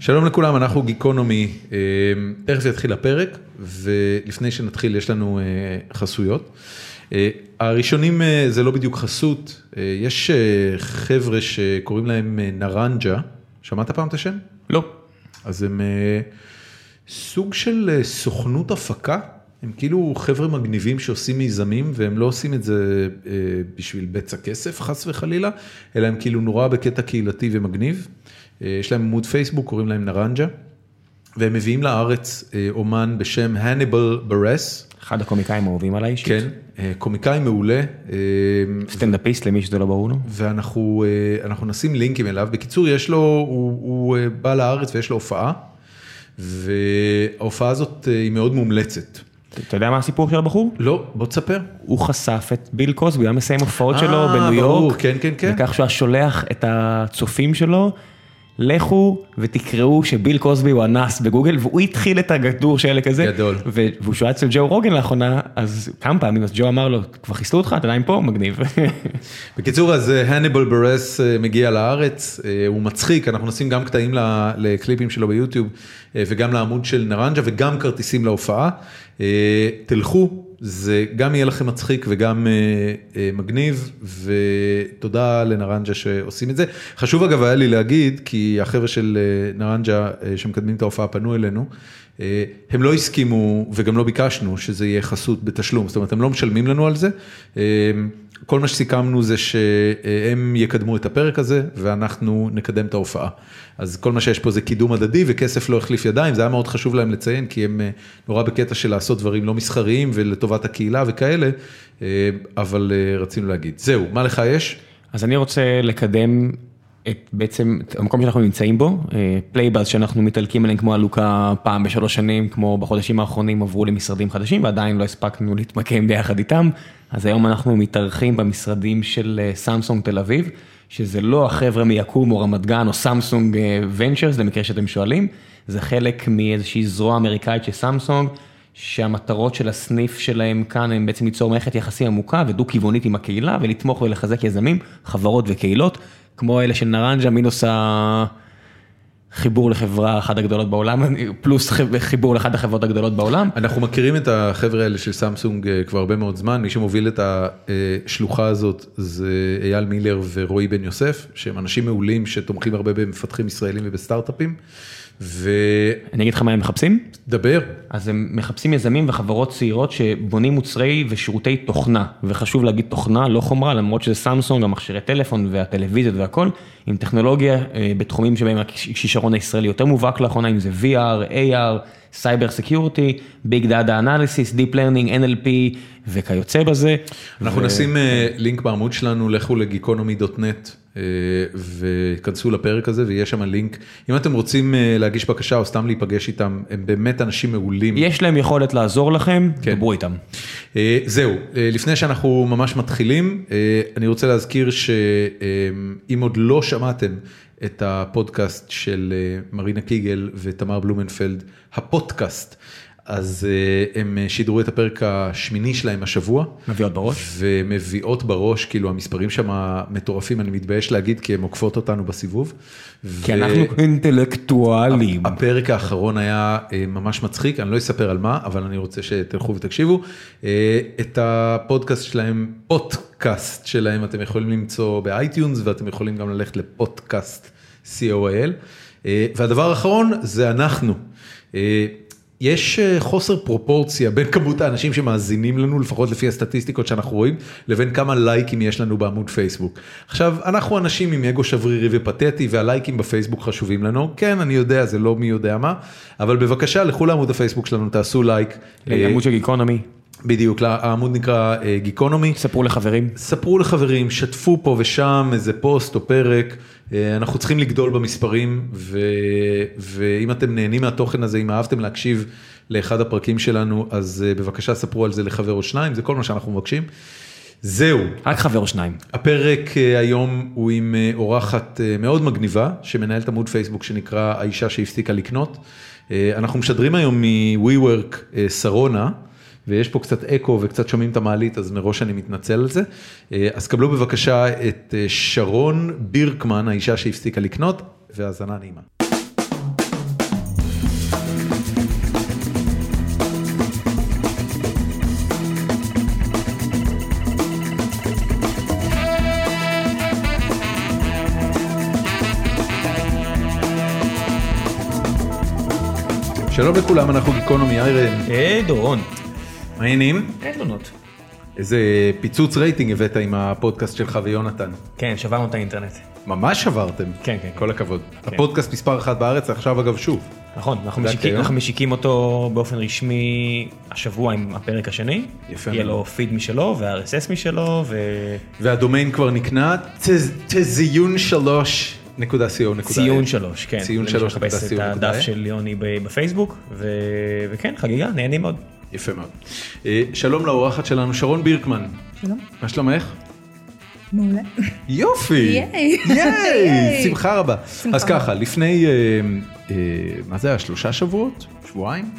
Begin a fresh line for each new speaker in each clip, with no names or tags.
שלום לכולם, אנחנו גיקונומי, אה, תכף יתחיל הפרק, ולפני שנתחיל יש לנו אה, חסויות. אה, הראשונים אה, זה לא בדיוק חסות, אה, יש אה, חבר'ה שקוראים להם אה, נרנג'ה, שמעת פעם את השם?
לא.
אז הם אה, סוג של אה, סוכנות הפקה, הם כאילו חבר'ה מגניבים שעושים מיזמים והם לא עושים את זה אה, בשביל בצע כסף חס וחלילה, אלא הם כאילו נורא בקטע קהילתי ומגניב. אה, יש להם עמוד פייסבוק, קוראים להם נרנג'ה, והם מביאים לארץ אה, אומן בשם הניבל ברס,
אחד הקומיקאים האהובים עליי אישית.
כן, אה, קומיקאי מעולה. אה,
סטנדאפיסט למי שזה לא ברור לו.
ואנחנו אה, אנחנו נשים לינקים אליו. בקיצור, יש לו, הוא, הוא אה, בא לארץ ויש לו הופעה, וההופעה הזאת אה, היא מאוד מומלצת.
אתה יודע מה הסיפור של הבחור?
לא, בוא תספר.
הוא חשף את ביל קוסבי, הוא היה מסיים הופעות
אה,
שלו בניו
ברור,
יורק.
כן, כן, כן.
בכך שהוא היה שולח את הצופים שלו, לכו ותקראו שביל קוסבי הוא אנס בגוגל, והוא התחיל את הגדור של כזה.
גדול.
ו- והוא שהיה אצל ג'ו רוגן לאחרונה, אז כמה פעמים, אז ג'ו אמר לו, כבר חיסלו אותך, אתה עדיין פה? מגניב.
בקיצור, אז אה, הניבל ברס אה, מגיע לארץ, אה, הוא מצחיק, אנחנו נשים גם קטעים ל- לקליפים שלו ביוטיוב, אה, וגם לעמוד של נרנג'ה, וגם כרטיסים להופעה. אה, תלכו, זה גם יהיה לכם מצחיק וגם אה, אה, מגניב, ותודה לנרנג'ה שעושים את זה. חשוב אגב היה לי להגיד, כי החבר'ה של אה, נרנג'ה אה, שמקדמים את ההופעה פנו אלינו, אה, הם לא הסכימו וגם לא ביקשנו שזה יהיה חסות בתשלום, זאת אומרת הם לא משלמים לנו על זה. אה, כל מה שסיכמנו זה שהם יקדמו את הפרק הזה ואנחנו נקדם את ההופעה. אז כל מה שיש פה זה קידום הדדי וכסף לא החליף ידיים, זה היה מאוד חשוב להם לציין כי הם אה, נורא בקטע של לעשות דברים לא מסחריים ולטובת הקהילה וכאלה, אה, אבל אה, רצינו להגיד. זהו, מה לך יש?
אז אני רוצה לקדם את בעצם את המקום שאנחנו נמצאים בו, אה, פלייבאז שאנחנו מתעלקים עליהם כמו הלוקה פעם בשלוש שנים, כמו בחודשים האחרונים עברו למשרדים חדשים ועדיין לא הספקנו להתמקם ביחד איתם, אז היום אנחנו מתארחים במשרדים של אה, סמסונג תל אביב, שזה לא החבר'ה מיקום או רמת גן או סמסונג אה, ונצ'רס, למקרה שאתם שואלים, זה חלק מאיזושהי זרוע אמריקאית של סמסונג. שהמטרות של הסניף שלהם כאן הם בעצם ליצור מערכת יחסים עמוקה ודו-כיוונית עם הקהילה ולתמוך ולחזק יזמים, חברות וקהילות, כמו אלה של נרנג'ה מינוס החיבור לחברה אחת הגדולות בעולם, פלוס ח- חיבור לאחת החברות הגדולות בעולם.
אנחנו מכירים את החבר'ה האלה של סמסונג אה, כבר הרבה מאוד זמן, מי שמוביל את השלוחה הזאת זה אייל מילר ורועי בן יוסף, שהם אנשים מעולים שתומכים הרבה במפתחים ישראלים ובסטארט-אפים, ודבר.
אני אגיד לך מה הם מחפשים? אז הם מחפשים יזמים וחברות צעירות שבונים מוצרי ושירותי תוכנה, וחשוב להגיד תוכנה, לא חומרה, למרות שזה סמסונג, המכשירי טלפון והטלוויזיות והכל, עם טכנולוגיה אה, בתחומים שבהם הכישרון הישראלי יותר מובהק לאחרונה, אם זה VR, AR, סייבר סקיורטי, ביג דאדה אנליסיס, דיפ לרנינג, NLP וכיוצא בזה.
אנחנו נשים אה, לינק בעמוד שלנו, לכו לגיקונומי.נט אה, וכנסו לפרק הזה ויש שם לינק. אם אתם רוצים אה, להגיש בקשה או סתם להיפגש איתם, הם באמת אנשים מעולים.
יש להם יכולת לעזור לכם,
כן.
דברו איתם.
אה, זהו, אה, לפני שאנחנו ממש מתחילים, אה, אני רוצה להזכיר שאם עוד לא שמעתם את הפודקאסט של אה, מרינה קיגל ותמר בלומנפלד, הפודקאסט, אז אה, הם אה, שידרו את הפרק השמיני שלהם השבוע.
מביאות בראש.
ומביאות בראש, כאילו המספרים שם מטורפים, אני מתבייש להגיד, כי הן עוקפות אותנו בסיבוב.
כי
ו-
אנחנו אינטלקטואלים.
הפרק האחרון היה אה, ממש מצחיק, אני לא אספר על מה, אבל אני רוצה שתלכו ותקשיבו. אה, את הפודקאסט שלהם, פודקאסט שלהם, אתם יכולים למצוא באייטיונס, ואתם יכולים גם ללכת לפודקאסט co.il. אה, והדבר האחרון זה אנחנו. אה, יש אה, חוסר פרופורציה בין כמות האנשים שמאזינים לנו, לפחות לפי הסטטיסטיקות שאנחנו רואים, לבין כמה לייקים יש לנו בעמוד פייסבוק. עכשיו, אנחנו אנשים עם אגו שברירי ופתטי, והלייקים בפייסבוק חשובים לנו. כן, אני יודע, זה לא מי יודע מה, אבל בבקשה, לכו לעמוד הפייסבוק שלנו, תעשו לייק. אה,
כן, עמוד של גיקונומי,
בדיוק, לה- העמוד נקרא אה, גיקונומי.
ספרו לחברים.
ספרו לחברים, שתפו פה ושם איזה פוסט או פרק, אה, אנחנו צריכים לגדול במספרים, ו... ואם אתם נהנים מהתוכן הזה, אם אהבתם להקשיב לאחד הפרקים שלנו, אז אה, בבקשה ספרו על זה לחבר או שניים, זה כל מה שאנחנו מבקשים. זהו,
רק חבר או שניים.
הפרק אה, היום הוא עם אה, אורחת אה, מאוד מגניבה, שמנהלת עמוד פייסבוק שנקרא האישה שהפסיקה לקנות. אה, אנחנו משדרים היום מ-WeWork אה, שרונה, ויש פה קצת אקו וקצת שומעים את המעלית, אז מראש אני מתנצל על זה. אה, אז קבלו בבקשה את אה, שרון בירקמן, האישה שהפסיקה לקנות, והאזנה נעימה. שלום לכולם, אנחנו גיקונומי איירן.
היי אה, דורון.
מה העניינים?
אין תלונות.
איזה פיצוץ רייטינג הבאת עם הפודקאסט שלך ויונתן.
כן, שברנו את האינטרנט.
ממש שברתם.
כן, כן,
כל הכבוד. הפודקאסט מספר אחת בארץ, עכשיו אגב שוב.
נכון, אנחנו
זה
משיקים,
הקיים?
אנחנו משיקים אותו באופן רשמי השבוע עם הפרק השני.
יפה
יהיה
מאוד.
לו פיד משלו ו-RSS משלו ו-ציון
והדומיין כבר נקנה, ת- תזיון שלוש נקודה co נקודה. אל.
שלוש, כן.
ציון
למי
שלוש נקודה
שמחפש
ציון
את
נקודה אה?
הדף
אל.
של יוני ב- בפייסבוק, ו- וכן, חגיגה, נהנים מאוד.
יפה מאוד. אה, שלום לאורחת שלנו, שרון בירקמן.
שלום.
מה שלומך?
מעולה.
יופי!
ייי.
ייי!
ייי.
שמחה רבה.
שמחה
אז
רבה.
ככה, לפני, אה, אה, מה זה היה? שלושה שבועות? שבועיים?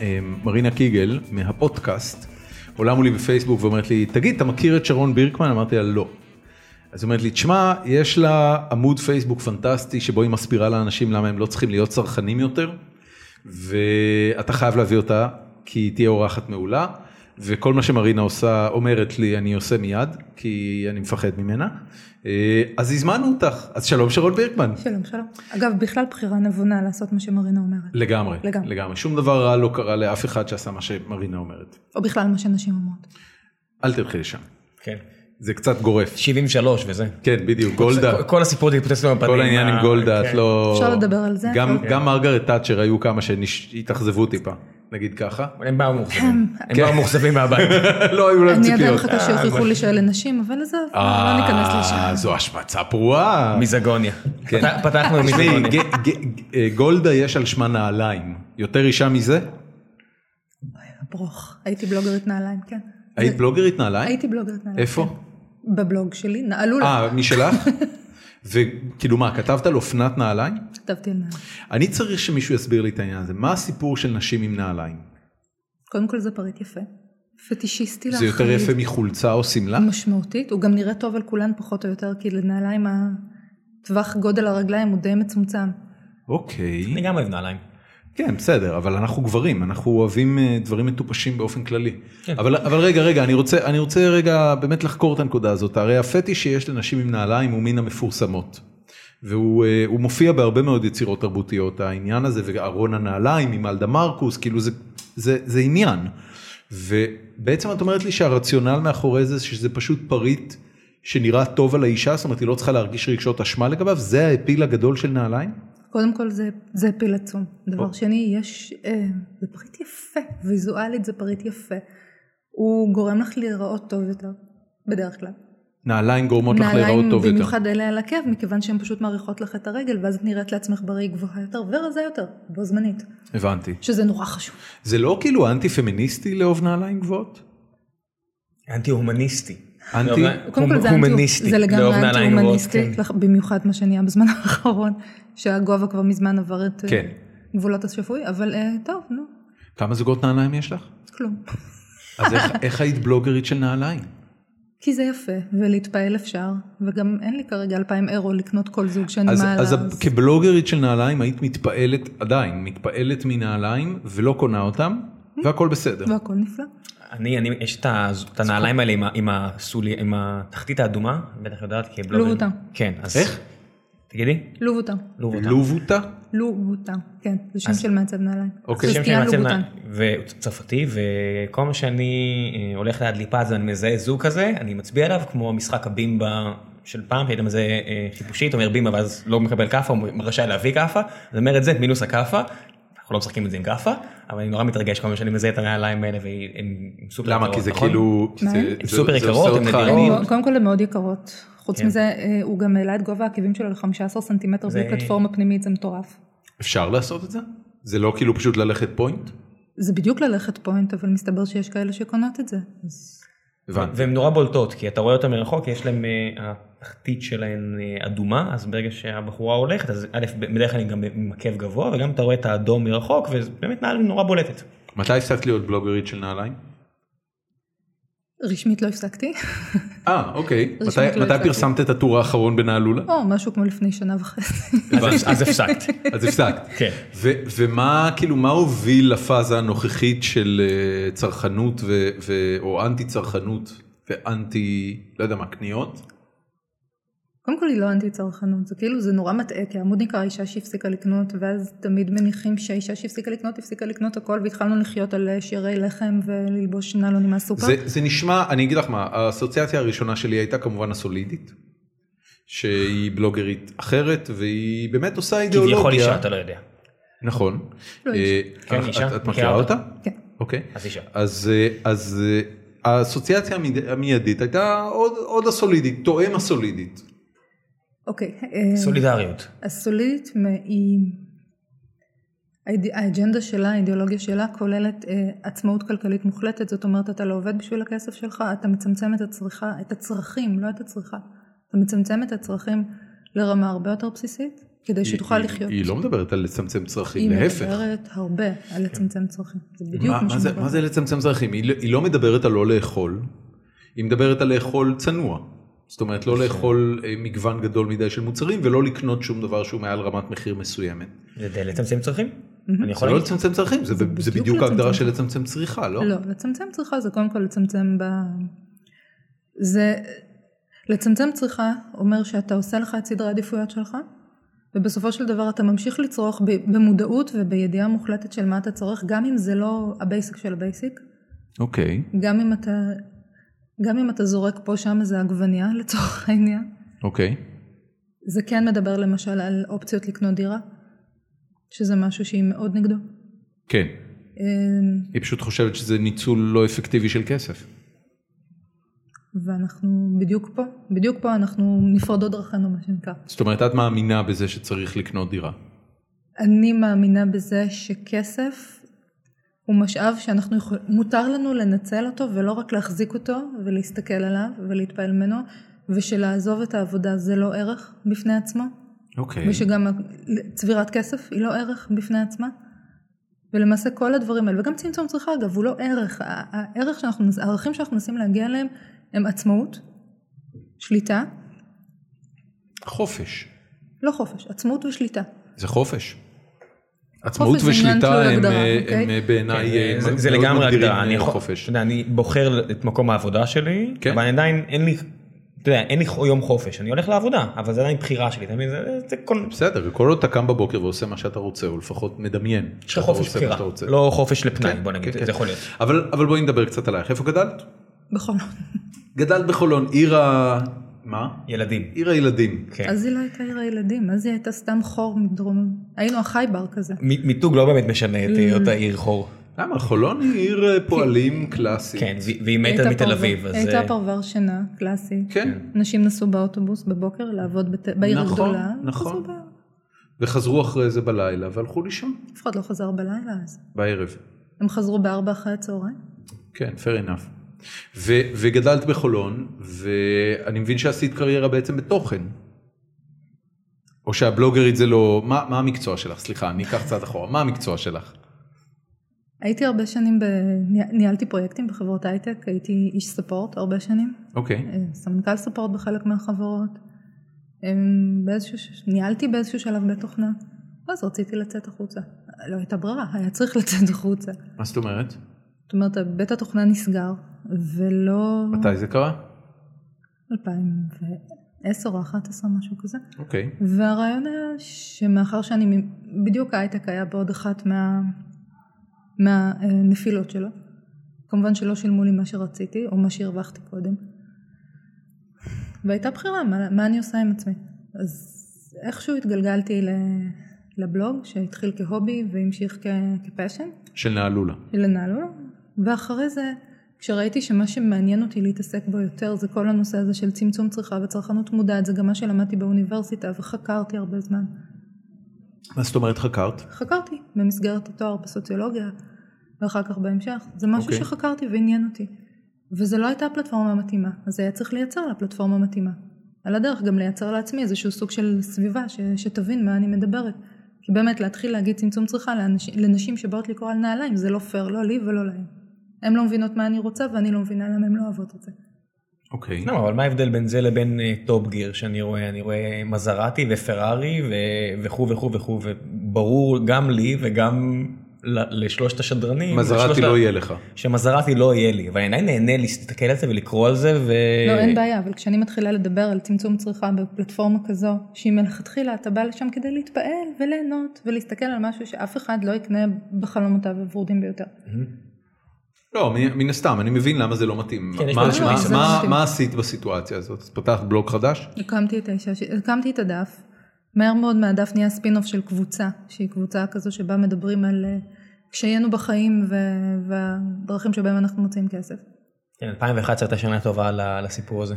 אה, מרינה קיגל מהפודקאסט עולה מולי בפייסבוק ואומרת לי, תגיד, אתה מכיר את שרון בירקמן? אמרתי לה, לא. אז היא אומרת לי, תשמע, יש לה עמוד פייסבוק פנטסטי שבו היא מסבירה לאנשים למה הם לא צריכים להיות צרכנים יותר, ואתה חייב להביא אותה, כי היא תהיה אורחת מעולה, וכל מה שמרינה עושה, אומרת לי, אני עושה מיד, כי אני מפחד ממנה. אה, אז הזמנו אותך, אז שלום שרון בירקמן.
שלום, שלום. אגב, בכלל בחירה נבונה לעשות מה שמרינה אומרת.
לגמרי,
לגמרי.
לגמרי, שום דבר רע לא קרה לאף אחד שעשה מה שמרינה אומרת.
או בכלל מה שנשים אומרות.
אל תלכי לשם,
כן.
זה קצת גורף.
73 וזה.
כן, בדיוק, גולדה.
כל הסיפור הזה התפוצץ לנו בפנים.
כל העניין עם גולדה, את
כן.
לא...
אפשר לדבר על זה?
גם-
כן.
גם מרגרט תאצ'ר היו כמה שהתאכזבו טיפה, נגיד ככה.
הם באו
כן.
מאוכזבים. הם באו מאוכזבים מהבית.
לא היו להם
אני עדיין
ציפיות.
מחכה שיוכיחו לי שאלה נשים, אבל עזוב, לא ניכנס
אה,
לשם.
זו השמצה פרועה.
מיזגוניה.
כן.
פת- פתחנו עם
תשמעי,
מיזגוניה.
ג- ג- ג- אה, גולדה יש על שמה נעליים. יותר אישה מזה?
ברוך. הייתי בלוגרית נעליים, כן.
היית בלוגרית נעליים?
הייתי כן. בלוגרית נעליים.
איפה?
כן. בבלוג שלי, נעלו לה.
אה, משלך? וכאילו מה, כתבת על אופנת נעליים?
כתבתי על נעליים.
אני צריך שמישהו יסביר לי את העניין הזה. מה הסיפור של נשים עם נעליים?
קודם כל זה פריט יפה. פטישיסטי
זה
להחריד.
יותר יפה מחולצה או שמלה?
לא. משמעותית. הוא גם נראה טוב על כולן פחות או יותר, כי לנעליים הטווח גודל הרגליים הוא די מצומצם.
אוקיי.
אני גם אוהב נעליים.
כן, בסדר, אבל אנחנו גברים, אנחנו אוהבים אה, דברים מטופשים באופן כללי. אבל, אבל רגע, רגע, אני רוצה, אני רוצה רגע באמת לחקור את הנקודה הזאת. הרי הפטיש שיש לנשים עם נעליים הוא מן המפורסמות. והוא אה, הוא מופיע בהרבה מאוד יצירות תרבותיות, העניין הזה, וארון הנעליים עם אלדה מרקוס, כאילו זה, זה, זה עניין. ובעצם את אומרת לי שהרציונל מאחורי זה, שזה פשוט פריט שנראה טוב על האישה, זאת אומרת, היא לא צריכה להרגיש רגשות אשמה לגביו, זה האפיל הגדול של נעליים?
קודם כל זה, זה פיל עצום. דבר
אוקיי.
שני, יש, אה, זה פריט יפה, ויזואלית זה פריט יפה. הוא גורם לך להיראות טוב יותר, בדרך כלל.
נעליים גורמות לך להיראות טוב יותר.
במיוחד אלה על עקב, מכיוון שהן פשוט מאריכות לך את הרגל, ואז את נראית לעצמך בראי גבוהה יותר ורזה יותר, בו זמנית.
הבנתי.
שזה נורא חשוב.
זה לא כאילו אנטי פמיניסטי לאהוב נעליים גבוהות?
אנטי הומניסטי.
אנטי?
אוקיי?
קודם כל זה, אנטי, זה
לא,
לגמרי אנטי-הומניסטי,
כן.
לח- במיוחד מה שנהיה בזמן האחרון, שהגובה כבר מזמן עבר את אה,
כן.
גבולות השפוי, אבל אה, טוב, נו,
כמה זוגות נעליים יש לך?
כלום.
אז איך- איך היית בלוגרית של נעליים?
כי זה יפה, ולהתפעל אפשר, וגם אין לי כרגע 2,000 אירו לקנות כל זוג שאני
אז,
מעלה.
אז
אז
כבלוגרית של נעליים היית מתפעלת, עדיין, מתפעלת מנעליים ולא קונה אותם, והכל בסדר.
והכל נפלא.
אני, אני, יש את ה- את הנעליים האלה עם ה- עם הסולי, עם התחתית האדומה, בטח יודעת, כי בלוגר.
לוב אותה.
כן, אז...
איך?
תגידי.
לובוטה.
לוב
לא
אותה.
לובוטה?
לובוטה, כן, זה שם של מעצב נעליים.
אוקיי.
השם
סטיאן
של מעצב
לובוטן.
נע- והוא צרפתי, וכל מה שאני אה, הולך ליד ליפז ואני מזהה זוג כזה, אני מצביע עליו כמו משחק הבימבה של פעם, שהיית מזהה אה, חיפושית, אומר בימבה ואז לא מקבל כאפה, הוא רשאי להביא כאפה, אז אומר את זה מינוס הכאפה. אנחנו לא משחקים את זה עם כאפה, אבל אני נורא מתרגש כל פעם שאני מזהה את הנעליים האלה והן סופר
למה?
יקרות,
כי זה
נכון?
כאילו... כי
מה?
זה-
הן
זה-
סופר
זה
יקרות,
עושה
הן
אותך
נדירות.
עני.
הוא- קודם כל הן מאוד יקרות. חוץ
כן.
מזה, אה, הוא גם העלה את גובה העקבים שלו ל-15 סנטימטר בלי
זה-
פלטפורמה פנימית, זה מטורף.
אפשר לעשות את זה? זה לא כאילו פשוט ללכת פוינט?
זה בדיוק ללכת פוינט, אבל מסתבר שיש כאלה שקונות את זה. אז
הבנתי.
והן נורא בולטות, כי אתה רואה אותן מרחוק, יש להן, אה, התחתית שלהן אה, אדומה, אז ברגע שהבחורה הולכת, אז א', בדרך כלל היא גם עם עקב גבוה, וגם אתה רואה את האדום מרחוק, וזה באמת נעל נורא בולטת.
מתי הפסקת להיות בלוגרית של נעליים?
רשמית לא הפסקתי,
אה, אוקיי.
רשמית
מתי-
לא
מתי
הפסקתי.
פרסמת את הטור האחרון בנעלולה?
או משהו כמו לפני שנה וחצי.
אז- אז הפסקת.
אז הפסקת.
כן.
ו- ומה כאילו מה הוביל לפאזה הנוכחית של אה, צרכנות ו- ו-
אוקיי.
או אנטי צרכנות ואנטי לא יודע מה קניות?
קודם כל היא לא אנטי צרכנות, זה כאילו זה נורא מטעה, כי העמוד נקרא אישה שהפסיקה לקנות, ואז תמיד מניחים שהאישה שהפסיקה לקנות, הפסיקה לקנות הכל, והתחלנו לחיות על אה, שירי לחם וללבוש נעלונים מהסופר.
זה, זה נשמע, אני אגיד לך מה, האסוציאציה הראשונה שלי הייתה כמובן הסולידית, שהיא בלוגרית אחרת, והיא באמת עושה אידיאולוגיה.
כביכול אישה, אתה לא יודע.
נכון.
לא
אה,
אישה.
כן,
את-
אישה.
את- את
מכירה
מכירה אותה?
כן.
אוקיי.
אז אישה.
אז, אה, אז אה, האסוציאציה המיד- המיידית הייתה עוד, עוד הסולידית, תואם הסולידית.
אוקיי. אה,
סולידריות.
הסולידית מ- היא... האיד- האג'נדה שלה, האידיאולוגיה שלה, כוללת אה, עצמאות כלכלית מוחלטת, זאת אומרת, אתה לא עובד בשביל הכסף שלך, אתה מצמצם את הצריכה, את הצרכים, לא את הצריכה. אתה מצמצם את הצרכים לרמה הרבה יותר בסיסית, כדי שתוכל
היא-
לחיות.
היא לא מדברת על לצמצם צרכים,
היא
להפך. כן.
מדברת הרבה על לצמצם צרכים, זה בדיוק
מה,
מה
מה, זה,
שמדברת.
מה זה לצמצם צרכים? היא, לא- היא לא מדברת על לא לאכול, היא מדברת על לאכול צנוע. זאת אומרת, לא לאכול אה, מגוון גדול מדי של מוצרים ולא לקנות שום דבר שהוא מעל רמת מחיר מסוימת.
זה די לצמצם צרכים? אני
זה
יכול
לא
להגיד?
לצמצם צרכים, זה, ב- זה
בדיוק
בדיוק ההגדרה
לצמצם.
של לצמצם צריכה, לא?
לא, לצמצם צריכה זה קודם כל לצמצם ב... זה... לצמצם צריכה אומר שאתה עושה לך את סדרי העדיפויות שלך, ובסופו של דבר אתה ממשיך לצרוך ב- במודעות ובידיעה מוחלטת של מה אתה צורך, גם אם זה לא הבייסיק של הבייסיק,
אוקיי,
גם אם אתה... גם אם אתה זורק פה שם איזה עגבנייה לצורך העניין,
אוקיי.
זה כן מדבר למשל על אופציות לקנות דירה, שזה משהו שהיא מאוד נגדו.
כן,
אמ,
היא פשוט חושבת שזה ניצול לא אפקטיבי של כסף.
ואנחנו בדיוק פה, בדיוק פה אנחנו נפרדות דרכינו מה שנקרא.
זאת אומרת, את מאמינה בזה שצריך לקנות דירה.
אני מאמינה בזה שכסף הוא משאב שאנחנו יכול... מותר לנו לנצל אותו ולא רק להחזיק אותו ולהסתכל עליו ולהתפעל ממנו ושלעזוב את העבודה זה לא ערך בפני עצמו
אוקיי.
ושגם ה- צבירת כסף היא לא ערך בפני עצמה ולמעשה כל הדברים האלה וגם צמצום צריכה אגב הוא לא ערך ה- הערך שאנחנו הערכים שאנחנו מנסים להגיע אליהם הם עצמאות, שליטה
חופש.
לא חופש, עצמאות ושליטה.
זה חופש. עצמאות
זה עניין
ושליטה
תלוי
הם,
הגדרה,
אה,
אוקיי?
הם אה, בעיניי
זה-
אה,
כן, זה- זה
מאוד
לגמרי
מגדירים,
הגדרה,
אה,
אני יכול-
חופש.
אתה יודע, אני בוחר את מקום העבודה שלי,
כן.
אבל עדיין אין לי, אתה יודע, אין לי יום חופש, אני הולך לעבודה, אבל זה עדיין בחירה שלי, אתה מבין? זה- זה כל...
בסדר, כל עוד אתה קם בבוקר ועושה מה שאתה רוצה, או לפחות מדמיין.
יש לך
שאתה
חופש
עושה מה
בחירה,
שאתה רוצה.
לא חופש לפנאי,
כן,
בוא
כן,
נגיד,
כן.
זה יכול להיות.
אבל, אבל בואי נדבר קצת עלייך. איפה גדלת?
בכל
גדלת בחולון, עיר ה... מה?
ילדים.
עיר הילדים.
כן.
אז היא לא הייתה עיר הילדים, אז היא הייתה סתם חור מדרום, היינו החי בר כזה.
מ- מיתוג לא באמת משנה את
Mm.
היותה עיר חור.
למה? חולון היא עיר אה, פועלים קלאסית.
כן, ו- והיא מתה מתל
פרבר-
אביב, אז...
הייתה
אה,
פרבר שינה, קלאסי.
כן.
נשים נסעו באוטובוס בבוקר לעבוד בת... בעיר
נכון,
הגדולה.
נכון.
חזרו בערב.
וחזרו אחרי זה בלילה והלכו לישון
אף אחד לא חזר בלילה אז.
בערב.
הם חזרו בארבע אחרי הצהריים.
כן, fair enough. ו, וגדלת בחולון, ואני מבין שעשית קריירה בעצם בתוכן. או שהבלוגרית זה לא... מה, מה המקצוע שלך? סליחה, אני אקח צעד אחורה. מה המקצוע שלך?
הייתי הרבה שנים, ב... ניהל- ניהלתי פרויקטים בחברות הייטק, הייתי איש ספורט הרבה שנים.
אוקיי.
אה, סמנכ"ל ספורט בחלק מהחברות. אמ, באיזשהו, ש- ניהלתי באיזשהו שלב בית תוכנה. אז רציתי לצאת החוצה. לא הייתה ברירה, היה צריך לצאת החוצה.
מה זאת אומרת?
זאת אומרת, בית התוכנה נסגר, ולא...
מתי זה קרה?
2010 או 11, משהו כזה.
אוקיי.
והרעיון היה שמאחר שאני, מ- בדיוק ההייטק היה בעוד אחת מה, מהנפילות שלו. כמובן שלא שילמו לי מה שרציתי, או מה שהרווחתי קודם. והייתה בחירה, מה, מה אני עושה עם עצמי. אז איכשהו התגלגלתי ל- לבלוג, שהתחיל כהובי והמשיך כ- כפשן.
של נעלולה.
לנעלו, לא? ואחרי זה כשראיתי שמה שמעניין אותי להתעסק בו יותר זה כל הנושא הזה של צמצום צריכה וצרכנות מודעת, זה גם מה שלמדתי באוניברסיטה וחקרתי הרבה זמן.
מה זאת אומרת חקרת?
חקרתי במסגרת התואר בסוציולוגיה ואחר כך בהמשך, זה משהו okay.
אוקיי.
שחקרתי ועניין אותי. וזו לא הייתה הפלטפורמה המתאימה, אז היה צריך לייצר לה פלטפורמה מתאימה. על הדרך גם לייצר לעצמי איזשהו סוג של סביבה ש, שתבין מה אני מדברת. כי באמת להתחיל להגיד צמצום צריכה לאנשים, לנשים שבאות לקרוא על נעליים זה לא פייר, לא לי ולא להם. הן לא מבינות מה אני רוצה ואני לא מבינה למה הן לא אוהבות את זה.
אוקיי.
לא, אבל מה ההבדל בין זה לבין אה, טופ גיר שאני רואה? אני רואה מזרטי ופרארי ו- וכו' וכו' וכו', וברור גם לי וגם ל- לשלושת השדרנים.
מזרעתי
לשלושת
לא
ה-
יהיה לך.
שמזרעתי לא יהיה לי, אבל אני עדיין נהנה להסתכל על זה ולקרוא על זה ו...
לא,
אה,
אין בעיה, אבל כשאני מתחילה לדבר על צמצום צריכה בפלטפורמה כזו, שהיא מלכתחילה, אתה בא לשם כדי להתפעל וליהנות ולהסתכל על משהו שאף אחד לא יקנה בחלומותיו הוורודים ביותר.
לא, מן- מן הסתם, אני מבין למה זה לא מתאים.
כן, יש
מה-
בזה
מה-
משהו.
מה-
זה מתאים.
מה עשית בסיטואציה הזאת? אז פתחת בלוג חדש?
הקמתי את, האישה, ש- הקמתי את הדף, מהר מאוד מהדף נהיה ספינוף של קבוצה, שהיא קבוצה כזו שבה מדברים על אה, קשיינו בחיים ו... והדרכים שבהם אנחנו מוצאים כסף.
כן, 2011 הייתה שנה טובה ל- לסיפור הזה.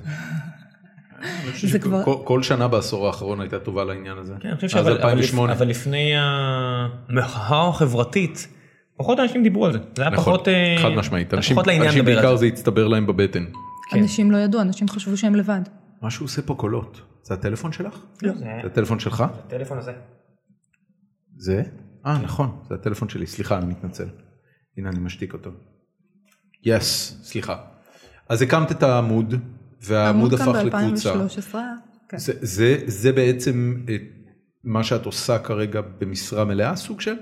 אני חושב
זה
שכל-
כבר-
כל- כל שנה בעשור האחרון הייתה טובה לעניין הזה.
כן, אני חושב
מאז
שאבל אבל לפ-
2008.
אבל לפני המחאה החברתית, פחות אנשים דיברו על זה. זה היה
נכון,
פחות... אה,
חד משמעית.
היה
אנשים
פחות לעניין
אנשים
לדבר על
בעיקר
זה.
זה הצטבר להם בבטן.
כן.
אנשים לא ידעו, אנשים חשבו שהם לבד.
מה שהוא עושה פה קולות, זה הטלפון שלך?
לא, זה
זה הטלפון שלך?
הטלפון הזה.
זה? אה, נכון, זה הטלפון שלי, סליחה, אני מתנצל. הנה, אני משתיק אותו. יס, סליחה. אז הקמת את העמוד, והעמוד הפך לקבוצה.
העמוד קם ב-2013, כן.
זה, זה, זה בעצם אה, מה שאת עושה כרגע במשרה מלאה, סוג של?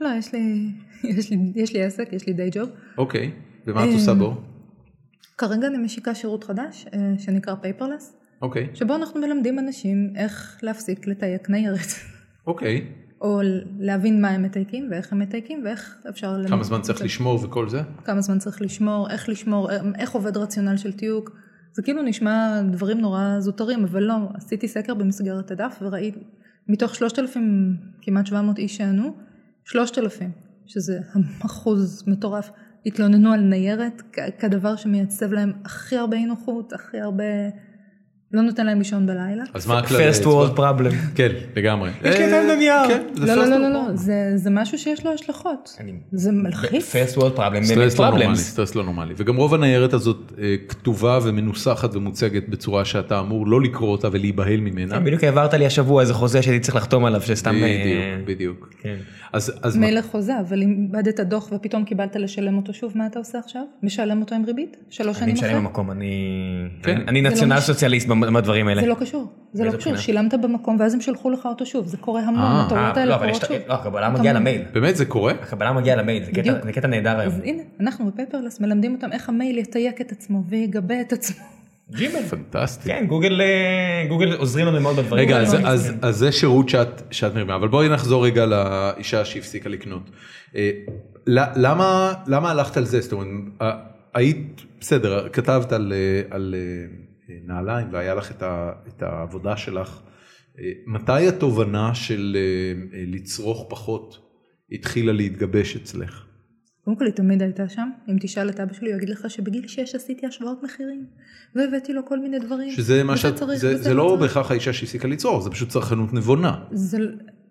לא, יש לי, יש, לי, יש לי עסק, יש לי די ג'וב.
אוקיי, ומה את
אה,
עושה בו?
כרגע אני משיקה שירות חדש אה, שנקרא פייפרלס,
אוקיי,
שבו אנחנו מלמדים אנשים איך להפסיק לתייק ניירת,
אוקיי.
או להבין מה הם מתייקים ואיך הם מתייקים ואיך אפשר... למ-
כמה זמן צריך לשמור וכל זה?
כמה זמן צריך לשמור, איך לשמור, איך עובד רציונל של תיוק. זה כאילו נשמע דברים נורא זוטרים, אבל לא, עשיתי סקר במסגרת הדף וראיתי, מתוך 3,000, כמעט 700 איש שענו, 3,000, שזה אחוז מטורף, התלוננו על ניירת כ- כדבר שמייצב להם הכי הרבה אי נוחות, הכי הרבה... לא נותן להם לישון בלילה.
אז מה הכלל?
First world problem.
כן, לגמרי.
יש לי את
אה,
הנייר.
כן, זה
לא, לא,
first
לא,
world
לא, לא,
problem.
זה, זה משהו שיש לו השלכות.
אני-
זה מלחיץ.
First world problem.
סטרס לא נורמלי,
problems.
סטרס לא נורמלי. וגם רוב הניירת הזאת אה, כתובה ומנוסחת ומוצגת בצורה שאתה אמור לא לקרוא אותה ולהיבהל ממנה.
כן, בדיוק העברת לי השבוע איזה חוזה שהייתי צריך לחתום עליו שסתם... אה,
בדיוק, בדיוק.
כן.
אז אז מה-
מילא חוזה, אבל אם איבדת דוח ופתאום קיבלת לשלם אותו שוב, מה אתה עושה עכשיו? משלם אותו עם ריבית? שלוש
אני
שנים אחרי?
משלם במקום, אני...
כן.
אני
זה לא
נציונל
מש-
סוציאליסט במ- בדברים האלה.
זה לא קשור, זה לא
מאיזה
קשור,
בחינה?
שילמת במקום ואז הם שלחו לך אותו שוב, זה קורה המון,
אה,
הטעויות
אה, לא,
האלה
אבל
קורות
יש...
שוב.
לא, הקבלה
אתה
מגיעה
מ-
למייל.
באמת זה קורה?
הקבלה מגיעה למייל, זה קטע-
בדיוק.
זה קטע נהדר היום.
אז הנה, אנחנו בפייפרלס מלמדים אותם איך המייל יתייק את עצמו ויגבה את עצמו.
ג'ימל.
פנטסטי.
כן, גוגל אה, גוגל עוזרים לנו מאוד בדברים.
רגע,
האלה.
לא,
אז,
כן.
אז, אז זה שירות שאת, שאת מרימה, אבל בואי נחזור רגע לאישה שהפסיקה לקנות. אה, ל- למה, למה הלכת על זה? זאת אומרת, ה- היית, בסדר, כתבת על, אה, על אה, נעליים והיה לך את, ה, את העבודה שלך. אה, מתי התובנה של אה, אה, לצרוך פחות התחילה להתגבש אצלך?
קודם כל היא תמיד הייתה שם, אם תשאל את אבא שלי הוא יגיד לך שבגיל 6 עשיתי השוואות מחירים, והבאתי לו כל מיני דברים.
שזה מה
וזה
שאת,
צריך,
זה,
וזה
זה לא
צריך.
בהכרח האישה שהפסיקה לצרוך, זה פשוט צרכנות נבונה.
זה,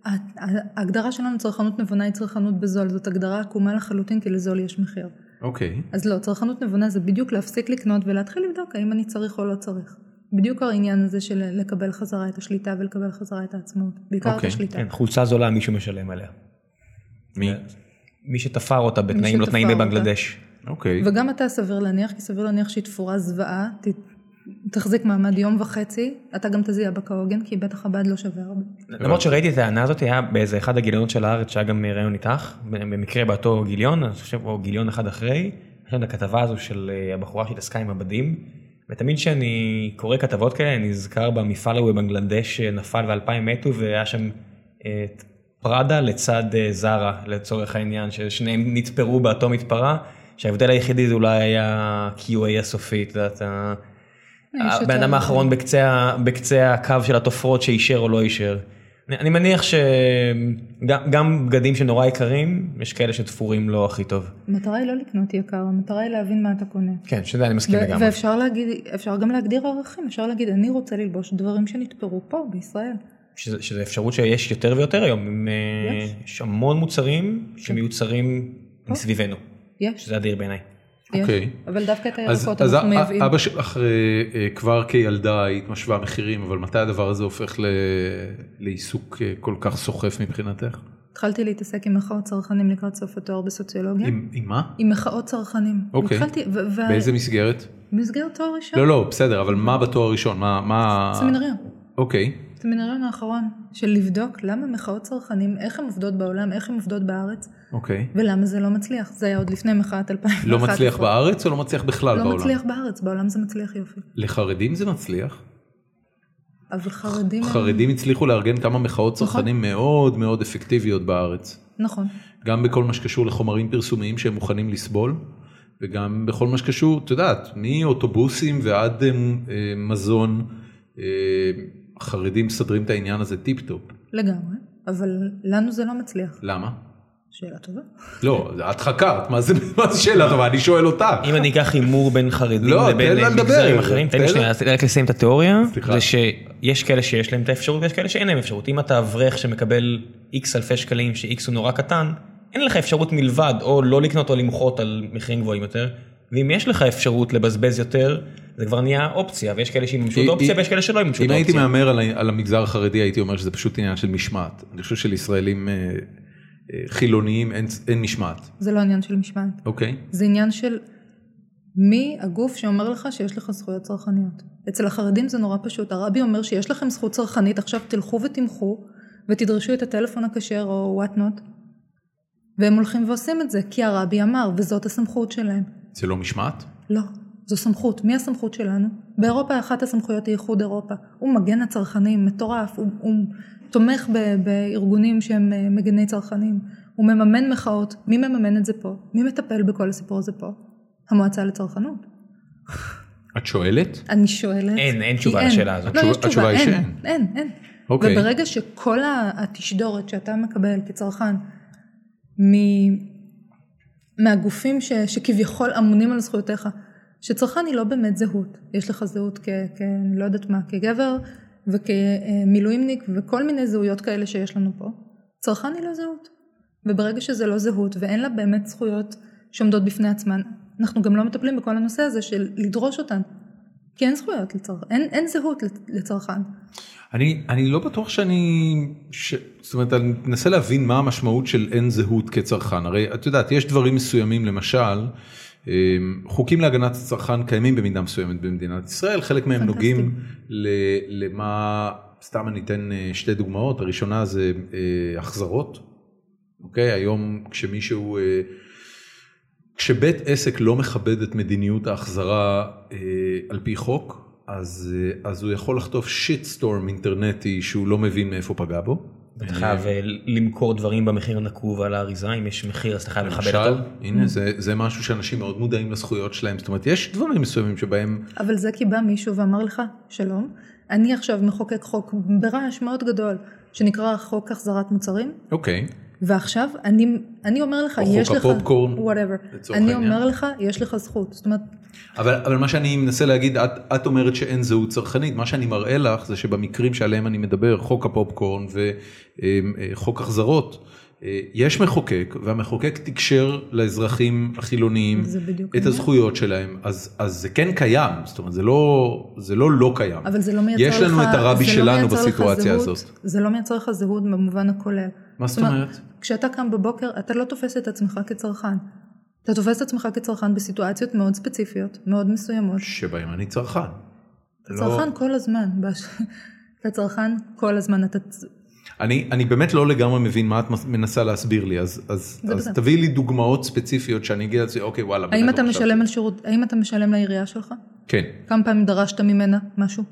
ה- ה- ההגדרה שלנו צרכנות נבונה היא צרכנות בזול, זאת הגדרה עקומה לחלוטין כי לזול יש מחיר.
אוקיי.
אז לא, צרכנות נבונה זה בדיוק להפסיק לקנות ולהתחיל לבדוק האם אני צריך או לא צריך. בדיוק העניין הזה של לקבל חזרה את השליטה ולקבל חזרה את העצמאות, בעיקר את
אוקיי,
השליטה.
כן, חולצה זולה מישהו משלם עליה.
מי?
מי שתפר אותה בתנאים לא
שתפר
תנאים
אותה.
בבנגלדש.
אוקיי.
וגם אתה סביר להניח, כי סביר להניח שהיא תפורה זוועה, ת... תחזיק מעמד יום וחצי, אתה גם תזיע בה כהוגן, כי בטח הבד לא שווה הרבה.
למרות שראיתי את הענה הזאת היה באיזה אחד הגיליונות של הארץ שהיה גם ראיון איתך במקרה באותו גיליון אני חושב או גיליון אחד אחרי. יש לנו את הכתבה הזו של אה, הבחורה שהתעסקה עם הבדים. ותמיד כשאני קורא כתבות כאלה אני נזכר במפעל ההוא בבנגלדש שנפל ואלפיים מתו והיה שם אה, את פראדה לצד אה, זרה לצורך העניין ששניהם נתפרו באותו מתפרה שההבדל היחידי זה אולי היה QA הסופי את יודעת. ה-
אני חושבת
אה, הבן אדם
שה-
האחרון בקצה, ה- בקצה הקו של התופרות שאישר או לא אישר. אני, אני מניח שגם גם בגדים שנורא יקרים, יש כאלה שתפורים לא הכי טוב.
המטרה היא לא לקנות יקר, המטרה היא להבין מה אתה קונה.
כן, שזה אני מסכים
ו-
לגמרי.
ואפשר להגיד, אפשר גם להגדיר ערכים, אפשר להגיד אני רוצה ללבוש דברים שנתפרו פה בישראל.
שזה, שזה אפשרות שיש יותר ויותר היום, עם, אה,
יש.
יש המון מוצרים
כן.
שמיוצרים מסביבנו,
יש,
שזה אדיר בעיניי.
יש.
אוקיי.
אבל דווקא את
אז,
הירקות
אז
אנחנו
א-
מייבאים.
אבא שלך אה, אה, כבר כילדה היית משווה מחירים, אבל מתי הדבר הזה הופך ל... לעיסוק אה, כל כך סוחף מבחינתך?
כן. התחלתי להתעסק עם מחאות צרכנים לקראת סוף התואר בסוציולוגיה.
עם, עם מה?
עם מחאות צרכנים.
אוקיי.
התחלתי, ו- ו-
באיזה לא, מסגרת?
במסגרת תואר ראשון.
לא, לא, בסדר, אבל מה בתואר הראשון? מה... מה...
סמינריון.
אוקיי.
את המנריון האחרון של לבדוק למה מחאות צרכנים, איך הן עובדות בעולם, איך הן עובדות בארץ,
אוקיי.
ולמה זה לא מצליח. זה היה עוד לפני מחאת 2011.
לא מצליח בארץ או לא מצליח בכלל
לא
בעולם?
מצליח בארץ, בעולם זה מצליח יופי.
לחרדים זה מצליח.
אבל חרדים... נכון. הם-
חרדים הצליחו לארגן כמה מחאות צרכנים מאוד מאוד אפקטיביות בארץ.
נכון.
גם בכל מה שקשור לחומרים פרסומיים שהם מוכנים לסבול, וגם בכל מה שקשור, את יודעת, מאוטובוסים ועד אה, אה, מזון, אה, חרדים מסדרים את העניין הזה טיפ-טופ.
לגמרי, אבל לנו זה לא מצליח.
למה?
שאלה טובה.
לא, את חקרת, מה זה, מה זה שאלה טובה? אני שואל אותה.
אם אני אקח הימור בין חרדים
לא, תן
לבין
לה
מגזרים
לדבר.
אחרים, תן
תן
לי
לה.
שנייה רק לסיים את התיאוריה,
סליחה.
זה שיש כאלה שיש להם את האפשרות ויש כאלה שאין להם אפשרות. אם אתה אברך שמקבל איקס אלפי שקלים שאיקס הוא נורא קטן, אין לך אפשרות מלבד או לא לקנות או למחות על מחירים גבוהים יותר, ואם יש לך אפשרות לבזבז יותר, זה כבר נהיה אופציה, ויש כאלה שיממשו את
אם-
האופציה
אם-
ויש כאלה שלא יממשו את
אם הייתי
האופציה.
מהמר על ה- על המגזר החרדי הייתי אומר שזה פשוט עניין של משמעת. אני חושב שלישראלים אה, אה, חילוניים אין- אין משמעת,
זה לא עניין של משמעת.
אוקיי?
זה עניין של מי הגוף שאומר לך שיש לך זכויות צרכניות. אצל החרדים זה נורא פשוט, הרבי אומר שיש לכם זכות צרכנית, עכשיו תלכו ותמחו ותדרשו את הטלפון הכשר או what not, והם הולכים ועושים את זה, כי הרבי אמר, וזאת הסמכות שלהם.
זה לא משמעת?
לא, זו סמכות. מי הסמכות שלנו? באירופה אחת הסמכויות היא איחוד אירופה. הוא מגן הצרכנים, מטורף, הוא, הוא תומך ב, בארגונים שהם אה, מגני צרכנים. הוא מממן מחאות. מי מממן את זה פה? מי מטפל בכל הסיפור הזה פה? המועצה לצרכנות.
את שואלת?
אני שואלת.
אין, אין
כי
תשובה
אין.
לשאלה הזאת.
לא, יש
התשובה- התשובה
תשובה,
היא
אין,
שאין.
אין, אין.
אוקיי.
וברגע שכל ה- התשדורת שאתה מקבל כצרכן מ- מהגופים ש, שכביכול אמונים על זכויותיך, שצרכן היא לא באמת זהות, יש לך זהות כ... כ אני לא יודעת מה, כגבר וכמילואימניק וכל מיני זהויות כאלה שיש לנו פה, צרכן היא לא זהות. וברגע שזה לא זהות ואין לה באמת זכויות שעומדות בפני עצמן, אנחנו גם לא מטפלים בכל הנושא הזה של לדרוש אותן. כי אין זכויות לצרכן, אין, אין זהות לצרכן.
אני, אני לא בטוח שאני, ש... זאת אומרת, אני מנסה להבין מה המשמעות של אין זהות כצרכן. הרי את יודעת, יש דברים מסוימים, למשל, אה, חוקים להגנת הצרכן קיימים במידה מסוימת במדינת ישראל, חלק מהם
פנטסטי.
נוגעים ל, למה, סתם אני אתן אה, שתי דוגמאות, הראשונה זה אה, החזרות, אוקיי? היום כשמישהו... אה, כשבית עסק לא מכבד את מדיניות ההחזרה אה, על פי חוק, אז, אה, אז הוא יכול לחטוף שיט סטורם אינטרנטי שהוא לא מבין מאיפה פגע בו.
אתה חייב אה, למכור דברים במחיר הנקוב על האריזה, אם יש מחיר אז אתה חייב לכבד
למשל,
אותו.
הנה זה, זה משהו שאנשים מאוד מודעים לזכויות שלהם, זאת אומרת יש דברים מסוימים שבהם,
אבל זה כי בא מישהו ואמר לך, שלום, אני עכשיו מחוקק חוק ברעש מאוד גדול, שנקרא חוק החזרת מוצרים,
אוקיי,
ועכשיו אני, אני אומר לך,
או חוק
יש לך,
הפופקורן,
whatever,
לצורך
אני
העניין.
אומר לך, יש לך זכות, זאת אומרת,
אבל, אבל מה שאני מנסה להגיד, את, את אומרת שאין זהות צרכנית, מה שאני מראה לך זה שבמקרים שעליהם אני מדבר, חוק הפופקורן וחוק החזרות, אה, יש מחוקק והמחוקק תקשר לאזרחים החילוניים
זה בדיוק
את
העניין.
הזכויות שלהם, אז, אז זה כן קיים, זאת אומרת זה לא, זה לא לא קיים.
אבל זה לא מייצר לך,
יש לנו את הרבי
זה לא
שלנו
מייצר לך
בסיטואציה
זהות,
הזאת.
זה לא מייצר לך זהות במובן הכולל.
מה זאת אומרת?
כשאתה קם בבוקר, אתה לא תופס את עצמך כצרכן. אתה תופס את עצמך כצרכן בסיטואציות מאוד ספציפיות, מאוד מסוימות.
שבהם אני צרכן. לא.
אתה צרכן כל הזמן, בש- אתה צרכן כל הזמן, אתה... צ-
אני, אני באמת לא לגמרי מבין מה את מס- מנסה להסביר לי, אז, אז,
זה
אז
בסדר.
תביאי לי דוגמאות ספציפיות שאני אגיד לעצמי, אוקיי וואלה.
האם
באמת
אתה
לא חשבתי."
משלם על שירות, האם אתה משלם לעירייה שלך?
כן.
כמה פעמים דרשת ממנה משהו?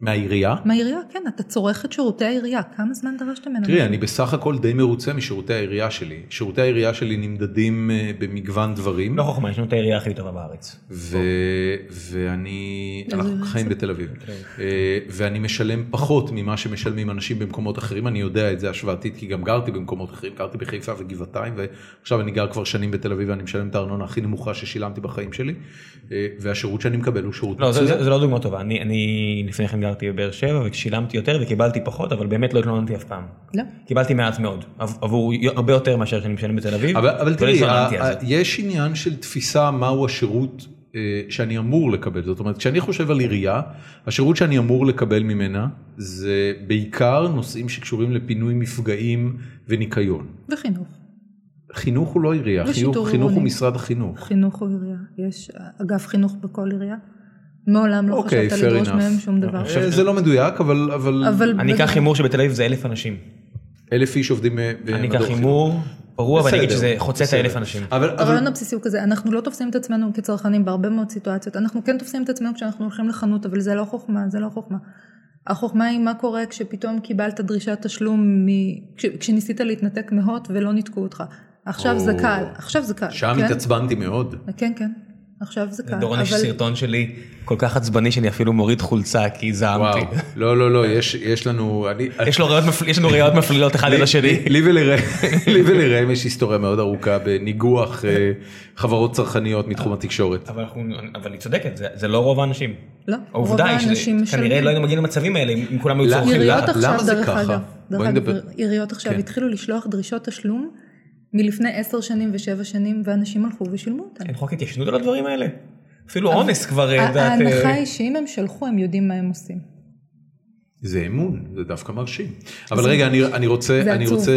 מהעירייה?
מהעירייה, כן, אתה צורך את שירותי העירייה, כמה זמן דרשת ממנה?
תראי, אני בסך הכל די מרוצה משירותי העירייה שלי. שירותי העירייה שלי נמדדים אה, במגוון דברים,
לא חוכמה, יש לנו את העירייה הכי טובה בארץ.
ו- ואני,
איזה
אנחנו
עירייה
חיים
זה?
בתל אביב,
כן.
אה, ואני משלם פחות ממה שמשלמים אנשים במקומות אחרים, אני יודע את זה השוואתית, כי גם גרתי במקומות אחרים, גרתי בחיפה וגבעתיים, ועכשיו אני גר כבר שנים בתל אביב ואני משלם את הארנונה הכי נמוכה ששילמתי בחיים שלי, אה, והשירות שאני מקבל הוא שירות
לא, זה,
מצוין.
זה, זה לא דוגמה טובה. אני, אני לפני כן גרתי בבאר שבע ושילמתי יותר וקיבלתי פחות, אבל באמת לא התלוננתי אף פעם.
לא.
קיבלתי מעט מאוד, עב- עבור י- הרבה יותר מאשר שאני משלם בתל אביב.
אבל, אבל
ולא
תראי,
התלוננתי
ה-
על
ה-
זה.
יש עניין של תפיסה מהו השירות אה, שאני אמור לקבל. זאת אומרת, כשאני חושב על עירייה, השירות שאני אמור לקבל ממנה זה בעיקר נושאים שקשורים לפינוי מפגעים וניקיון.
וחינוך.
חינוך הוא לא עירייה,
ושיטור
חינוך, חינוך
עירוני.
הוא משרד החינוך.
חינוך או עירייה, יש אגף חינוך בכל עירייה, מעולם לא
אוקיי,
חשבת
fair
לדרוש
enough.
מהם שום דבר.
אה, זה לא מדויק, אבל... אבל...
אבל
אני
בד-
אקח הימור שבתל אביב זה אלף אנשים.
אה, אלף איש עובדים ב-
אני
במדור
אקח
חינוך.
הימור פרוע ואני אגיד
בסדר,
שזה חוצה את
בסדר.
האלף אנשים.
אבל, אבל
הרעיון הבסיסי הוא כזה, אנחנו לא תופסים את עצמנו כצרכנים בהרבה מאוד סיטואציות, אנחנו כן תופסים את עצמנו כשאנחנו הולכים לחנות, אבל זה לא חוכמה, זה לא חוכמה. החוכמה היא מה קורה כשפתאום קיבלת דרישת תשלום, מ... כש... כשניסית להתנתק מהוט ולא ניתקו אותך. עכשיו
או.
זה קל, עכשיו זה קל.
שם
כן?
התעצבנתי מאוד.
כן, כן, עכשיו זה
אה,
קל.
דורון יש סרטון שלי כל כך עצבני שאני אפילו מוריד חולצה כי
וואו,
זעמתי.
לא, לא, לא, יש, יש לנו... אני,
יש לו ראיות מפל- יש לנו ראיות מפלילות אחד אל השני.
לי ולראם- לי ולראם יש היסטוריה מאוד ארוכה בניגוח אה, חברות צרכניות מתחום התקשורת.
אבל אנחנו- אבל היא צודקת זה- זה לא רוב האנשים.
לא,
העובדה
רוב
היא
האנשים
שכנראה
משלמים.
לא היינו מגיעים למצבים האלה אם אם כולם היו
לא,
צורכים.
למה-
עיריות
למה
עכשיו,
זה
דרך
ככה?
אגב, דרך
בואי
אגב,
נדבר.
עיריות עכשיו
כן.
התחילו לשלוח דרישות תשלום מלפני עשר שנים ושבע שנים, ואנשים הלכו ושילמו אותן.
אין חוק התיישנות על הדברים האלה. אפילו אונס כבר, אה, את יודעת, אה,
ההנחה היא שאם הם שלחו, הם יודעים מה הם עושים.
זה אמון, זה דווקא מרשים. אבל רגע, אני, אני רוצה,
זה
אני
עצוב.
רוצה,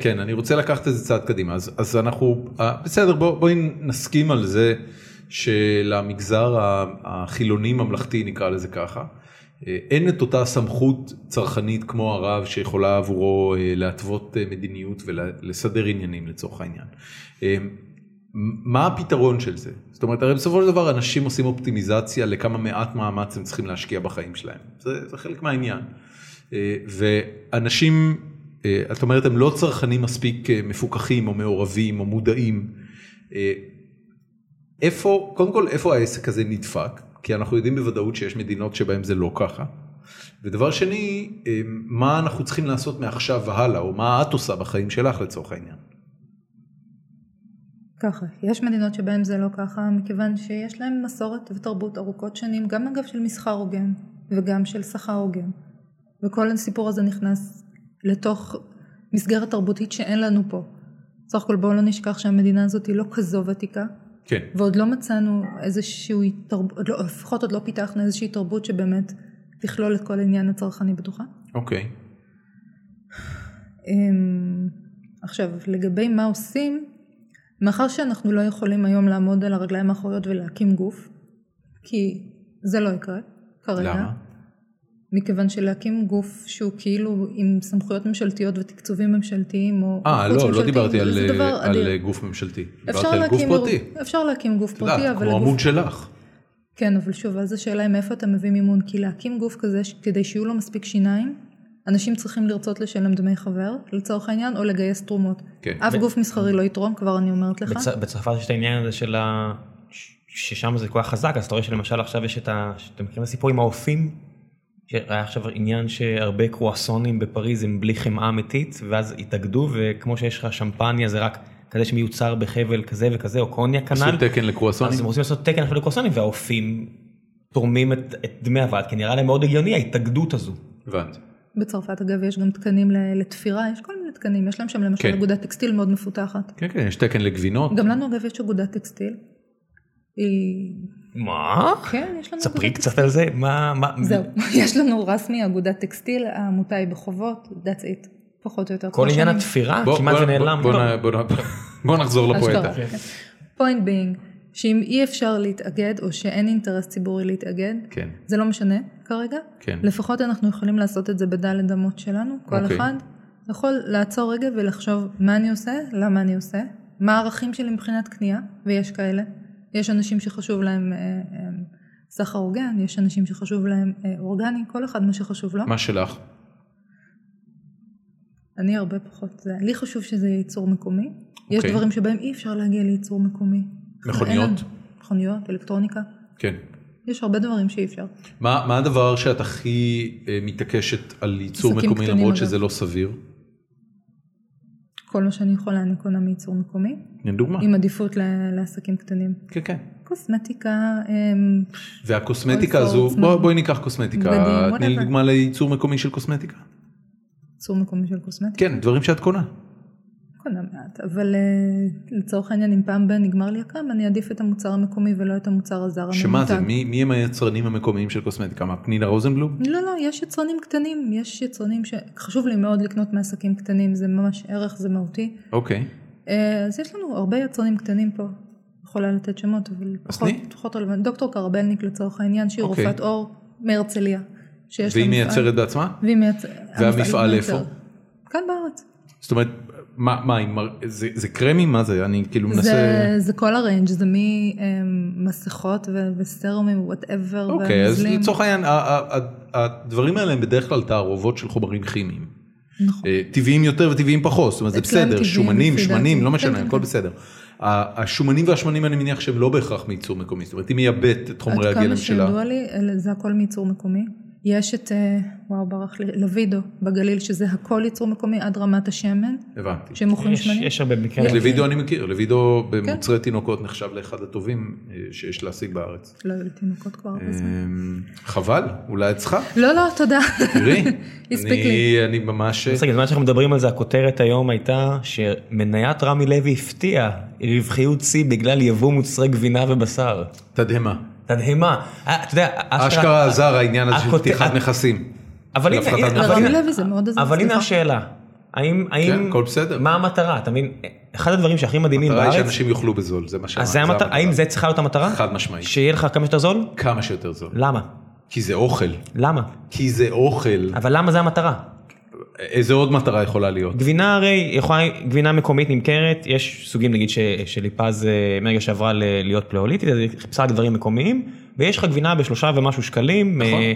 כן, אני רוצה לקחת את זה צעד קדימה. אז, אז אנחנו, אה, בסדר, בוא, בואי נסכים על זה שלמגזר ה- החילוני ממלכתי, נקרא לזה ככה, אה, אין את אותה סמכות צרכנית כמו הרב שיכולה עבורו אה, להתוות אה, מדיניות ולסדר עניינים לצורך העניין. אה, מה הפתרון של זה? זאת אומרת, הרי בסופו של דבר אנשים עושים אופטימיזציה לכמה מעט מאמץ הם צריכים להשקיע בחיים שלהם. זה, זה חלק מהעניין. אה, ואנשים, אה, את אומרת, הם לא צרכנים מספיק אה, מפוקחים או מעורבים או מודעים. אה, איפה, קודם כל, איפה העסק הזה נדפק? כי אנחנו יודעים בוודאות שיש מדינות שבהן זה לא ככה. ודבר שני, אה, מה אנחנו צריכים לעשות מעכשיו והלאה, או מה את עושה בחיים שלך לצורך העניין?
ככה, יש מדינות שבהן זה לא ככה, מכיוון שיש להן מסורת ותרבות ארוכות שנים, גם אגב של מסחר הוגן, וגם של שכר הוגן. וכל הסיפור הזה נכנס לתוך מסגרת תרבותית שאין לנו פה. סך הכל בואו לא נשכח שהמדינה הזאת היא לא כזו ותיקה,
כן.
ועוד לא מצאנו איזושהי תרבות, לא, לפחות עוד לא פיתחנו איזושהי תרבות שבאמת תכלול את כל העניין הצרכני בתוכה.
אוקיי.
אמ, עכשיו, לגבי מה עושים, מאחר שאנחנו לא יכולים היום לעמוד על הרגליים האחוריות ולהקים גוף, כי זה לא יקרה כרגע.
למה?
מכיוון שלהקים גוף שהוא כאילו עם סמכויות ממשלתיות ותקצובים ממשלתיים או
אה,
חוץ
לא, לא
ממשלתיים,
דיברתי על, אה,
זה דבר
על
אדיר.
גוף ממשלתי. דיברתי
אפשר
על גוף
להקים,
פרטי.
אפשר להקים גוף
את יודעת,
פרטי, אבל
כמו
הגוף לא
עמוד שלך.
כן, אבל שוב, אז השאלה היא מאיפה אתה מביא מימון, כי להקים גוף כזה, ש- כדי שיהיו לו מספיק שיניים, אנשים צריכים לרצות לשלם דמי חבר, לצורך העניין, או לגייס תרומות.
כן.
אף גוף מסחרי לא יתרום, כבר אני אומרת לך.
בצ- בצרפת יש את העניין הזה של ה... ש- ששם זה כל כך חזק אז אתה רואה שלמשל עכשיו יש את ה... אתם מכירים את הסיפור עם האופים? שהיה עכשיו עניין שהרבה קרואסונים בפריז הם בלי חמאה אמיתית ואז התאגדו וכמו שיש לך שמפניה זה רק כזה שמיוצר בחבל כזה וכזה או קוניה כנ"ל.
עשו תקן לקרואסונים.
אז הם רוצים לעשות תקן עכשיו לקרואסונים והאופים תורמים את, את דמי הוועד כי נראה להם מאוד הגיוני ההתאגדות הזו.
הבנתי.
בצרפת, אגב, יש גם תקנים ל- לתפירה, יש כל מיני תקנים, יש להם שם למשל
כן.
אגודת טקסטיל מאוד מפותחת.
כן, כן, יש תקן לגבינות.
גם לנו, אגב, יש אגודת טקסטיל. היא...
מה?
כן, יש לנו
ספרי
אגודת טקסטיל.
קצת על זה מה מה
זהו, יש לנו רשמי אגודת טקסטיל, העמותה היא בחובות, that's it, פחות או יותר.
כל
כמו
עניין
שאני-
התפירה
בוא-
כמעט
בוא-
זה נעלם.
בוא-
לא.
בוא- בוא- בוא- בוא נחזור לפואטה.
אשכרה. פוינט ביינג, שאם אי אפשר להתאגד או שאין אינטרס ציבורי להתאגד,
כן.
זה לא משנה כרגע.
כן.
לפחות אנחנו יכולים לעשות את זה בדלת אמות שלנו, כל
אוקיי.
אחד יכול לעצור רגע ולחשוב מה אני עושה, למה אני עושה, מה הערכים שלי מבחינת קנייה, ויש כאלה. יש אנשים שחשוב להם אה, אה, סחר הוגן, יש אנשים שחשוב להם אה, אורגני, כל אחד מה שחשוב לו.
מה שלך?
אני הרבה פחות, זה- לי חשוב שזה יהיה ייצור מקומי. יש
אוקיי.
דברים שבהם אי אפשר להגיע לייצור מקומי.
מכוניות?
אין לנו- מכוניות, אלקטרוניקה.
כן.
יש הרבה דברים שאי אפשר.
מה מה הדבר שאת הכי אה, מתעקשת על ייצור
עסקים
מקומי
קטנים,
למרות
אגב.
שזה לא סביר?
כל מה שאני יכולה אני קונה מייצור מקומי,
הנה דוגמה.
עם עדיפות ל- לעסקים קטנים.
כן, כן.
קוסמטיקה, אמ,
והקוסמטיקה
אוי,
הזו,
פורץ,
בוא-
מה?
בואי ניקח קוסמטיקה.
בגדים,
תני לי
whatever.
דוגמה לייצור מקומי של קוסמטיקה.
ייצור מקומי של קוסמטיקה.
כן, דברים שאת קונה. כן.
קונה מעט, אבל אה, לצורך העניין אם פעם ב- נגמר לי הקם, אני אעדיף את המוצר המקומי ולא את המוצר הזר הממותג.
שמה זה? מי מי הם היצרנים המקומיים של קוסמטיקה? מה, פנינה רוזנבלום?
לא, לא, יש יצרנים קטנים, יש יצרנים שחשוב לי מאוד לקנות מעסקים קטנים, זה ממש ערך, זה מהותי.
אוקיי.
אה, אז יש לנו הרבה יצרנים קטנים פה. יכולה לתת שמות, אבל
אז
פחות-
תני.
פחות רלוונטי. דוקטור קרבלניק לצורך העניין, שהיא
אוקיי.
רופאת עור מהרצליה. שיש לה
והיא
מפעל.
מייצרת בעצמה?
והיא מייצרת.
והמפעל איפה?
כאן בארץ.
זאת אומרת, מה, מה, היא מר- זה זה קרמי? מה זה? אני כאילו מנסה...
זה, זה כל הריינג', זה ממסכות ו- וסרומים וואטאבר.
אוקיי, אז לצורך העניין, ה- ה- ה- הדברים האלה הם בדרך כלל תערובות של חומרים כימיים.
נכון.
אה, טבעיים יותר וטבעיים פחות, זאת אומרת זה
אצלם
בסדר,
טבעיים,
שומנים,
לפי
שמנים,
דעתי.
לא
כן,
משנה,
כן,
הכל
כן.
בסדר. ה- השומנים והשמנים אני מניח שהם לא בהכרח מייצור מקומי, זאת אומרת היא מייבאת את חומרי
עד כמה
הגלם
שידוע
שלה.
לי, אלה- זה הכל מייצור מקומי. יש את, אה, וואו ברח לי, לוידו בגליל, שזה הכל ייצור מקומי עד רמת השמן,
הבנתי.
שהם מוכרים
יש-
שמנים.
יש הרבה מקרים.
יש-
לוידו כן, אני מכיר, לוידו
כן.
במוצרי תינוקות נחשב לאחד הטובים אה, שיש להשיג בארץ.
לא היו לי תינוקות כבר
אה,
הרבה זמן.
אמ, חבל, אולי את צריכה,
לא, לא, תודה.
תראי.
הספיק
אני-
לי.
אני ממש... אה,
אז רגע, בזמן שאנחנו מדברים על זה, הכותרת היום הייתה שמניית רמי לוי הפתיעה רווחיות שיא בגלל יבוא מוצרי גבינה ובשר.
תדהמה.
תדהמה. אה, אתה יודע, אשכרה- אה,
אשכרה עזר העניין הזה של
הכותר-
פתיחת נכסים.
אבל הנה,
להפחתת
הנה,
מכס.
אבל
לרמי
הנה-
לא, לוי זה מאוד עזר,
אבל הנה
כן, סליחה.
השאלה, האם, האם,
הכל בסדר.
מה המטרה, אתה מבין, אחד הדברים שהכי מדהימים
המטרה היא
בארץ,
שאנשים יאכלו בזול, זה מה ש...
אז זה המטרה, האם זה צריכה להיות המטרה?
חד משמעית.
שיהיה לך כמה שיותר זול?
כמה שיותר זול.
למה?
כי זה אוכל.
למה?
כי זה אוכל. אה,
אבל כן. למה זה המטרה?
איזה עוד מטרה יכולה להיות?
גבינה הרי יכולה, גבינה מקומית נמכרת, יש סוגים נגיד ש, שליפז אה, מרגע שעברה ל, להיות פלאוליטית, אז היא חיפשה רק דברים מקומיים, ויש לך גבינה בשלושה ומשהו שקלים,
נכון.
אה,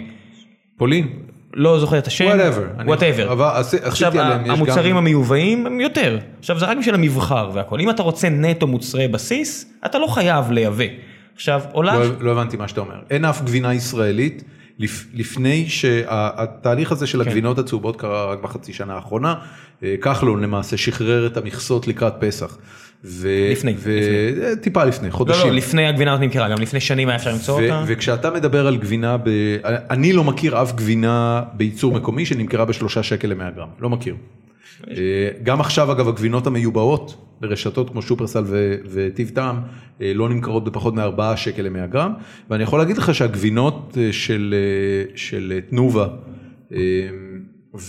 פולין.
לא זוכר את השם,
Whatever. אני-
whatever.
אבל עשי- עשיתי
עכשיו
עליהם, יש גם-
המוצרים המיובאים הם יותר, עכשיו זה רק בשביל המבחר והכל, אם אתה רוצה נטו מוצרי בסיס, אתה לא חייב לייבא. עכשיו עולה,
לא, לא הבנתי מה שאתה אומר. אין אף גבינה ישראלית לפ, לפני שהתהליך הזה
כן.
של הגבינות הצהובות קרה רק בחצי שנה האחרונה. אה, כחלון למעשה שחרר את המכסות לקראת פסח. ו,
לפני,
ו, לפני. טיפה לפני,
לא
חודשים.
לא, לפני הגבינה הזאת נמכרה, גם לפני שנים היה אפשר למצוא
ו-
אותה,
וכשאתה מדבר על גבינה, ב... אני לא מכיר אף גבינה בייצור מקומי שנמכרה בשלושה שקל למאה גרם, לא מכיר. אה, גם עכשיו אגב הגבינות המיובאות ברשתות כמו שופרסל ו- וטיב טעם אה, לא נמכרות בפחות מארבעה שקל למאה גרם ואני יכול להגיד לך שהגבינות אה, של, אה, של אה, תנובה אה,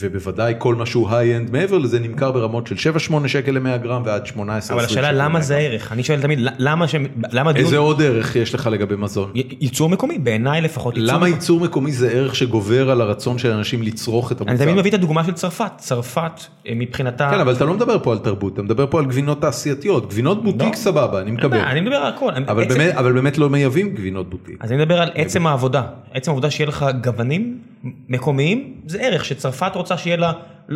ובוודאי כל מה שהוא היי-אנד מעבר לזה נמכר ברמות של 7-8 שקל למאה גרם ועד 18 שקל.
אבל השאלה למה זה לא- ערך, אני שואל תמיד למה, ש- למה דיון-
איזה עוד ערך יש לך לגבי מזון?
י- ייצור מקומי בעיניי לפחות. ייצור
למה
מקומי.
ייצור מקומי זה ערך שגובר על הרצון של אנשים לצרוך את
אני
המוצר?
תמיד מביא את הדוגמה של צרפת, צרפת אה, מבחינתה,
כן, אבל אתה לא מדבר פה על תרבות, אתה מדבר פה על גבינות תעשייתיות. גבינות בוטיק
לא.
סבבה, אני
אין
מקבל.
בעיה, אני מדבר על הכל, אני-
אבל
עצם-
באמת- אבל באמת לא מייבאים גבינות בוטיק.
אז אני מדבר על עצם העבודה, עצם העבודה שיהיה לך גוונים מקומיים זה ערך שצרפת רוצה שיהיה לה,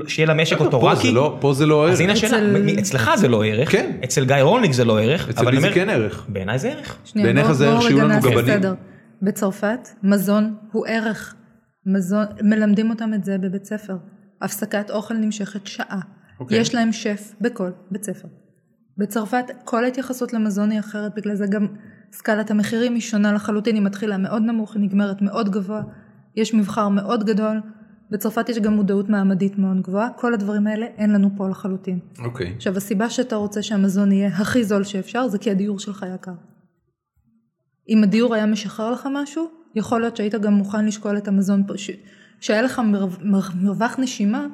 שיהיה לה משק
פה זה
אוטורקי,
לא- פה זה לא
אז הנה
ערך.
השאלה,
אצל-
מ- אצלך זה לא ערך,
כן.
אצל גיא רולניק זה לא ערך,
אצל
אבל
מי
אני
זה
אומר,
כן אוקיי. ערך.
בעיניי זה ערך,
שנייה,
בעיניך
בואו-
זה
בואו
ערך
רגע
שיהיו לנו
נעשה
גוונים?
סדר. בצרפת מזון הוא ערך, מזון, מלמדים אותם את זה בבית ספר. הפסקת אוכל נמשכת שעה.
אוקיי.
יש להם שף בכל בית ספר. בצרפת כל ההתייחסות למזון היא אחרת, בגלל זה גם סקאלת המחירים היא שונה לחלוטין, היא מתחילה מאוד נמוך, היא נגמרת מאוד גבוה, יש מבחר מאוד גדול. בצרפת יש גם מודעות מעמדית מאוד גבוהה, כל הדברים האלה אין לנו פה לחלוטין.
אוקיי.
עכשיו הסיבה שאתה רוצה שהמזון יהיה הכי זול שאפשר זה כי הדיור שלך יקר. אם הדיור היה משחרר לך משהו, יכול להיות שהיית גם מוכן לשקול את המזון, פה, ש... שהיה לך מרו... מר- מרווח נשימה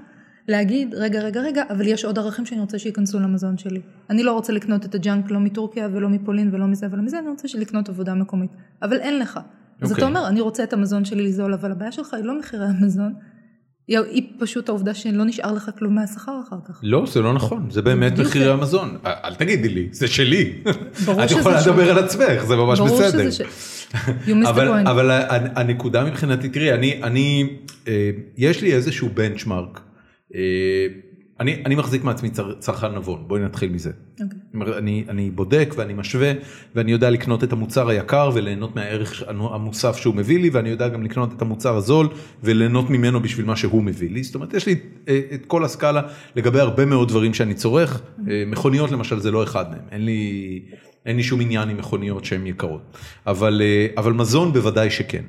להגיד רגע רגע רגע אבל יש עוד ערכים שאני רוצה שייכנסו למזון שלי. אני לא רוצה לקנות את הג'אנק לא מטורקיה ולא מפולין ולא מזה ולא מזה, אני רוצה לקנות עבודה מקומית, אבל אין לך. אז
אוקיי.
אתה אומר אני רוצה את המזון שלי לזול אבל הבעיה שלך היא לא מחירי המזון, היא- היא פשוט העובדה שלא נשאר לך כלום מהשכר אחר כך.
לא, זה לא נכון, זה באמת
בדיוק
מחירי
זה.
המזון. אל- אל תגידי לי, זה שלי.
ברור
את
שזה
יכולה
שלי.
לדבר על עצמך, זה ממש
ברור
בסדר.
שזה ש... You missed
אבל,
the point.
אבל ה- ה- הנקודה מבחינתי, תראי, אני, אני אה, יש לי איזשהו בנצ'מארק. אה, אני, אני מחזיק מעצמי צר, צרכן נבון, בואי נתחיל מזה.
אוקיי.
כלומר, אני, אני בודק ואני משווה ואני יודע לקנות את המוצר היקר וליהנות מהערך ש- המוסף שהוא מביא לי ואני יודע גם לקנות את המוצר הזול וליהנות ממנו בשביל מה שהוא מביא לי. זאת אומרת יש לי אה, את כל הסקאלה לגבי הרבה מאוד דברים שאני צורך. אה, מכוניות למשל זה לא אחד מהם, אין לי, אין לי שום עניין עם מכוניות שהן יקרות. אבל, אה, אבל מזון בוודאי שכן.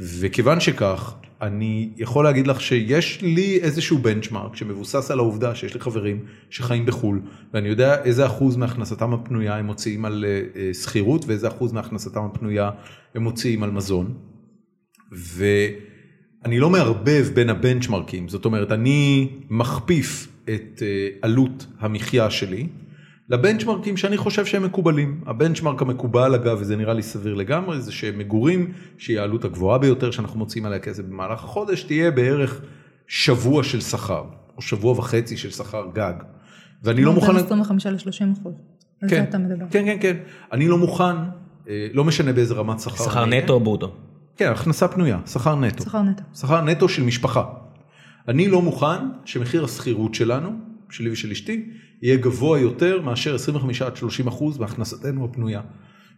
וכיוון שכך, אני יכול להגיד לך שיש לי איזשהו בנצ'מארק שמבוסס על העובדה שיש לי חברים שחיים בחו"ל, ואני יודע איזה אחוז מהכנסתם הפנויה הם מוציאים על אה, אה, שכירות ואיזה אחוז מהכנסתם הפנויה הם מוציאים על מזון. ואני לא מערבב בין הבנצ'מרקים, זאת אומרת, אני מכפיף את אה, עלות המחיה שלי לבנצ'מרקים שאני חושב שהם מקובלים. הבנצ'מרק המקובל אגב, וזה נראה לי סביר לגמרי, זה שמגורים, שהיא העלות הגבוהה ביותר שאנחנו מוצאים עליה כסף במהלך החודש, תהיה בערך שבוע של שכר, או שבוע וחצי של שכר גג. ואני לא מוכן...
בין 25 ל-30 אחוז. על זה
כן,
אתה מדבר.
כן, כן, כן. אני לא מוכן, אה, לא משנה באיזה רמת שכר.
שכר
אני אהיה.
נטו או ברוטו?
כן, הכנסה פנויה, שכר נטו.
שכר נטו.
שכר נטו של משפחה. אני לא מוכן שמחיר השכירות שלנו, שלי ושל אשתי, יהיה גבוה יותר מאשר 25 עד 30 אחוז מהכנסתנו הפנויה.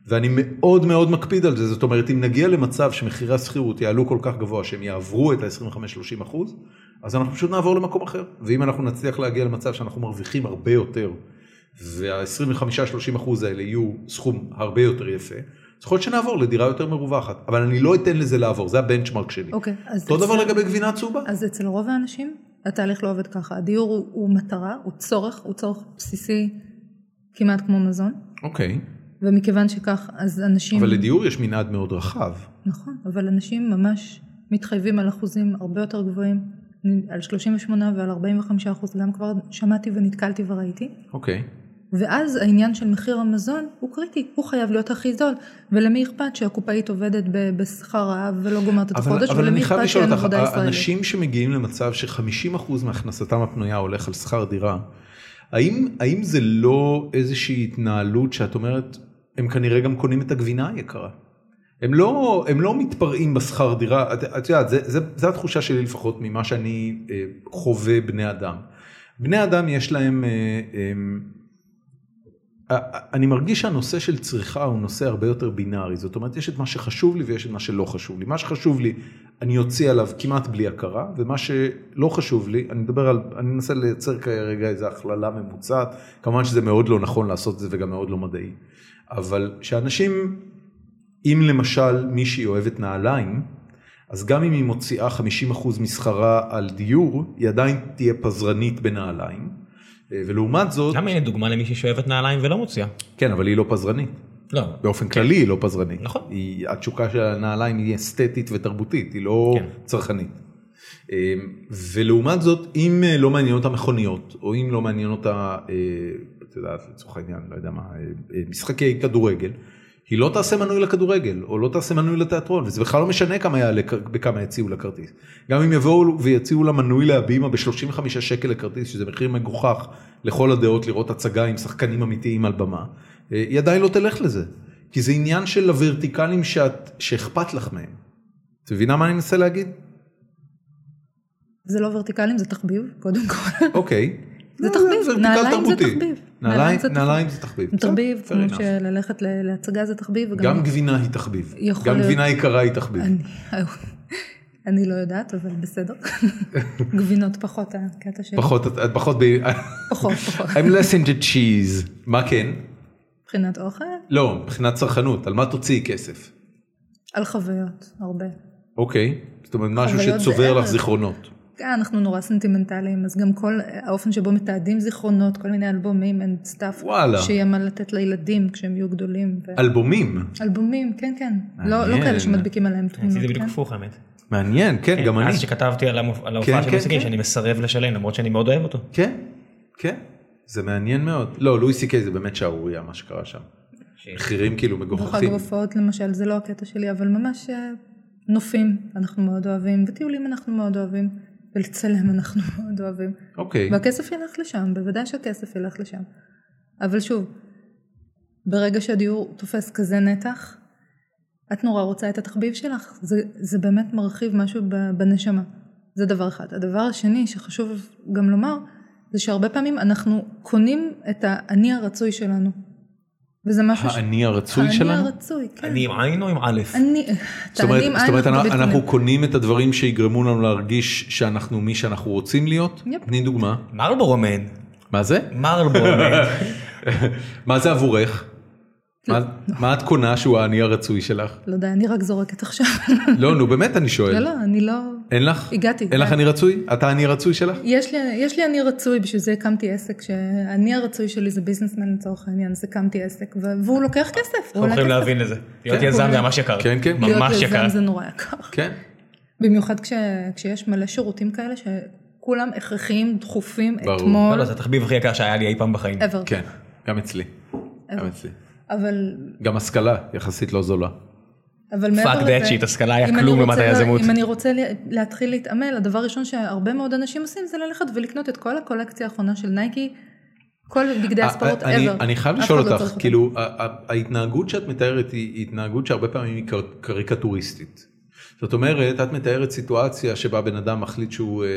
ואני מאוד מאוד מקפיד על זה, זאת אומרת אם נגיע למצב שמחירי השכירות יעלו כל כך גבוה שהם יעברו את ה-25-30 אחוז, אז אנחנו פשוט נעבור למקום אחר. ואם אנחנו נצליח להגיע למצב שאנחנו מרוויחים הרבה יותר, וה-25-30 אחוז האלה יהיו סכום הרבה יותר יפה, אז יכול להיות שנעבור לדירה יותר מרווחת. אבל אני לא אתן לזה לעבור, זה הבנצ'מרק שלי.
אוקיי, אז...
אותו דבר
אצל-
לגבי גבינה צהובה.
אז אצל רוב האנשים התהליך לא עובד ככה. הדיור הוא, הוא מטרה, הוא צורך, הוא צורך בסיסי כמעט כמו מזון.
אוקיי,
ומכיוון שכך, אז אנשים...
אבל לדיור יש מנעד מאוד רחב.
נכון, אבל אנשים ממש מתחייבים על אחוזים הרבה יותר גבוהים, על 38 ועל 45 אחוז, גם כבר שמעתי ונתקלתי וראיתי.
אוקיי.
ואז העניין של מחיר המזון הוא קריטי, הוא חייב להיות הכי זול. ולמי אכפת שהקופאית עובדת ב- בשכר רעב ולא גומרת את
אבל,
החודש,
אבל אני
ולמי
חייב
אכפת
לשאול
שאין
אותך,
עבודה ישראלית?
אנשים שמגיעים למצב ש-50% מהכנסתם הפנויה הולך על שכר דירה, האם, האם זה לא איזושהי התנהלות שאת אומרת, הם כנראה גם קונים את הגבינה היקרה? הם לא, הם לא מתפרעים בשכר דירה, את, את יודעת, זה, זה, זה התחושה שלי לפחות ממה שאני אה, חווה בני אדם. בני אדם יש להם, אה, אה, אני מרגיש שהנושא של צריכה הוא נושא הרבה יותר בינארי, זאת אומרת יש את מה שחשוב לי ויש את מה שלא חשוב לי. מה שחשוב לי אני אוציא עליו כמעט בלי הכרה, ומה שלא חשוב לי, אני מדבר על, אני מנסה לייצר כרגע איזו הכללה ממוצעת, כמובן שזה מאוד לא נכון לעשות את זה וגם מאוד לא מדעי. אבל שאנשים, אם למשל מישהי אוהבת נעליים, אז גם אם היא מוציאה 50% משכרה על דיור, היא עדיין תהיה פזרנית בנעליים. אה, ולעומת זאת,
למה אין דוגמה למישהי שאוהבת נעליים ולא מוציאה?
כן אבל היא לא פזרנית.
לא.
אוקיי.
באופן כללי היא לא פזרנית.
נכון.
היא, התשוקה של הנעליים היא אסתטית ותרבותית, היא לא
כן.
צרכנית. אמ, ולעומת זאת, אם אה, לא מעניין אותה מכוניות, או אם לא מעניין אותה, אה, את יודעת, לצורך העניין, לא יודע מה, אה, אה, משחקי כדורגל, היא לא תעשה מנוי לכדורגל, או לא תעשה מנוי לתיאטרון, וזה בכלל לא משנה כמה יעלה, כ- בכמה יציעו לכרטיס. גם אם יבואו ויציעו לה מנוי להבימה ב-35 שקל לכרטיס, שזה מחיר מגוחך לכל הדעות לראות הצגה עם שחקנים אמיתיים על במה, אה, היא עדיין לא תלך לזה. כי זה עניין של הוורטיקלים שאת, שאכפת לך מהם. את מבינה מה אני מנסה להגיד?
זה לא ורטיקלים, זה תחביב, קודם כל.
אוקיי.
זה
לא,
תחביב,
ורטיקל
נעליים זה
תרבותי.
תחביב.
נעליים
נעליים זה
נעליים זה תחביב.
תחביב,
בסדר,
כמו
fair enough.
שללכת ל- להצגה זה תחביב. וגם-
גם גבינה היא תחביב.
יכול
גם
להיות.
גבינה יקרה היא תחביב.
אני- אני לא יודעת, אבל בסדר. גבינות פחות הקטע שלי.
פחות, את- את פחות ב...
פחות, פחות.
I'm less into cheese. מה כן?
מבחינת אוכל,
לא, מבחינת צרכנות, על מה תוציאי כסף?
על חוויות, הרבה.
אוקיי. זאת אומרת, משהו
חוויות לא זה
שצובר לך
ערך.
זיכרונות.
כן, אנחנו נורא סנטימנטליים, אז גם כל האופן שבו מתעדים זיכרונות, כל מיני אלבומים and stuff.
וואלה.
שיהיה מה לתת לילדים כשהם יהיו גדולים. ו-
אלבומים.
אלבומים, כן, כן. לא לא
מעניין.
כאלה שמדביקים עליהם
אני
תמונות,
עשיתי בדיוק
כן?
הפוך האמת.
מעניין, כן, גם אני.
אז שכתבתי על המופ- על ההופעה
כן,
של
כן,
מוסיקי
כן.
שאני מסרב לשלם למרות שאני מאוד אוהב אותו.
כן, כן. זה מעניין מאוד. לא, לואי סי קיי זה באמת שערורייה מה שקרה שם. מחירים כאילו
בחג
מגוחכים.
הופעות למשל, זה לא הקטע שלי, אבל ממש אה, נופים אנחנו מאוד אוהבים, וטיולים אנחנו מאוד אוהבים, ולצלם אנחנו מאוד אוהבים.
אוקיי.
והכסף ילך לשם, בוודאי שהכסף ילך לשם. אבל שוב, ברגע שהדיור תופס כזה נתח, את נורא רוצה את התחביב שלך, זה, זה באמת מרחיב משהו ב- בנשמה. זה דבר אחד. הדבר השני שחשוב גם לומר, זה שהרבה פעמים אנחנו קונים את האני הרצוי שלנו. וזה משהו
האני הרצוי שלנו?
האני הרצוי, כן.
אני עם עין או עם א'?
אני...
זאת אומרת,
תענים
זאת אומרת
עין
אנחנו,
בבית
אנחנו
חולים.
קונים את הדברים שיגרמו לנו להרגיש שאנחנו מי שאנחנו רוצים להיות?
יפ.
תני דוגמה.
מרלבורו מן.
מה זה?
מרלבורו מן.
מה זה עבורך?
לא.
מה- מה את קונה שהוא האני הרצוי שלך?
לא יודע, אני רק זורקת עכשיו.
לא, נו באמת אני שואל.
לא, לא, אני לא...
אין לך?
הגעתי.
אין לך אני רצוי? אתה האני הרצוי שלך?
יש לי, יש לי אני רצוי, בשביל זה הקמתי עסק, שאני הרצוי שלי זה ביזנסמן לצורך העניין, אז הקמתי עסק, ו- והוא לוקח כסף. הוא
אנחנו יכולים
עולה כסף.
להבין את זה. להיות
כן.
יזם זה ממש יקר.
כן, כן.
להיות
ממש
יזם
יקר.
זה נורא יקר.
כן.
במיוחד כש, כשיש מלא שירותים כאלה שכולם הכרחיים, דחופים,
ברור.
לא,
אתמול,
לא, זה התחביב הכי יקר שהיה לי אי פעם בחיים.
ever.
כן. גם אצלי. גם
אז-
אצלי.
אבל,
גם השכלה יחסית לא זולה.
אבל מעבר לזה...
that shit, השכלה היה
אם אני
כלום
רוצה
לעומת
לה-
היזמות.
אם אני רוצה לה- להתחיל להתעמל, הדבר הראשון שהרבה מאוד אנשים עושים זה ללכת ולקנות את כל הקולקציה האחרונה של נייקי, כל
אה,
בגדי הספורט
אה, אני-
ever.
אני חייב
אף
לשאול
אחד לא
אותך,
צריך אותם.
כאילו ה- ה- ההתנהגות שאת מתארת היא התנהגות שהרבה פעמים היא קר- קריקטוריסטית. זאת אומרת, את מתארת סיטואציה שבה בן אדם מחליט שהוא... אה,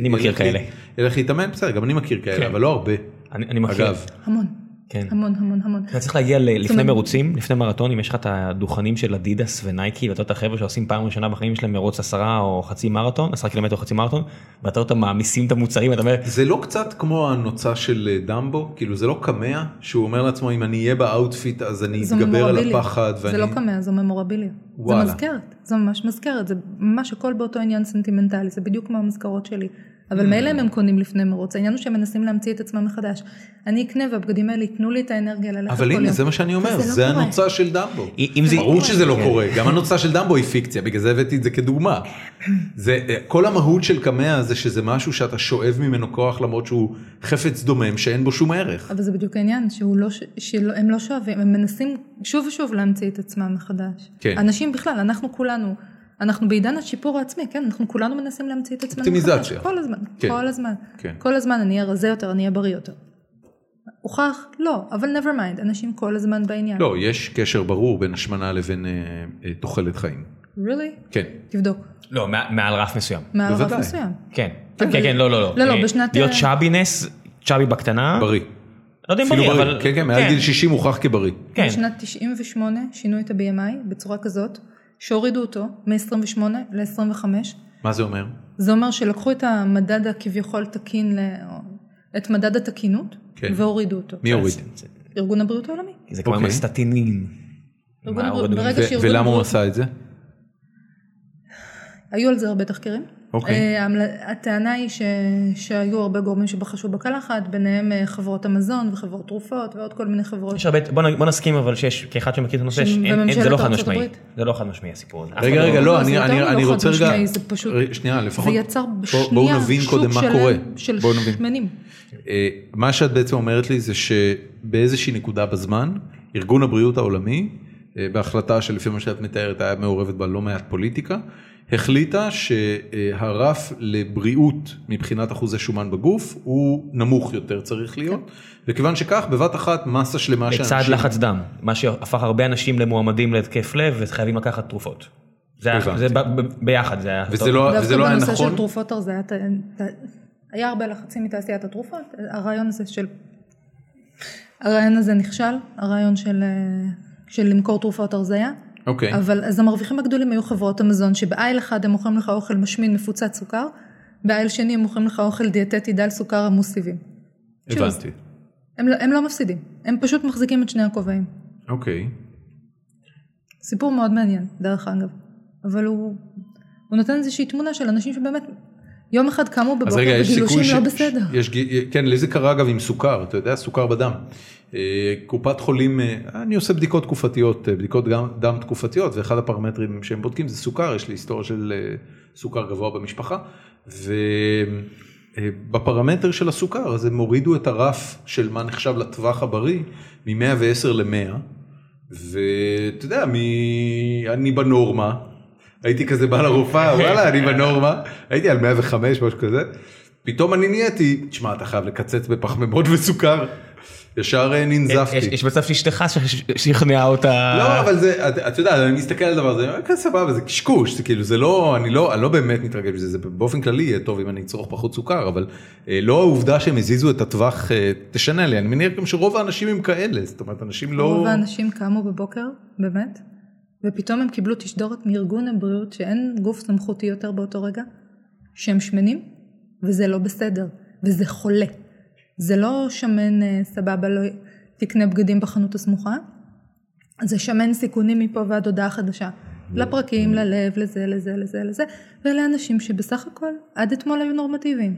אני מכיר
ילך-
כאלה.
ילך להתאמן, בסדר, גם אני מכיר כאלה,
כן.
אבל לא הרבה.
אני אני מכיר.
אגב,
המון,
כן.
המון, המון, המון.
אתה צריך להגיע ל- לפני
אומרת-
מרוצים, לפני מרתונים, יש לך את הדוכנים של אדידס ונייקי, ואתה רואה את החבר'ה שעושים פעם ראשונה בחיים שלהם מרוץ עשרה או חצי מרתון, עשרה קילומטר או חצי מרתון, ואתה רואה אותם מעמיסים את המוצרים, אתה אומר,
זה לא קצת כמו הנוצה של אה, דמבו? כאילו זה לא קמע שהוא אומר לעצמו אם אני אהיה באאוטפיט אז אני
זו
אתגבר על
ממורביליה.
הפחד
זה לא
ואני...
קמע, זו ממורביליה.
וואלה.
זה מזכרת, זו ממש מזכרת, זה ממש הכל באותו עניין סנטימנטלי, זה בדיוק כמו המזכרות שלי.
Mm.
אבל מילא אם הם קונים לפני מרוץ, העניין הוא שהם מנסים להמציא את עצמם מחדש. אני אקנה והבגדים האלה ייתנו לי את האנרגיה ללכת כל
אבל
יום.
הנה זה מה שאני אומר,
וזה לא
זה
קורה.
הנוצה של דמבו.
אם זה...
ברור שזה לא קורה, גם הנוצה של דמבו היא פיקציה, בגלל זה הבאתי את זה כדוגמה. זה, אה, כל המהות של קמע זה שזה משהו שאתה שואב ממנו כוח למרות שהוא חפץ דומם שאין בו שום ערך.
אבל זה בדיוק העניין, שהוא לא ש- שלא- הם לא שואבים, הם מנסים שוב ושוב להמציא את עצמם מחדש.
כן.
אנשים בכלל, אנחנו כולנו, אנחנו בעידן השיפור העצמי, כן? אנחנו כולנו מנסים להמציא את עצמנו מחדש.
אופטימיזציה.
כל הזמן,
כן.
כל הזמן.
כן.
כל הזמן אני אהיה רזה יותר, אני אהיה בריא יותר. הוכח? לא, אבל never mind, אנשים כל הזמן בעניין.
לא, יש קשר ברור בין השמנה לבין אה, אה, תוחלת חיים.
really?
כן.
תבדוק.
לא, מע- מעל רף מסוים.
מעל רף
בוודאי.
מסוים.
כן. כן, כן, לא, לא, לא.
לא, לא,
אה,
בשנת-
להיות צ'אבינס, צ'אבי בקטנה.
בריא.
לא יודע אם
אפילו
בריא,
בריא.
אבל...
כן, כן, מעל גיל 60 הוכח כבריא.
כן.
בשנת 98 שינו את ה-BMI בצורה כזאת, שהורידו אותו מ-28 ל-25,
מה זה אומר?
זה אומר שלקחו את המדד הכביכול תקין, ל... את מדד התקינות,
כן.
והורידו אותו.
מי הוריד?
ארגון הבריאות העולמי.
זה כמו עם
אוקיי.
הסטטינים.
ארגון
מה,
הבריאות-
הורידו?
ברגע-
ו-
שארגון
ולמה הוא
הבריאות-
עשה את זה?
היו על זה הרבה תחקירים.
אוקיי.
אה, ההמל- הטענה היא ש... שהיו הרבה גורמים שבחשו בקלחת, ביניהם אה, חברות המזון וחברות תרופות ועוד כל מיני חברות.
יש הרבה, בוא, נ- בוא נסכים אבל שיש, כאחד שמכיר את הנושא,
ש-
ש... אין, אין, זה
וממשלת
לא חד
ארצות
משמעי,
הברית.
זה לא חד משמעי הסיפור הזה. אף
רגע,
אחד
רגע,
לא,
לא,
זה
אני-
יותר
אני
מלא
אני
חד
רוצה רגע...
משמעי, זה פשוט-
ר- שנייה,
זה
לפחות...
יצר
בוא-
בשנייה
בואו
שוק
נבין קודם מה
שלם
קורה.
של
בואו נבין.
שמנים.
אה, מה שאת בעצם אומרת לי זה שבאיזושהי נקודה בזמן, ארגון הבריאות העולמי, אה, בהחלטה שלפי מה שאת מתארת היה מעורבת בה לא מעט פוליטיקה, החליטה שהרף לבריאות מבחינת אחוזי שומן בגוף הוא נמוך יותר צריך להיות, וכיוון שכך בבת אחת מסה שלמה של
בצד
אנשים,
לחץ דם, מה שהפך הרבה אנשים למועמדים להתקף לב וחייבים לקחת תרופות. זה, היה,
הבנתי.
זה ב, ב, ביחד, זה היה...
וזה לא, וזה
דווקא
לא היה
בנושא של
נכון,
תרופות הרזייה, ת- ת- היה הרבה לחצים מתעשיית התרופות, הרעיון הזה של... הרעיון הזה נכשל, הרעיון של, אה, של למכור תרופות הרזייה,
אוקיי,
אבל אז המרוויחים הגדולים היו חברות המזון, שבעיל אחד הם מוכרים לך אוכל משמין מפוצץ סוכר, בעיל שני הם מוכרים לך אוכל דיאטטי דל סוכר עמוס סיבים.
הבנתי,
הם, לא- הם לא מפסידים, הם פשוט מחזיקים את שני הכובעים.
אוקיי,
סיפור מאוד מעניין, דרך אגב. אבל הוא, הוא נותן איזושהי תמונה של אנשים שבאמת יום אחד קמו בבוקר
אז רגע, יש
בגילושים
סיכוי
לא בסדר.
יש... גי- כן, לי זה קרה אגב עם סוכר, אתה יודע, סוכר בדם. אה, קופת חולים, אה, אני עושה בדיקות תקופתיות, אה, בדיקות גם- דם תקופתיות, ואחד הפרמטרים שהם בודקים זה סוכר, יש לי היסטוריה של אה, סוכר גבוה במשפחה, ובפרמטר של הסוכר, אז הם הורידו את הרף של מה נחשב לטווח הבריא מ-110 ל-100, ואתה יודע, מ... אני בנורמה, הייתי כזה בא לרופאה, וואלה, אני בנורמה, הייתי על 105, משהו כזה, פתאום אני נהייתי, תשמע, אתה חייב לקצץ בפחמימות וסוכר, ישר אה,
אוקיי? יש,
ננזפתי.
יש מצב שאשתך ש- שכנעה אותה...
לא, אבל זה, אתה את יודע, אני מסתכל על הדבר הזה, אני אומר, "כן, סבבה, זה קשקוש, זה כאילו, זה לא, אני לא, אני לא באמת מתרגש מזה, זה באופן כללי יהיה טוב אם אני אצרוך פחות סוכר, אבל אה, לא העובדה שהם הזיזו את הטווח אה, תשנה לי, אני מניח גם שרוב האנשים הם כאלה, זאת אומרת, אנשים לא...
רוב האנשים קמו בבוקר, באמת, ופתאום הם קיבלו תשדורת מארגון הבריאות שאין גוף סמכותי יותר באותו רגע, שהם שמנים, וזה לא בסדר, וזה חולה. זה לא שמן אה, סבבה, לא תקנה בגדים בחנות הסמוכה, זה שמן סיכונים מפה ועד הודעה חדשה. לפרקים, ללב, לזה, לזה, לזה, לזה, ואלה אנשים שבסך הכל עד אתמול היו נורמטיביים.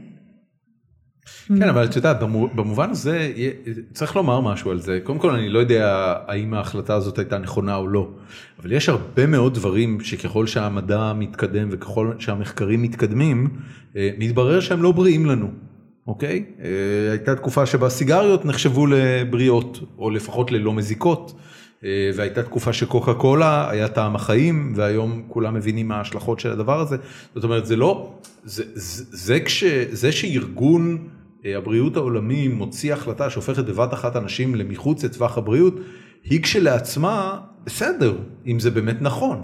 כן, אבל את יודעת, במו- במובן הזה, יה- צריך לומר משהו על זה. קודם כל, אני לא יודע האם ההחלטה הזאת הייתה נכונה או לא, אבל יש הרבה מאוד דברים שככל שהמדע מתקדם וככל שהמחקרים מתקדמים, אה, מתברר שהם לא בריאים לנו. אוקיי? אה, הייתה תקופה שבה סיגריות נחשבו לבריאות, או לפחות ללא מזיקות, אה, והייתה תקופה שקוקה קולה היה טעם החיים, והיום כולם מבינים מה ההשלכות של הדבר הזה. זאת אומרת, זה לא, זה, זה, זה, כש, זה שארגון אה, הבריאות העולמי מוציא החלטה שהופכת בבת אחת אנשים למחוץ לטווח הבריאות, היא כשלעצמה בסדר, אם זה באמת נכון.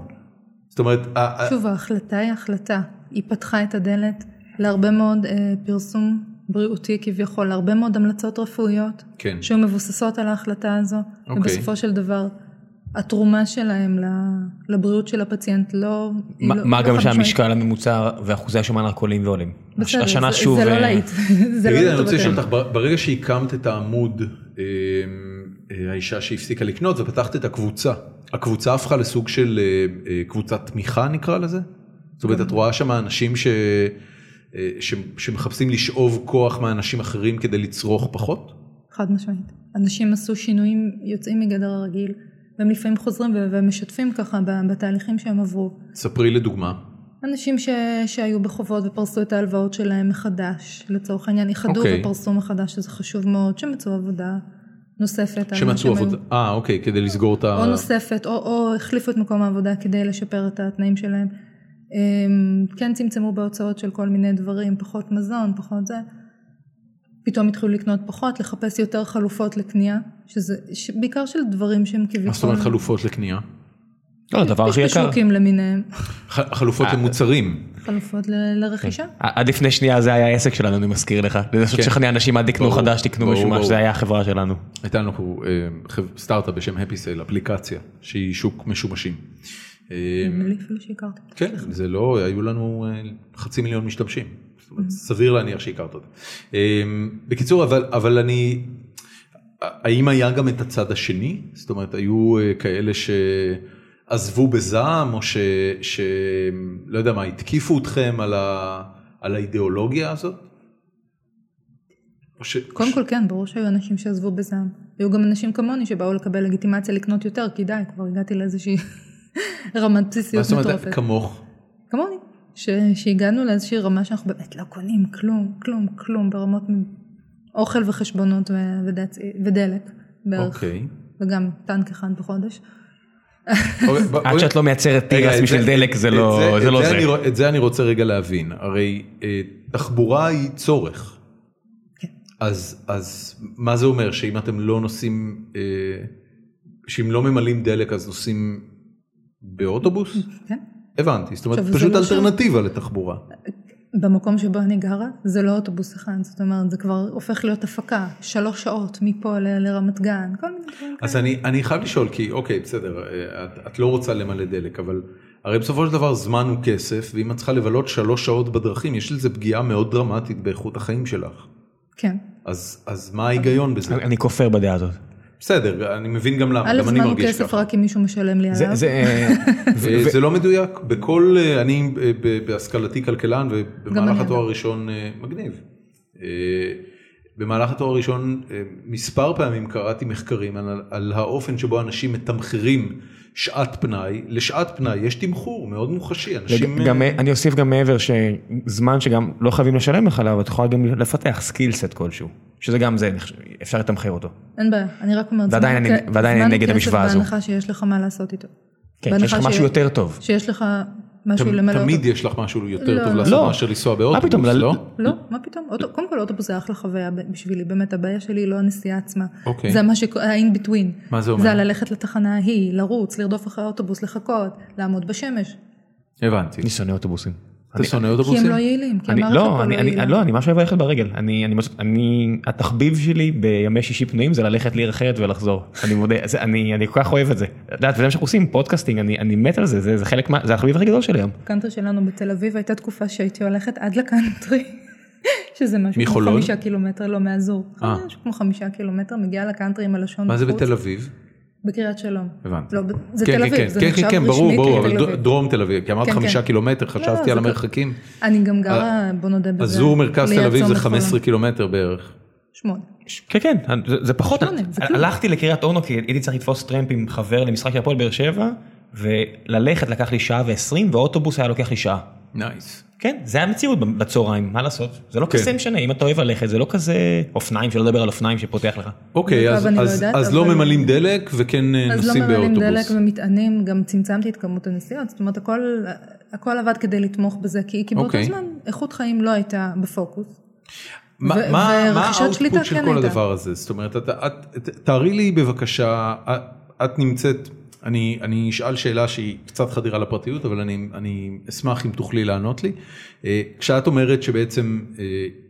זאת אומרת, ה- ה-
שוב, ההחלטה היא החלטה. היא פתחה את הדלת להרבה מאוד אה, פרסום בריאותי כביכול, להרבה מאוד המלצות רפואיות,
כן.
שהיו מבוססות על ההחלטה הזו,
אוקיי.
ובסופו של דבר, התרומה שלהם ל- לבריאות של הפציינט לא... היא
מה
לא-
מה
לא
גם
חד-משמעית.
שהמשקל הממוצע ואחוזי השומן רק עולים ועולים.
בסדר,
השנה
זה-
שוב...
זה לא
אה,
להיט. זה לא
תגידי, אני רוצה
לטובתנו.
לשאול אותך, בר- ברגע שהקמת את העמוד, אה, אה, האישה שהפסיקה לקנות ופתחת את הקבוצה, הקבוצה הפכה לסוג של אה, אה, קבוצת תמיכה נקרא לזה? זאת אומרת,
כן.
את רואה שם אנשים ש... אה, ש- שמחפשים לשאוב כוח מאנשים אחרים כדי לצרוך פחות?
חד משמעית. אנשים עשו שינויים יוצאים מגדר הרגיל, והם לפעמים חוזרים ו- ומשתפים ככה ב- בתהליכים שהם עברו.
ספרי לדוגמה.
אנשים ש... שהיו בחובות ופרסו את ההלוואות שלהם מחדש, לצורך העניין, איחדו
אוקיי.
okay. ופרסו מחדש, שזה חשוב מאוד, שמצאו עבודה נוספת. על מה
שמצאו
שהם
עבודה,
היו-
אה אוקיי, כדי לסגור את ה...
או נוספת, או, או החליפו את מקום העבודה כדי לשפר את התנאים שלהם. אמ, כן צמצמו בהוצאות של כל מיני דברים, פחות מזון, פחות זה. פתאום התחילו לקנות פחות, לחפש יותר חלופות לקנייה, שזה ש... בעיקר של דברים שהם כביכול...
מה אה, זאת אומרת חלופות לקנייה?
לא, הדבר הכי יקר.
פשפשוקים למיניהם,
ח- חלופות למוצרים.
חלופות ל... לרכישה.
עד לפני שנייה זה היה העסק שלנו, אני מזכיר לך. לנסות
כן.
לשכנע אנשים אל תקנו
ברור,
חדש, תקנו
ברור,
משהו
ברור.
משהו, זה היה החברה שלנו.
הייתה לנו אה, חב- סטארט-אפ בשם happy sale, אפליקציה, שהיא שוק משומשים. אה,
נדמה לי אפילו שהכרתי.
כן, זה לא, היו לנו אה, חצי מיליון משתמשים. זאת
Mm-hmm.
אומרת, סביר להניח שהכרת אותם. אה, בקיצור, אבל, אבל אני, האם היה גם את הצד השני? זאת אומרת, היו אה, כאלה שעזבו בזעם, או ש... ש לא יודע מה, התקיפו אתכם על, ה, על האידיאולוגיה הזאת? או ש,
קודם כל כן, ברור שהיו אנשים שעזבו בזעם. היו גם אנשים כמוני שבאו לקבל לגיטימציה לקנות יותר, כי די, כבר הגעתי לאיזושהי רמת
מה
בסיסיות
זאת אומרת,
מטורפת.
כמוך?
כמוני. ש... שהגענו לאיזושהי רמה שאנחנו באמת לא קונים כלום, כלום, כלום, ברמות אוכל וחשבונות ו... ודצ... ודלק בערך,
אוקיי.
וגם טנק אחד בחודש.
אוקיי, בוא-
עד
בוא-
שאת לא מייצרת
רגע,
תירס
את
בשביל דלק זה לא
את
זה. לא
אני
זה.
רוא- את זה אני רוצה רגע להבין, הרי אה, תחבורה היא צורך.
כן.
אז, אז מה זה אומר שאם אתם לא נוסעים, אה, שאם לא ממלאים דלק אז נוסעים באוטובוס?
כן?
הבנתי, זאת אומרת
עכשיו, זה
פשוט
לא שם.
אלטרנטיבה לתחבורה.
במקום שבו אני גרה, זה לא אוטובוס אחד, זאת אומרת, זה כבר הופך להיות הפקה, שלוש שעות מפה ל... לרמת גן, כל מיני דברים כאלה.
אז אני, אני חייב לשאול, כי אוקיי, בסדר, אה, את, את לא רוצה למלא דלק, אבל הרי בסופו של דבר זמן הוא כסף, ואם את צריכה לבלות שלוש שעות בדרכים, יש לזה פגיעה מאוד דרמטית באיכות החיים שלך.
כן.
אז, אז מה ההיגיון בזה?
אני- אני כופר בדעה הזאת.
בסדר, אני מבין גם למה,
א',
גם אני
זמן הוא
מרגיש
כסף
ככה.
רק אם מישהו משלם לי
זה-
עליו.
זה, אה,
אה, זה לא מדויק, בכל, אה, אני אה, ב- בהשכלתי כלכלן ובמהלך
אני,
התואר
אגב.
הראשון אה, מגניב. אה, במהלך התואר הראשון אה, מספר פעמים קראתי מחקרים על, על האופן שבו אנשים מתמחרים שעת פנאי, לשעת פנאי יש תמחור מאוד מוחשי, אנשים...
גם,
אה,
אני אוסיף גם מעבר שזמן שגם לא חייבים לשלם לך עליו, את יכולה גם לפתח סקילסט כלשהו, שזה גם זה, אפשר לתמחר אותו.
אין בעיה, אני רק אומרת,
ועדיין
זמן הוא
אני-
כ-
ועדיין אני
זמן הוא
נגד
כסף
המשוואה הזו.
בהנחה שיש לך מה לעשות איתו.
כן,
בהנחה
שיש לך
ש-
משהו יותר טוב.
שיש לך משהו
תמ-
למלא אותו.
תמיד יש לך משהו יותר
לא,
טוב
לא.
לעשות
לא.
מאשר לנסוע באוטובוס,
פתאום, ל-
לא?
לא, מה פתאום? אוטו- קודם כל אוטובוס זה אחלה חוויה ב- בשבילי, באמת הבעיה שלי היא לא הנסיעה עצמה.
אוקיי.
זה מה ש... ה-in between.
מה זה אומר?
זה ללכת לתחנה ההיא, לרוץ, לרדוף אחרי האוטובוס, לחכות, לעמוד בשמש.
הבנתי.
אני שונא אוטובוסים.
אתה שונא
כי הם
אוטובוסים?
לא יעילים, כי
אני,
המערכת
לא,
פה לא
אני, אני,
יעילה.
לא, אני ממש אוהב ללכת ברגל. אני, אני, מוצ- אני, התחביב שלי בימי שישי פנויים זה ללכת לעיר אחרת ולחזור. אני מודה, זה, אני, אני כל כך אוהב את זה. את יודעת, וזה מה שאנחנו עושים, פודקאסטינג, אני, אני מת על זה, זה, זה חלק מה, זה החביב הכי גדול שלי היום.
הקאנטרי שלנו בתל אביב הייתה תקופה שהייתי הולכת עד לקאנטרי, שזה משהו כמו
מחולון?
חמישה קילומטר, לא מהזור.
אה.
משהו כמו חמישה קילומטר, מגיעה לקאנטרי עם הלשון
מה זה
בחוץ.
בתל אביב?
בקריית שלום.
הבנתי.
לא, ב- זה
כן,
תל
כן,
אביב,
כן,
זה
כן,
נחשב
כן, כן, ברור,
רשמית
ברור, אבל
כתל
דו-
אביב.
דרום תל אביב, כי אמרת
כן, כן.
חמישה קילומטר,
לא,
חשבתי
זה
על
כל-
המרחקים.
אני גם גרה, בוא נודה בזה.
אזור מרכז
ליד
תל אביב זה
צומת חולון.
15 קילומטר בערך.
שמונה.
כן כן זה, זה פחות
שמונה, זה כלום.
הלכתי לקריית אונו כי הייתי צריך לתפוס טרמפ עם חבר למשחק של הפועל באר שבע וללכת לקח לי שעה ועשרים ואוטובוס היה לוקח לי שעה.
נייס.
כן, זה המציאות בצהריים, מה לעשות? זה לא
כן.
כזה משנה, אם אתה אוהב ללכת, זה לא כזה אופניים, שלא לדבר על אופניים שפותח לך.
אוקיי,
טוב,
אז-
אני לא
אז-
יודעת,
אז לא
אבל-
ממלאים דלק וכן אה,
אז לא
נוסעים
ממלאים דלק
באוטובוס.
ומטענים, גם צמצמתי את כמות הנסיעות, זאת אומרת הכל, הכל עבד כדי לתמוך בזה, כי, כי באותו
אוקיי.
זמן איכות חיים לא הייתה בפוקוס.
מה
ו-
מה- מה
ורכישת שליטה
האוטפוט של
כן
כל
הייתה.
הדבר הזה? זאת אומרת, את- את- ת- תארי לי בבקשה, את- את נמצאת, אני אני אשאל שאלה שהיא קצת חדירה לפרטיות, אבל אני- אני אשמח אם תוכלי לענות לי. אה, כשאת אומרת שבעצם אה,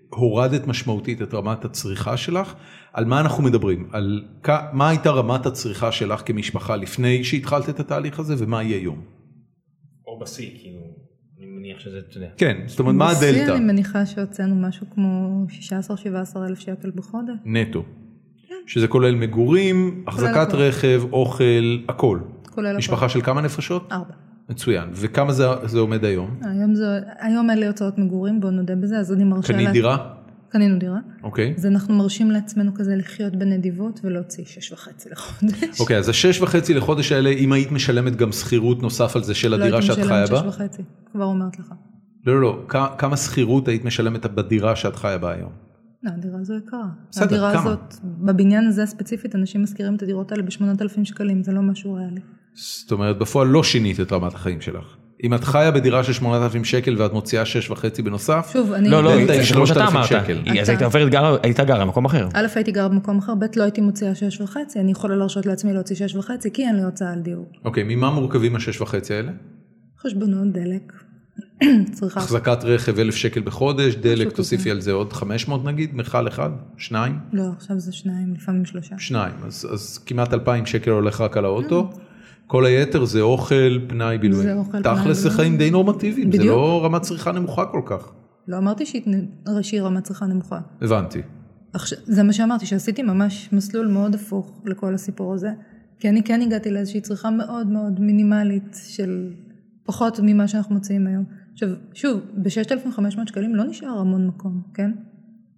הורדת משמעותית את רמת הצריכה שלך, על מה אנחנו מדברים? על כ- מה הייתה רמת הצריכה שלך כמשפחה לפני שהתחלת את התהליך הזה ומה יהיה היום?
או בשיא, כאילו, אני מניח שזה, אתה יודע.
כן, זאת אומרת, מה
בשיא
הדלתא?
אני מניחה שהוצאנו משהו כמו 16-17 אלף שקל בחודש.
נטו. שזה כולל מגורים, החזקת
הכל.
רכב, אוכל, הכל.
כולל הכל.
משפחה של כמה נפשות?
ארבע.
מצוין. וכמה זה, זה עומד היום?
היום, זה, היום אין לי הוצאות מגורים, בוא נודה בזה, אז אני מרשה...
קנית
לה-
דירה?
קנינו דירה.
אוקיי.
אז אנחנו מרשים לעצמנו כזה לחיות בנדיבות ולהוציא שש וחצי לחודש.
אוקיי, אז השש וחצי לחודש האלה, אם היית משלמת גם שכירות נוסף על זה של
לא
הדירה
הייתי
שאת חיה
משלמת
בה?
שש וחצי, כבר אומרת לך.
לא, לא, לא. כ- כמה שכירות היית משלמת בדירה שאת חיה בה היום?
לא, הדירה הזו יקרה.
בסדר,
הדירה
כמה?
הזאת, בבניין הזה ספציפית, אנשים משכירים את הדירות האלה ב-8,000 שקלים, זה לא משהו ריאלי.
זאת אומרת, בפועל לא שינית את רמת החיים שלך. אם את חיה בדירה של 8,000 שקל ואת מוציאה שש וחצי בנוסף,
שוב, אני...
לא, לא,
דלתא היא
זה כמו שאתה
3,000
אמרת.
שקל.
היא- אז
אתה-
הייתה עוברת, גרה- הייתה גרה במקום אחר.
א', הייתי גרה במקום אחר, ב', לא הייתי מוציאה שש וחצי, אני יכולה להרשות לעצמי להוציא שש וחצי, כי אין לי הוצאה על דיור.
אוקיי, ממה מורכבים השש וחצי האלה?
חשבונות, דלק, צריכה.
החזקת רכב 1,000 שקל בחודש, דלק
כזה.
תוסיפי על זה עוד 500 נגיד, מכל אחד, שניים,
לא, עכשיו זה שניים, לפעמים שלושה.
שניים, אז, אז כמעט 2,000 שקל הולך רק על האוטו, כל היתר זה אוכל, פנאי, בילויים.
כן. זה אוכל, פנאי,
תכלס זה
בילויים.
חיים די נורמטיביים, זה
בדיוק.
לא רמת צריכה נמוכה כל כך,
לא אמרתי שהיא ראשי רמת צריכה נמוכה.
הבנתי.
עכשיו, זה מה שאמרתי, שעשיתי ממש מסלול מאוד הפוך לכל הסיפור הזה, כי אני כן הגעתי לאיזושהי צריכה מאוד מאוד מינימלית של פחות ממה שאנחנו מוציאים היום. עכשיו, שוב, ב-6,500 שקלים לא נשאר המון מקום, כן?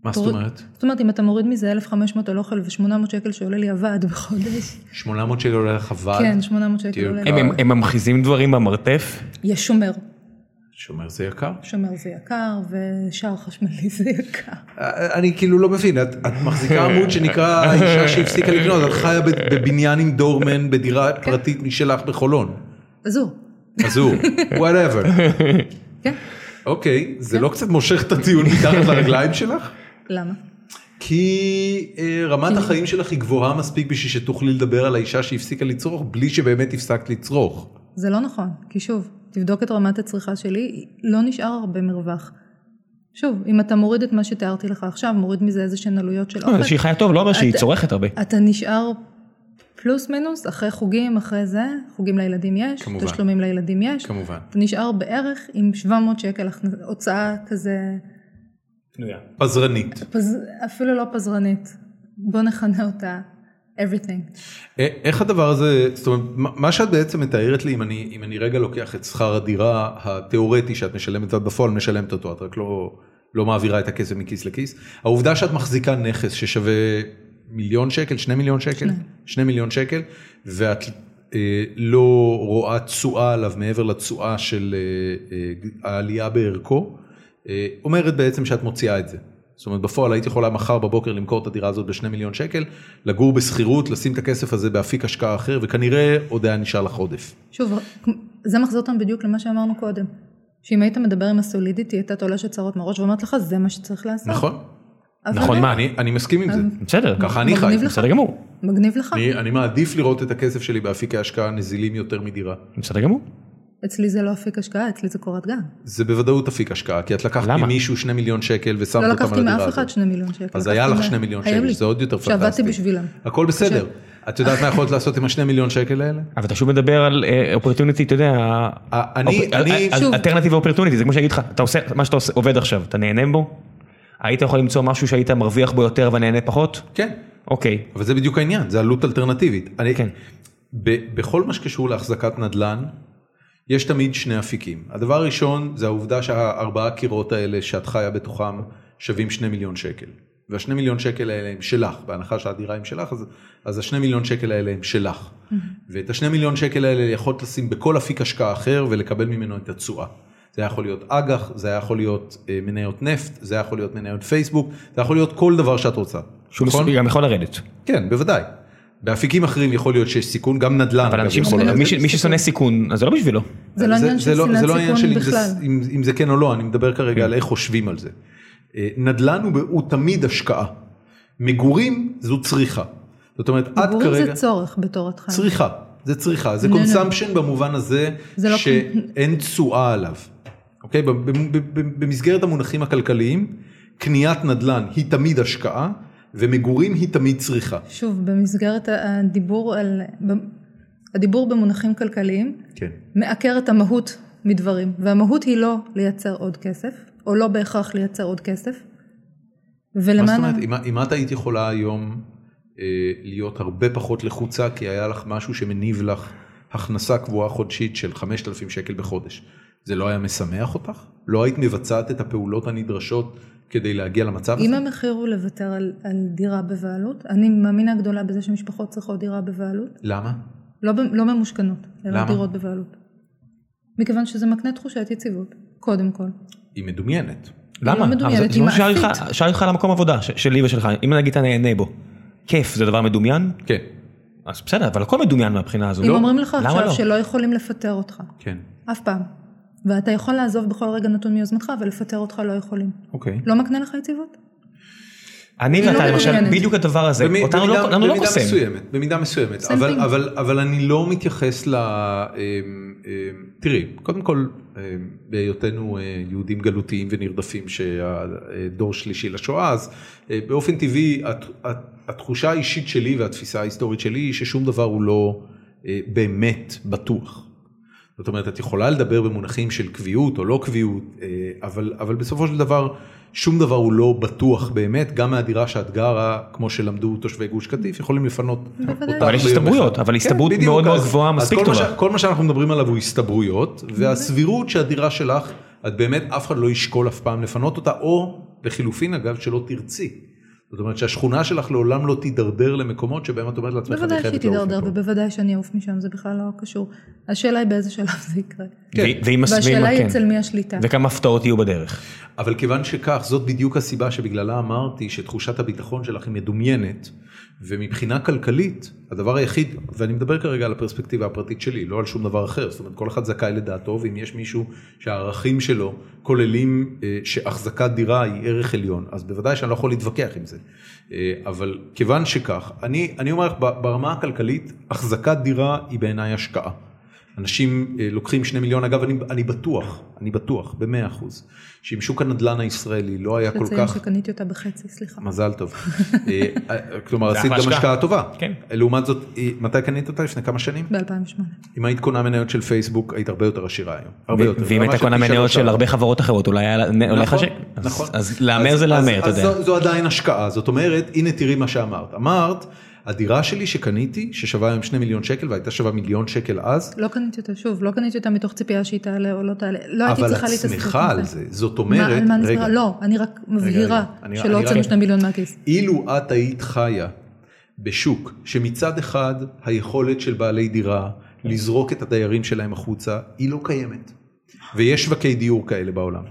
מה זאת
תוריד-
אומרת?
זאת אומרת, אם אתה מוריד מזה 1,500 על אוכל ו-800 שקל שעולה לי הוועד בחודש,
800 שקל עולה לך ועד,
כן, 800 שקל
דיוק.
עולה לי.
אה.
הם- הם- הם ממחיזים דברים במרתף?
יש שומר,
שאומר זה יקר.
שומר זה יקר, ושער חשמלי זה יקר.
אני כאילו לא מבין, את, את מחזיקה עמוד שנקרא האישה שהפסיקה לקנות, את חיה בב- בבניין עם דורמן,
כן.
בדירה פרטית משלך בחולון.
עזור.
אז הוא, whatever.
כן.
אוקיי, זה לא קצת מושך את הטיעון מתחת לרגליים שלך?
למה?
כי אה, רמת החיים שלך היא גבוהה מספיק בשביל שתוכלי לדבר על האישה שהפסיקה לצרוך בלי שבאמת הפסקת לצרוך.
זה לא נכון, כי שוב, תבדוק את רמת הצריכה שלי, לא נשאר הרבה מרווח. שוב, אם אתה מוריד את מה שתיארתי לך עכשיו, מוריד מזה איזה שהן עלויות של
לא,
אוכל,
זה שהיא חיה טוב, לא אומר שהיא צורכת הרבה.
אתה נשאר פלוס מינוס, אחרי חוגים, אחרי זה, חוגים לילדים יש,
כמובן.
תשלומים לילדים יש,
כמובן.
אתה נשאר בערך עם 700 שקל הכנ- הוצאה כזה,
פנויה.
פזרנית.
פז... אפילו לא פזרנית, בוא נכנה אותה everything.
א- אה, איך הדבר הזה, זאת אומרת, מה- מה שאת בעצם מתארת לי, אם אני, אם אני רגע לוקח את שכר הדירה התיאורטי שאת משלמת ואת בפועל משלמת אותו, את רק לא, לא מעבירה את הכסף מכיס לכיס, העובדה שאת מחזיקה נכס ששווה מיליון שקל, שני מיליון שקל, שני מיליון שקל, ואת אה, לא רואה תשואה עליו מעבר לתשואה של אה, אה, העלייה בערכו, אה, אומרת בעצם שאת מוציאה את זה. זאת אומרת בפועל היית יכולה מחר בבוקר למכור את הדירה הזאת בשני מיליון שקל, לגור בשכירות, לשים את הכסף הזה באפיק השקעה אחר וכנראה עוד היה נשאר לך עודף.
שוב, זה מחזיר אותנו בדיוק למה שאמרנו קודם. שאם היית מדבר עם הסולידית, היא הייתה תולשת שערות מהראש ואומרת לך, זה מה שצריך לעשות.
נכון?
אבל
נכון,
לא.
מה, אני, אני מסכים עם זה.
אה.
בסדר.
ככה אני חי.
מגניב לך.
בסדר גמור.
מגניב לך.
אני, אני מעדיף לראות את הכסף שלי באפיקי השקעה נזילים יותר מדירה.
בסדר גמור.
אצלי זה לא אפיק השקעה, אצלי זה קורת לא גן.
זה בוודאות אפיק השקעה, כי את לקחת
למה?
ממישהו שני מיליון שקל ושמת
לא
אותם על
לקחתי
הדירה
מאף
הזאת.
אחד שני מיליון שקל.
אז היה
לקחתי
לך
מה-
שני מיליון
היו
שקל,
לי.
שזה עוד יותר פנטסטי.
שעבדתי בשבילם.
הכל בסדר. את יודעת מה יכולת לעשות עם השני מיליון שקל האלה?
אבל אתה שוב מדבר על אופרטוניטי, אתה יודע,
אני- אני-
שוב.
אלטרנטיב אופרטוניטי, זה כמו שאני אגיד לך, אתה עושה מה שאתה עושה- עובד עכשיו, אתה נהנה בו? היית יכול למצוא משהו שהיית מרוויח בו יותר ונהנה פחות?
כן.
אוקיי.
אבל זה בדיוק העניין, זה עלות אלטרנטיבית. אני,
כן.
ב, בכל מה שקשור להחזקת נדל"ן, יש תמיד שני אפיקים. הדבר הראשון זה העובדה שהארבעה קירות האלה שאת חיה בתוכם שווים שני מיליון שקל. והשני מיליון שקל האלה הם שלך, בהנחה שהדירה הם שלך, אז, אז השני מיליון שקל האלה הם שלך. ואת השני מיליון שקל האלה יכולת לשים בכל אפיק השקעה אחר ולקבל ממנו את התשואה. זה היה יכול להיות אג"ח, זה היה יכול להיות אה, מניות נפט, זה היה יכול להיות מניות פייסבוק, זה יכול להיות כל דבר שאת רוצה.
שהוא
נכון?
מסוג- גם יכול לרדת.
כן, בוודאי. באפיקים אחרים יכול להיות שיש סיכון, גם נדל"ן.
אבל
אגב,
אנשים,
יכול לרדת.
מי ש- מי ששונא סיכון, אז זה לא בשבילו.
זה לא עניין של
זה לא
שנאת
עניין
סיכון
אם זה-
בכלל.
אם, אם זה כן או לא, אני מדבר כרגע על איך חושבים על זה. אה, נדל"ן הוא, הוא תמיד השקעה. מגורים זו צריכה. זאת אומרת, את
מגורים
כרגע...
זה צורך בתור התחלה.
צריכה, זה צריכה, זה
לא, לא.
קונסמפשן במובן הזה
זה לא-
שאין תשואה עליו. אוקיי? ב- ב- ב- ב- במסגרת המונחים הכלכליים, קניית נדל"ן היא תמיד השקעה, ומגורים היא תמיד צריכה.
שוב, במסגרת הדיבור על... הדיבור במונחים כלכליים
כן.
מעקר את המהות מדברים, והמהות היא לא לייצר עוד כסף, או לא בהכרח לייצר עוד כסף.
מה זאת
ולמען...
אומרת, אם- אם את היית יכולה היום אה, להיות הרבה פחות לחוצה, כי היה לך משהו שמניב לך הכנסה קבועה חודשית של 5,000 שקל בחודש, זה לא היה משמח אותך? לא היית מבצעת את הפעולות הנדרשות כדי להגיע למצב
אם
הזה?
המחיר הוא לוותר על, על דירה בבעלות, אני מאמינה גדולה בזה שמשפחות צריכות דירה בבעלות,
למה?
לא, ב- לא ממושכנות, אלא
למה?
דירות בבעלות. מכיוון שזה מקנה תחושת יציבות, קודם כל.
היא מדומיינת.
למה?
לא מדומיינת,
אבל זה- זה
היא
משהו שהיה
מעשית.
לך- שהיה לך על המקום עבודה ש- שלי ושלך, אם נגיד אתה נהנה בו. כיף זה דבר מדומיין,
כן,
אז בסדר, אבל הכל מדומיין מהבחינה הזו.
אם
לא?
אומרים לך
למה
עכשיו
לא?
שלא יכולים לפטר אותך,
כן,
אף פעם, ואתה יכול לעזוב בכל רגע נתון מיוזמתך ולפטר אותך לא יכולים,
אוקיי.
לא מקנה לך יציבות?
אני
היא לא
ואתה למשל,
מעוניינת.
בדיוק הדבר הזה,
במי-
אותנו לא-
במידה-
לנו לא
במידה
קוסם.
מסוימת, במידה מסוימת,
Same
אבל,
thing.
אבל, אבל אני לא מתייחס ל... אמ, אמ, תראי, קודם כל, אמ, בהיותנו אה, יהודים גלותיים ונרדפים שהדור שלישי לשואה, אז אה, באופן טבעי הת- הת- התחושה האישית שלי והתפיסה ההיסטורית שלי היא ששום דבר הוא לא אה, באמת בטוח. זאת אומרת, את יכולה לדבר במונחים של קביעות או לא קביעות, אה, אבל, אבל בסופו של דבר, שום דבר הוא לא בטוח באמת, גם מהדירה שאת גרה, כמו שלמדו תושבי גוש קטיף, יכולים לפנות אותה
בוודאי.
אבל יש
ביום
הסתברויות,
אחד. כן,
אבל הסתברות
בדיוק,
מאוד מאוד
אז-
גבוהה,
אז
מספיק
כל מה
טובה.
ש- כל מה שאנחנו מדברים עליו הוא הסתברויות,
Mm-hmm.
והסבירות שהדירה שלך, את באמת, אף אחד לא ישקול אף פעם לפנות אותה, או לחילופין, אגב, שלא תרצי. זאת אומרת שהשכונה שלך לעולם לא תידרדר למקומות שבהם את אומרת לעצמך, אני
בוודאי שהיא
חייבת לעוף
תידרדר
מפה.
ובוודאי שאני אעוף משם, זה בכלל לא קשור. השאלה היא באיזה שלב זה יקרה.
כן.
ו- ואם הסביבה,
והשאלה היא
כן.
אצל מי השליטה.
וכמה הפתעות יהיו בדרך.
אבל כיוון שכך, זאת בדיוק הסיבה שבגללה אמרתי שתחושת הביטחון שלך היא מדומיינת, ומבחינה כלכלית, הדבר היחיד, ואני מדבר כרגע על הפרספקטיבה הפרטית שלי, לא על שום דבר אחר, זאת אומרת, כל אחד זכאי לדעתו, ואם יש מישהו שהערכים שלו כוללים אה, שהחזקת דירה היא ערך עליון, אז בוודאי שאני לא יכול להתווכח עם זה. אה, אבל כיוון שכך, אני, אני אומר לך, ב- ברמה הכלכלית, החזקת דירה היא בעיניי השקעה. אנשים אה, לוקחים שני מיליון, אגב אני, אני בטוח, אני בטוח במאה אחוז, שאם שוק הנדלן הישראלי לא היה כל
לציין
כך,
שקניתי אותה בחצי, סליחה.
מזל טוב, אה, אה, כלומר
זה
עשית
אחלה
גם
השקעה.
השקעה טובה,
כן.
לעומת זאת, אה, מתי קנית אותה? לפני כמה שנים?
ב-2008.
אם היית קונה מניות של פייסבוק היית הרבה יותר עשירה היום, הרבה יותר,
ואם
ברמה
הייתה
של
קונה
פי
מניות
שלוש
של
ארבע.
הרבה חברות אחרות, אולי היה לה- הולך
נכון,
השק.
נכון.
אז להמר זה
אז-
להמר, אתה
אז-
יודע.
אז זו- זו עדיין השקעה, זאת אומרת, הנה תראי מה שאמרת. אמרת, הדירה שלי שקניתי, ששווה היום שני מיליון שקל והייתה שווה מיליון שקל אז,
לא קניתי אותה, שוב, לא קניתי אותה מתוך ציפייה שהיא תעלה או לא תעלה. לא הייתי
אבל
צריכה
את
להתעסק עם
שמחה על זה, זאת אומרת,
מה, על מה אני
רגע.
שמחה? לא, אני רק מבהירה
רגע, אני-
שלא
אני
הוצאנו
רק-
שני מיליון מהכיס.
אילו את היית חיה בשוק שמצד אחד היכולת של בעלי דירה לזרוק את הדיירים שלהם החוצה היא לא קיימת. ויש שווקי דיור כאלה בעולם.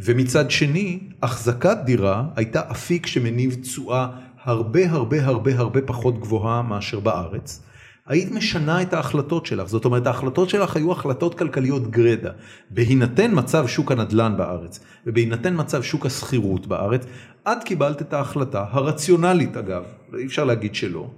ומצד שני, החזקת דירה הייתה אפיק שמניב תשואה הרבה הרבה הרבה הרבה פחות גבוהה מאשר בארץ. היית משנה את ההחלטות שלך, זאת אומרת ההחלטות שלך היו החלטות כלכליות גרידא. בהינתן מצב שוק הנדל"ן בארץ ובהינתן מצב שוק השכירות בארץ, את קיבלת את ההחלטה הרציונלית אגב, אי אפשר להגיד שלא,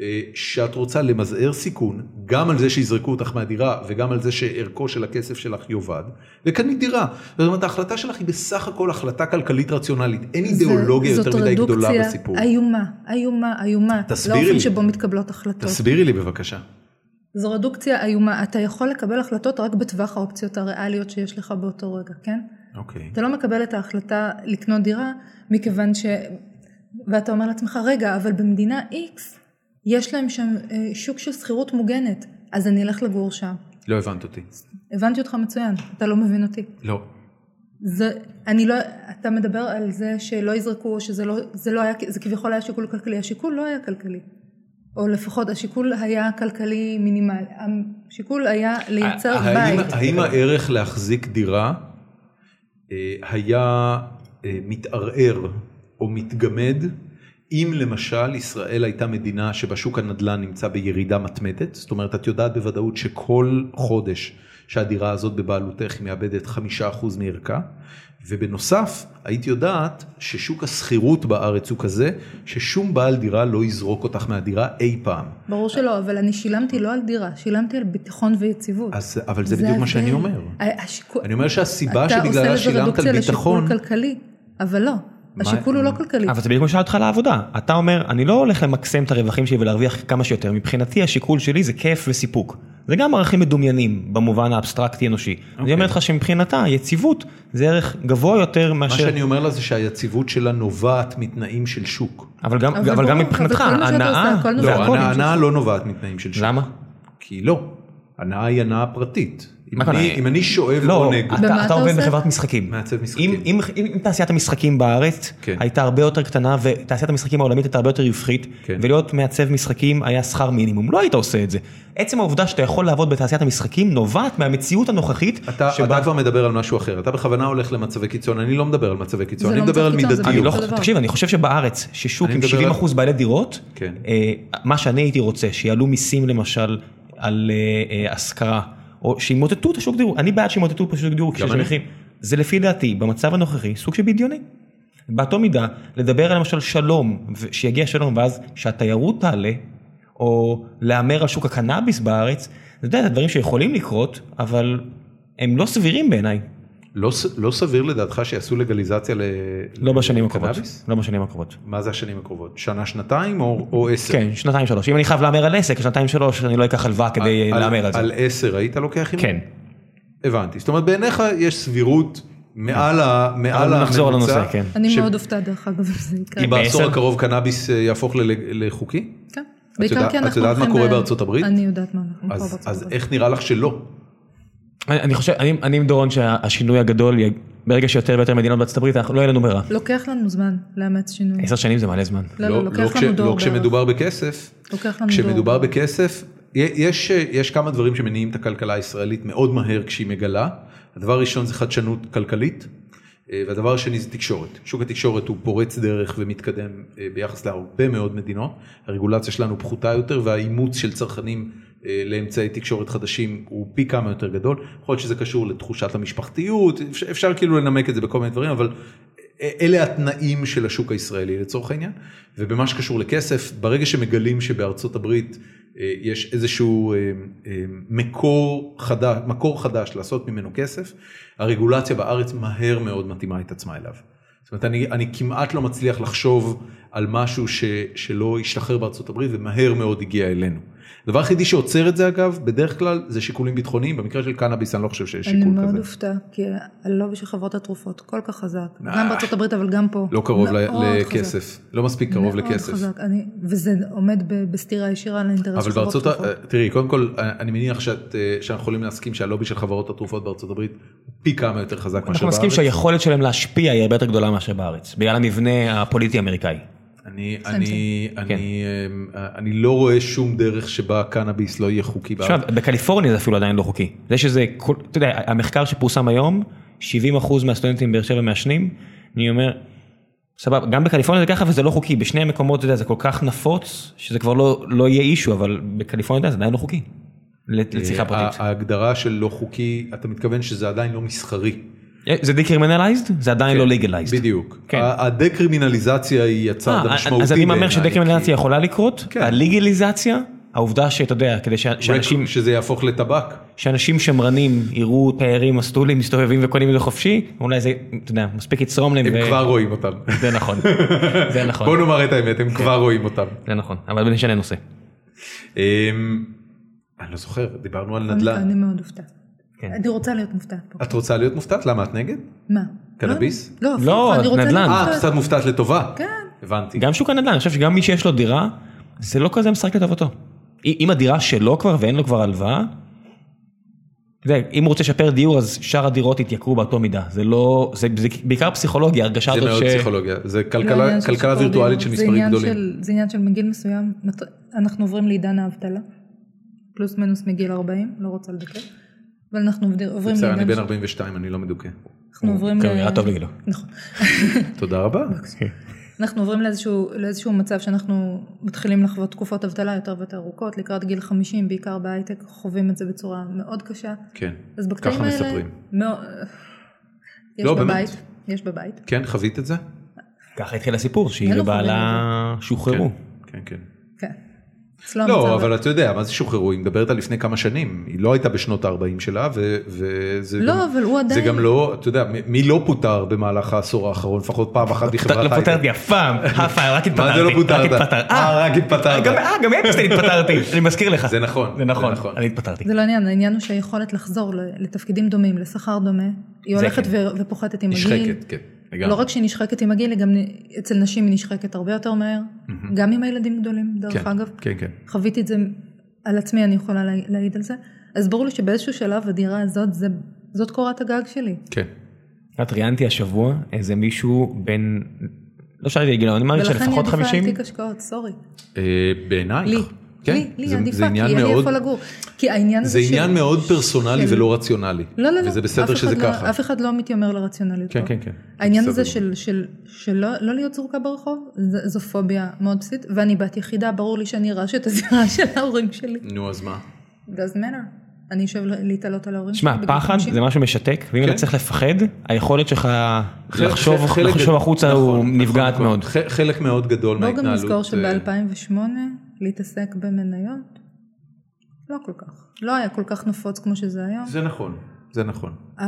אה, שאת רוצה למזער סיכון, גם על זה שיזרקו אותך מהדירה וגם על זה שערכו של הכסף שלך יאבד, וקנית דירה. זאת אומרת ההחלטה שלך היא בסך הכל החלטה כלכלית רציונלית, אין אידיאולוגיה
זה-
יותר מדי גדולה
זאת
בסיפור.
רדוקציה איומה, איומה, איומה.
תסבירי לי.
לאופן שבו מתקבלות החלטות.
תסבירי לי בבקשה.
זו רדוקציה איומה. אתה יכול לקבל החלטות רק בטווח האופציות הריאליות שיש לך באותו רגע, כן?
אוקיי.
אתה לא מקבל את ההחלטה לקנות דירה מכיוון ש... ואתה אומר לעצמך, רגע, אבל במדינה X יש להם שם אה, שוק של שכירות מוגנת, אז אני אלך לגור שם.
לא הבנת אותי.
הבנתי אותך מצוין, אתה לא מבין אותי.
לא.
זה, אני לא, אתה מדבר על זה שלא יזרקו, שזה לא, זה לא היה, זה כביכול היה שיקול כלכלי, השיקול לא היה כלכלי. או לפחות השיקול היה כלכלי מינימלי, השיקול היה לייצר
האם-
בית.
האם הערך להחזיק דירה אה, היה אה, מתערער או מתגמד אם למשל ישראל הייתה מדינה שבה שוק הנדל"ן נמצא בירידה מתמדת, זאת אומרת את יודעת בוודאות שכל חודש שהדירה הזאת בבעלותך היא מאבדת חמישה אחוז מערכה, ובנוסף היית יודעת ששוק השכירות בארץ הוא כזה ששום בעל דירה לא יזרוק אותך מהדירה אי פעם.
ברור שלא, אבל אני שילמתי לא על דירה, שילמתי על ביטחון ויציבות.
אז, אבל זה, בדיוק מה שאני
ההבדל.
אומר.
ה- השיקול-
אני אומר שהסיבה
אתה עושה
שבגללה
לזה
שילמת
רדוקציה
על
לשיקול
ביטחון,
כלכלי, אבל לא, השיקול הוא לא כלכלי.
אבל זה בדיוק כמו ששאלתי אותך על העבודה. אתה אומר, אני לא הולך למקסם את הרווחים שלי ולהרוויח כמה שיותר. מבחינתי השיקול שלי זה כיף וסיפוק. זה גם ערכים מדומיינים במובן האבסטרקטי אנושי. אני
אוקיי.
אומר לך שמבחינתה יציבות זה ערך גבוה יותר
מה
מאשר...
שאני אומר לה זה שהיציבות שלה נובעת מתנאים של שוק.
אבל גם-
אבל
אבל גם
ברור,
מבחינתך,
אבל כל מה שאתה
הנאה...
עושה, הכל
לא,
נובע
והכל.
הנאה- הנאה לא נובעת מתנאים של שוק.
למה?
כי לא. הנאה היא הנאה פרטית. אם
מה
אני-
הכוונה?
אם אני שואב
לא,
עונג,
אתה-
במה
אתה
אתה
עובד
עושה?
בחברת משחקים.
מעצב משחקים.
אם- אם אם תעשיית המשחקים בארץ
כן.
הייתה הרבה יותר קטנה ותעשיית המשחקים העולמית הייתה הרבה יותר רווחית,
כן.
ולהיות מעצב משחקים היה שכר מינימום, לא היית עושה את זה. עצם העובדה שאתה יכול לעבוד בתעשיית המשחקים נובעת מהמציאות הנוכחית,
אתה
שבה-
אתה כבר מדבר על משהו אחר, אתה בכוונה הולך למצבי קיצון, אני לא מדבר על מצבי קיצון,
זה
אני
לא
מדבר על
מצב קיצון, זה
אני
מידתיות.
לא,
אותו דבר.
תקשיב, אני חושב שבארץ, ששוק
אני
עם
מדבר
70
על-
אחוז בעלי דירות,
כן.
אה, מה שאני הייתי רוצה, שיעלו מיסים למשל על אה, אה, השכרה, או שימוטטו את השוק דיור, אני בעד שימוטטו את השוק דיור כשיש
אני.
מחירים. זה לפי דעתי, במצב הנוכחי, סוג של בדיוני. באותו מידה, לדבר על למשל שלום, ו- שיגיע שלום, ואז שהתיירות תעלה, או להמר על שוק הקנאביס בארץ, אתה יודע, זה דברים שיכולים לקרות, אבל הם לא סבירים בעיניי,
לא ס- לא סביר לדעתך שיעשו לגליזציה ל...
לא בשנים הקרובות.
לקנאביס?
לא בשנים הקרובות.
מה זה השנים הקרובות? שנה, שנתיים או או עשר?
כן, שנתיים שלוש. אם אני חייב להמר על עסק, שנתיים שלוש אני לא אקח הלוואה כדי
על-
להמר על זה.
על עשר היית לוקח הימור?
כן.
הבנתי, זאת אומרת בעיניך יש סבירות מעל ה- מעל
אבל
הממוצע.
נחזור לנושא, כן.
אני
ש-
מאוד אופתעת דרך אגב אם זה כן. יקרה.
כי בעשור
בעשר?
הקרוב קנאביס אה, יהפוך ל- לחוקי?
כן.
את
בעיקר
יודעת-
כי
את
אנחנו
יודעת מה
הולכים
קורה
ל-
בארצות הברית?
אני יודעת מה אנחנו קורה
אז
בארצות
אז
הברית.
איך נראה לך שלא?
אני אני חושב, אני אני עם דורון שהשינוי הגדול, יג- ברגע שיותר ויותר מדינות בארצות הברית, אנחנו- לא יהיה לנו ברירה.
לוקח לנו זמן לאמץ שינוי.
עשר שנים זה מלא זמן.
לא, לא, לוקח
כש-
לנו דור
לא
בערך.
כשמדובר בכסף.
לוקח לנו
כשמדובר
דור.
בכסף, י- יש, אה, יש כמה דברים שמניעים את הכלכלה הישראלית מאוד מהר כשהיא מגלה. הדבר הראשון זה חדשנות כלכלית, אה, והדבר השני זה תקשורת. שוק התקשורת הוא פורץ דרך ומתקדם אה, ביחס להרבה מאוד מדינות. הרגולציה שלנו פחותה יותר והאימוץ של צרכנים אה, לאמצעי תקשורת חדשים הוא פי כמה יותר גדול. יכול להיות שזה קשור לתחושת המשפחתיות, אפשר, אפשר כאילו לנמק את זה בכל מיני דברים, אבל אלה התנאים של השוק הישראלי לצורך העניין, ובמה שקשור לכסף, ברגע שמגלים שבארצות הברית אה, יש איזשהו אה, אה, מקור חדש, מקור חדש לעשות ממנו כסף, הרגולציה בארץ מהר מאוד מתאימה את עצמה אליו. זאת אומרת, אני, אני כמעט לא מצליח לחשוב על משהו ש, שלא השתחרר בארצות הברית ומהר מאוד הגיע אלינו. הדבר היחידי שעוצר את זה אגב, בדרך כלל זה שיקולים ביטחוניים, במקרה של קנאביס אני לא חושב שיש
אני
שיקול
מאוד
כזה.
אופתעת, כי הלובי של חברות התרופות כל כך חזק, גם בארצות הברית אבל גם פה.
אה. לא קרוב ל-
מאוד חזק.
לכסף, לא מספיק קרוב
מאוד
לכסף.
חזק, אני- וזה עומד ב- בסתירה ישירה לאינטרס
אבל
של חברות
בארצות,
תרופות.
ה- אה, תראי, קודם כל, אני מניח שאת, אה, שאנחנו יכולים להסכים שהלובי של חברות התרופות בארצות הברית הוא פי כמה יותר חזק מאשר בארץ.
אנחנו מסכים שהיכולת שלהם להשפיע היא הרבה יותר גדולה מאשר בארץ, בגלל המבנה הפוליטי האמריקאי.
אני,
סיים,
אני,
כן.
אני, אה, אני לא רואה שום דרך שבה קנאביס לא יהיה חוקי
עכשיו,
בארץ.
בקליפורניה זה אפילו עדיין לא חוקי. זה שזה, כל- אתה יודע, המחקר שפורסם היום, 70% מהסטודנטים באר שבע מעשנים, אני אומר, סבבה, גם בקליפורניה זה ככה וזה לא חוקי, בשני המקומות, אתה יודע, זה כל כך נפוץ, שזה כבר לא, לא יהיה אישו, אבל בקליפורניה אתה יודע, זה עדיין לא חוקי. לצריכה
אה,
פרטית.
ההגדרה של לא חוקי, אתה מתכוון שזה עדיין לא מסחרי.
אה, זה דקרימינליזד? זה עדיין לא לגלייזד.
בדיוק.
כן.
ה- הדקרימינליזציה היא הצעד המשמעותי.
אה, אז אני מהמר
בעיניי,
שדקרימינליזציה יכולה לקרות,
כן.
הלגליזציה, העובדה שאתה יודע, כדי ש-
כי-
שאנשים...
שזה יהפוך לטבק.
שאנשים שמרנים יראו תיירים מסטולים מסתובבים וקונים את זה חופשי, אולי זה, אתה יודע, מספיק יצרום להם.
הם
ו-
כבר רואים אותם.
זה נכון, זה
בוא
נכון,
נאמר את האמת, הם כבר רואים אותם.
זה נכון, אבל נשנה נושא.
אמ, אני לא זוכר, דיברנו על נדל"ן.
אני מאוד אופתעת.
כן.
אני רוצה להיות מופתעת פה.
את רוצה להיות מופתעת? למה את נגד?
מה?
אה, קנאביס?
לא, לא, הפוך,
לא,
אני רוצה
נדל"ן.
להיות
אה, את
מופתעת.
קצת מופתעת לטובה.
כן.
הבנתי.
גם שוק הנדל"ן, אני חושב שגם מי שיש לו דירה, זה לא כזה משחק לטובתו. אם אם הדירה שלו כבר ואין לו כבר הלוואה, אתה יודע, אם הוא רוצה לשפר דיור אז שאר הדירות יתייקרו באותו מידה, זה לא, זה זה בעיקר פסיכולוגיה, הרגשה
זה
הזאת
מאוד
ש...
פסיכולוגיה. זה
לא
כלכלה-
עניין של
כלכלה
שיפור
וירטואלית
דיור,
של
זה
מספרים
עניין
גדולים.
של- זה עניין של מגיל מסוים, מת- אנחנו עוברים לעידן האבטלה, פלוס מינוס מגיל 40, לא רוצה לדקר, אבל אנחנו עובדים- עוברים
בסדר, אני
לעידן
בן
ש-
42, אני לא מדוכא.
אנחנו עוברים...
גם
ל-
כן, נראה טוב לגילו.
נכון.
תודה רבה.
אנחנו עוברים לאיזשהו, לאיזשהו מצב שאנחנו מתחילים לחוות תקופות אבטלה יותר ויותר ארוכות, לקראת גיל 50, בעיקר בהייטק, חווים את זה בצורה מאוד קשה.
כן.
אז בקטעים
ככה
האלה...
מספרים.
מאוד... יש
לא,
בבית,
באמת.
יש בבית.
כן, חווית את זה?
ככה התחיל הסיפור, שהיא
אין לו
ובעלה שוחררו.
כן, כן, כן.
כן. אצלו
לא,
המצב-
אבל אתה יודע, מה זה שוחררו? היא מדברת על לפני כמה שנים, היא לא הייתה בשנות ה-40 שלה, ו- וזה
לא,
גם-
אבל הוא
זה
עדיין-
גם לא, אתה יודע, מ- מי לא פוטר במהלך העשור האחרון, לפחות פעם אחת
לא
בחברת
לא פותרת
הייטק?
לי אף פעם, אף פעם, רק התפטרתי.
מה זה לא
רק
פוטרת?
התפטר-
אה, רק התפטרת.
גם- אה, גם אפסטיין התפטרתי, אני מזכיר לך.
זה נכון,
זה
זה
נכון,
נכון.
אני התפטרתי.
זה לא העניין, העניין הוא שהיכולת לחזור ל- לתפקידים דומים, לשכר דומה, היא
זה
הולכת
כן.
ו- ופוחתת עם הגיל.
נשחקת, כן. לגמרי.
לא רק שהיא נשחקת עם הגיל, היא גם נ- אצל נשים היא נשחקת הרבה יותר מהר, גם עם הילדים גדולים, דרך
כן,
אגב.
כן, כן.
חוויתי את זה על עצמי, אני יכולה לה- להעיד על זה. אז ברור לי שבאיזשהו שלב הדירה הזאת, זה, זאת קורת הגג שלי.
כן.
את ראיינתי השבוע איזה מישהו בן, לא שאלתי להגיד, אני מעריך
ולכן היא
שלפחות
עדיפה על
50.
תיק השקעות, סורי.
אה, בעינייך.
לי,
כן.
לי, לי
זה-
עדיפה,
זה עניין
כי אני
מאוד-
איפה לגור. כי העניין הזה
זה עניין
של-
מאוד פרסונלי
של-
ולא רציונלי.
לא, לא, לא.
וזה
אף
בסדר
אחד
שזה
לא-
ככה.
אף אחד לא מתיימר לרציונליות.
כן,
פה.
כן, כן.
העניין
בסדר
הזה של,
גמור.
של, של לא, לא להיות זרוקה ברחוב, ז- זו פוביה מאוד בסיסית, ואני בת יחידה, ברור לי שאני ארעש את הזירה של ההורים שלי.
נו, אז מה?
doesn't matter. אני אשב ל- להתעלות על ההורים
שמע,
בגיל
פחד
50.
זה משהו משתק, ואם
כן.
אתה צריך לפחד, היכולת שלך
חלק-
לחשוב
חלק-
לחשוב החוצה
נכון,
הוא
נכון,
נפגעת
נכון.
מאוד.
ח- חלק מאוד גדול
בואו
מההתנהלות.
גם נזכור
אה,
שב-2008 להתעסק במניות, לא כל כך. לא היה כל כך נפוץ כמו שזה היום. אה,
זה נכון, זה נכון.
ה-